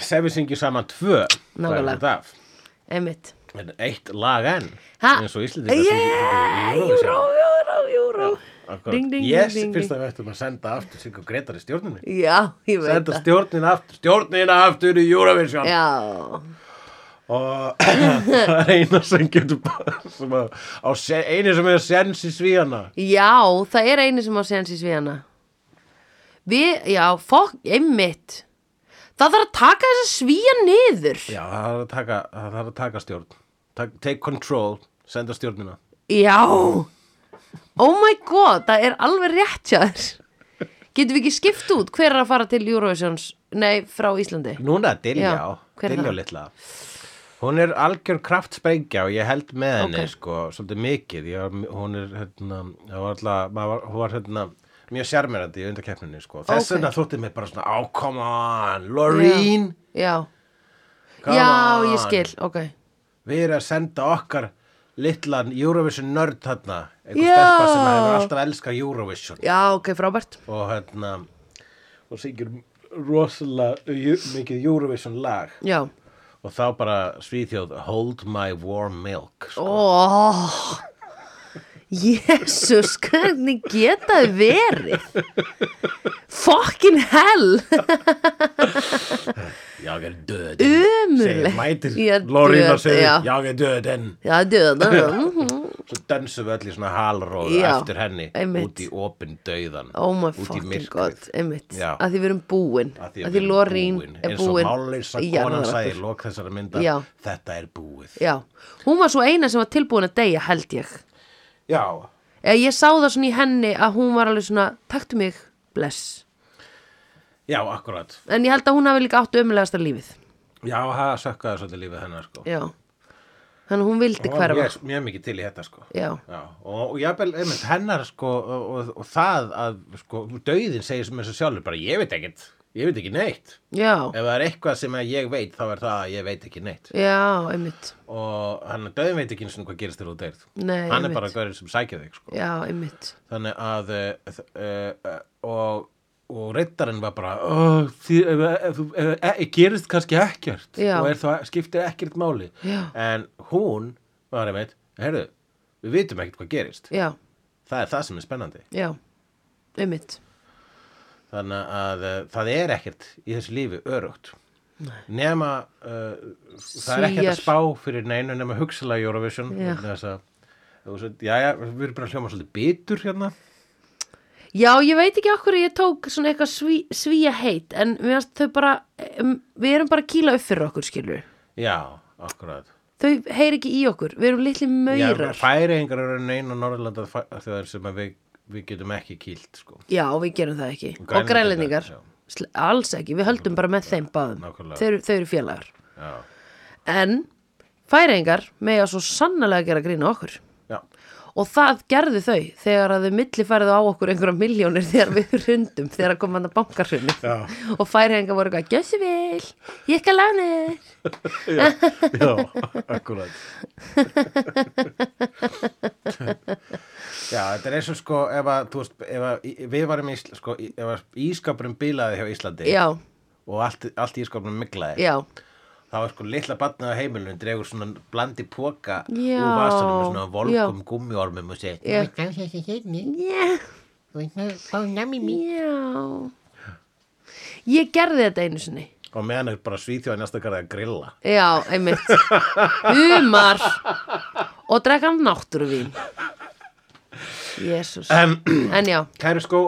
[SPEAKER 2] sem við syngjum saman tvö hvað er
[SPEAKER 1] Nákvæmlega.
[SPEAKER 2] þetta af?
[SPEAKER 1] einmitt
[SPEAKER 2] En eitt lag enn
[SPEAKER 1] Ha?
[SPEAKER 2] eins og Íslendingar sem-
[SPEAKER 1] yeah,
[SPEAKER 2] Eurovision.
[SPEAKER 1] júró, júró, júró
[SPEAKER 2] Akkurat.
[SPEAKER 1] Ding, ding,
[SPEAKER 2] yes,
[SPEAKER 1] ding, ding,
[SPEAKER 2] fyrst að við ættum að senda aftur Sigga Gretar í stjórninni
[SPEAKER 1] já, ég veit
[SPEAKER 2] senda
[SPEAKER 1] það
[SPEAKER 2] stjórnin aftur, stjórnin aftur í Eurovision
[SPEAKER 1] já,
[SPEAKER 2] og það er eina sem getur bara- sem að, á, se- einu sem hefur sens í svíjana
[SPEAKER 1] já, það er einu sem á sénsins við hana við, já, fokk, einmitt það þarf að taka þess að svíja niður
[SPEAKER 2] já, það þarf að taka, það þarf að taka stjórn Tak- take control, senda stjórnina
[SPEAKER 1] Já Oh my god, það er alveg rétt hjá þér Getum við ekki skipt út hver er að fara til Eurovisions Nei, frá Íslandi
[SPEAKER 2] núna Diljá,
[SPEAKER 1] Já, hver er
[SPEAKER 2] Diljá
[SPEAKER 1] það?
[SPEAKER 2] litla hún er algjör kraftsprengja og ég held með henni
[SPEAKER 1] Ok.
[SPEAKER 2] sko, svolítið mikið ég, var- hún er hérna, það var alltaf, maður var, hún var hérna mjög sjarmerandi í undarkeppninni sko. þess
[SPEAKER 1] Ok.
[SPEAKER 2] vegna þótti mér bara svona, oh come on Loreen,
[SPEAKER 1] Já,
[SPEAKER 2] come
[SPEAKER 1] já
[SPEAKER 2] on
[SPEAKER 1] ég skil, ok
[SPEAKER 2] við erum að senda okkar litlan Eurovision nörd þarna einhver
[SPEAKER 1] Já.
[SPEAKER 2] stelpa sem hefur alltaf elskað Eurovision
[SPEAKER 1] Já, ok, frábært
[SPEAKER 2] og hérna og syngur rosalega ju- mikið Eurovision lag
[SPEAKER 1] Já,
[SPEAKER 2] og þá bara Svíþjóð Hold my warm milk sko.
[SPEAKER 1] óh Jésús, Oh. hvernig geta þið verið Fucking hell
[SPEAKER 2] ég er döð
[SPEAKER 1] Ömurlegt.
[SPEAKER 2] segir mætir
[SPEAKER 1] Ég er
[SPEAKER 2] Lorína
[SPEAKER 1] död,
[SPEAKER 2] segir
[SPEAKER 1] já.
[SPEAKER 2] ég er döðin
[SPEAKER 1] Já, döðan
[SPEAKER 2] svo dönsum við öll í svona halróð
[SPEAKER 1] Já,
[SPEAKER 2] eftir henni
[SPEAKER 1] einmitt.
[SPEAKER 2] út í opin döðan
[SPEAKER 1] Oh my
[SPEAKER 2] út í
[SPEAKER 1] fucking
[SPEAKER 2] myrkrið
[SPEAKER 1] god, einmitt
[SPEAKER 2] Já.
[SPEAKER 1] Að því við erum búin
[SPEAKER 2] Að
[SPEAKER 1] Að
[SPEAKER 2] því að
[SPEAKER 1] því
[SPEAKER 2] við erum
[SPEAKER 1] Lorín
[SPEAKER 2] búin.
[SPEAKER 1] er
[SPEAKER 2] eins og
[SPEAKER 1] búin
[SPEAKER 2] málleysa
[SPEAKER 1] í
[SPEAKER 2] konan
[SPEAKER 1] janúar.
[SPEAKER 2] sagði í lok þessara mynda
[SPEAKER 1] Já.
[SPEAKER 2] þetta er búið
[SPEAKER 1] Já, hún var svo eina sem var tilbúin að deyja held ég
[SPEAKER 2] já,
[SPEAKER 1] Eða ég sá það svona í henni að hún var alveg svona Taktu mig, bless
[SPEAKER 2] já, akkurat
[SPEAKER 1] En ég held að hún hafi líka áttu ömulegasta lífið
[SPEAKER 2] Já, það sökkaði svolítið lífið hennar sko
[SPEAKER 1] já þannig að hún vildi
[SPEAKER 2] Hún var
[SPEAKER 1] hverfa
[SPEAKER 2] mjög, mjög mikið til í þetta sko
[SPEAKER 1] já,
[SPEAKER 2] og, og jafnvel, einmitt, hennar sko og, og, og það að sko, döiðin segir sem þessu sjálfur bara ég veit ekkert, ég veit ekki neitt
[SPEAKER 1] já,
[SPEAKER 2] ef það er eitthvað sem að ég veit þá er það að ég veit ekki neitt
[SPEAKER 1] já, einmitt
[SPEAKER 2] og hann döðin veit ekki eins og hvað gerist þér út deyrð
[SPEAKER 1] Nei,
[SPEAKER 2] sko. hann
[SPEAKER 1] einmitt.
[SPEAKER 2] er bara gaurinn sem sækja þig sko.
[SPEAKER 1] já, einmitt
[SPEAKER 2] þannig að uh, uh, og, og reittarinn var bara "Ó, því, ef, ef, ef, ef, e, gerist kannski ekkert
[SPEAKER 1] Já.
[SPEAKER 2] og er það, skiptir ekkert máli
[SPEAKER 1] Já.
[SPEAKER 2] en hún var einmitt heyrðu, við vitum ekkert hvað gerist
[SPEAKER 1] já,
[SPEAKER 2] það er það sem er spennandi
[SPEAKER 1] já, einmitt
[SPEAKER 2] þannig að uh, það er ekkert í þessu lífi örugt nema uh, það er ekkert að
[SPEAKER 1] Svíar.
[SPEAKER 2] spá fyrir neinu nema hugsalega í Eurovision
[SPEAKER 1] Já.
[SPEAKER 2] vegna þess að þú veist, já, já, við erum bara að hljóma svolítið bitur hérna
[SPEAKER 1] Já, ég veit ekki okkur ég tók svona eitthvað sví, svíja heit en við, þau bara, em, við erum bara að kýla upp fyrir okkur skilur
[SPEAKER 2] já, akkurat
[SPEAKER 1] þau heyri ekki í okkur, við erum litli maurar já,
[SPEAKER 2] færingar eru neina Norðurlanda þjóðar sem að við, við getum ekki kýlt sko.
[SPEAKER 1] við gerum það ekki
[SPEAKER 2] Grænlendingar,
[SPEAKER 1] og grænlendingar,
[SPEAKER 2] já.
[SPEAKER 1] Sl- alls ekki við höldum bara með þeim báðum
[SPEAKER 2] nákvæmlega.
[SPEAKER 1] þau, eru- þau eru félagar
[SPEAKER 2] já,
[SPEAKER 1] en færingar mega svo sannlega gera grína okkur
[SPEAKER 2] já,
[SPEAKER 1] og það gerðu þau þegar að þau millifærðu á okkur einhverja miljónir þegar við hrundum þegar kom hann að bankarhrunni
[SPEAKER 2] Já.
[SPEAKER 1] og færingar voru eitthvað, gjössi vel ég skal lána þér
[SPEAKER 2] já akkurat já, þetta er eins og sko ef að, þú veist, ef að í- við varum í, Ísl- sko, í- ef að ískapurum bílaði hjá Íslandi
[SPEAKER 1] já,
[SPEAKER 2] og allt, allt ískapurum miglaði
[SPEAKER 1] já,
[SPEAKER 2] þá er sko litla batnað á heimilinu dregur svona blandi póka
[SPEAKER 1] Já.
[SPEAKER 2] úr vasanum með svona volkum
[SPEAKER 1] Já.
[SPEAKER 2] gummiormum og segir
[SPEAKER 1] já
[SPEAKER 3] Kan saya sikit ni?
[SPEAKER 1] já,
[SPEAKER 3] Kau nak mimi?
[SPEAKER 1] já ég gerði þetta einu sinni
[SPEAKER 2] og meðan er bara svíþjóð í næsta garði að grilla
[SPEAKER 1] já, einmitt humar og drekka náttúruvín jésus
[SPEAKER 2] en
[SPEAKER 1] en já,
[SPEAKER 2] kæru skó,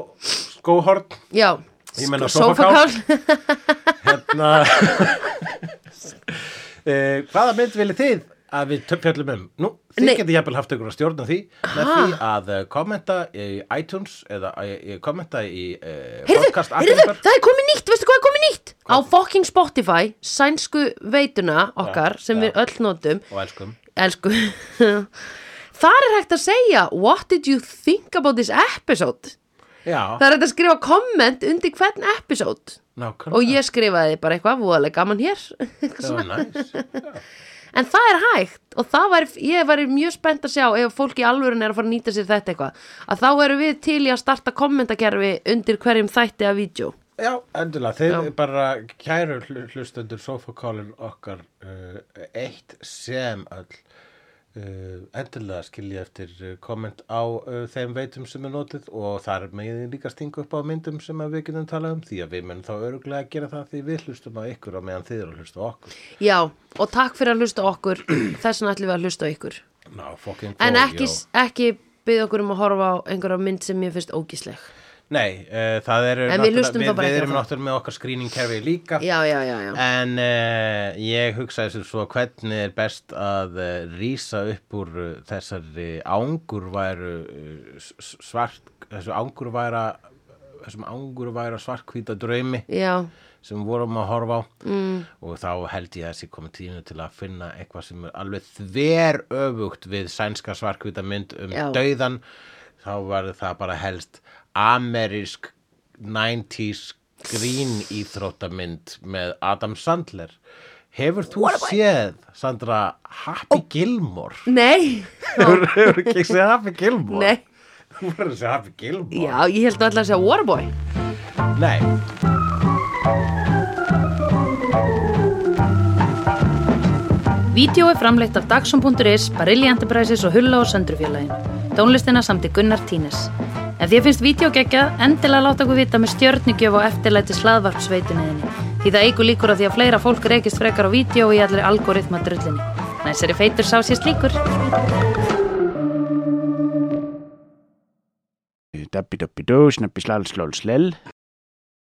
[SPEAKER 2] skóhorn
[SPEAKER 1] já
[SPEAKER 2] Ég meina
[SPEAKER 1] Sko-
[SPEAKER 2] sófakál.
[SPEAKER 1] sófakál.
[SPEAKER 2] hérna uh, hvaða mynd viljið þið að við töp- fjöllum um nú, þið
[SPEAKER 1] Nei.
[SPEAKER 2] getið jafnvel haft ykkur að stjórna því með því að eh, kommenta í iTunes eða eh, kommenta í uh,
[SPEAKER 1] Heyrðu,
[SPEAKER 2] podcast
[SPEAKER 1] heyrðu, það er komið nýtt, veistu hvað er komið nýtt? Á fucking Spotify, sænsku veituna okkar, sem
[SPEAKER 2] já.
[SPEAKER 1] við öll notum,
[SPEAKER 2] og elskum
[SPEAKER 1] elsku, þar er hægt að segja, what did you think about this episode?
[SPEAKER 2] já,
[SPEAKER 1] Það er hægt að skrifa komment undir hvern episode
[SPEAKER 2] nákvæmlega
[SPEAKER 1] og ég skrifaði bara eitthvað, voðalega gaman hér.
[SPEAKER 2] það var næs
[SPEAKER 1] en það er hægt og það var, ég var mjög spennt að sjá ef fólk í alvörun er að fara að nýta sér þetta eitthvað, að þá eru við til í að starta kommentakerfi undir hverjum þætti af vídeo.
[SPEAKER 2] já, endilega, þið
[SPEAKER 1] Já.
[SPEAKER 2] bara kæru hl- hlustendur sofakálin okkar uh, eitt sem öll Uh, endilega skilja eftir eh, komment á uh, þeim veitum sem er notið og þar megið þið líka stinga upp á myndum sem að við getum talað um því að við munum þá öruglega að gera það því við hlustum á ykkur á meðan þið eru að hlusta á okkur
[SPEAKER 1] Já, og takk fyrir að hlusta á okkur þess vegna ætlum við að hlusta á ykkur
[SPEAKER 2] Ná, fucking
[SPEAKER 1] En
[SPEAKER 2] cool,
[SPEAKER 1] ekki,
[SPEAKER 2] já.
[SPEAKER 1] ekki byggð okkur um að horfa á einhverja mynd sem ég finnst ógísleg
[SPEAKER 2] Nei, uh, það eru
[SPEAKER 1] En við
[SPEAKER 2] náttúrulega-
[SPEAKER 1] hlustum þá
[SPEAKER 2] við,
[SPEAKER 1] bara
[SPEAKER 2] við
[SPEAKER 1] ekki á
[SPEAKER 2] erum
[SPEAKER 1] það.
[SPEAKER 2] náttúrulega með okkar skrýningkerfi líka
[SPEAKER 1] Já, já, já, já
[SPEAKER 2] En uh, ég hugsaði sér svo hvernig er best að uh, rýsa upp úr uh, þessari ángurværu uh, s- s- svart, þessu ángurværa þessum ángurværa svartkvíta draumi
[SPEAKER 1] Já,
[SPEAKER 2] sem vorum að horfa á mm. og þá held ég að þessi komið tínu til að finna eitthvað sem er alveg þver öfugt við sænska svarkvita mynd um
[SPEAKER 1] Já.
[SPEAKER 2] dauðan þá var það bara helst amerísk 90s grín íþróttamynd með Adam Sandler Hefur þú séð, Sandra, Happy
[SPEAKER 1] Oh.
[SPEAKER 2] Gilmore?
[SPEAKER 1] nei,
[SPEAKER 2] Hefur, hefur ekki séð Happy Gilmore?
[SPEAKER 1] nei
[SPEAKER 2] Þú verður að segja Happy Gilmore?
[SPEAKER 1] Já, ég held að alltaf að segja Warboy
[SPEAKER 2] Nei.
[SPEAKER 5] Vídeó er framleitt af Dagsum.is, Barilli Enterprises og Hulla og Söndrufjörlægin. Tónlistina samt í Gunnar Tínes. Ef þér finnst vídeo geggja, endilega láta okkur vita með stjörnigjöf og eftirlæti slaðvarpsveituninni. Því það eigur líkur að því að fleira fólk reykist frekar á vídeo í allri algoritma drullinni. Næsari feitur sá sér slíkur.
[SPEAKER 6] Dabbi dabbi dó, snabbi slal slal slel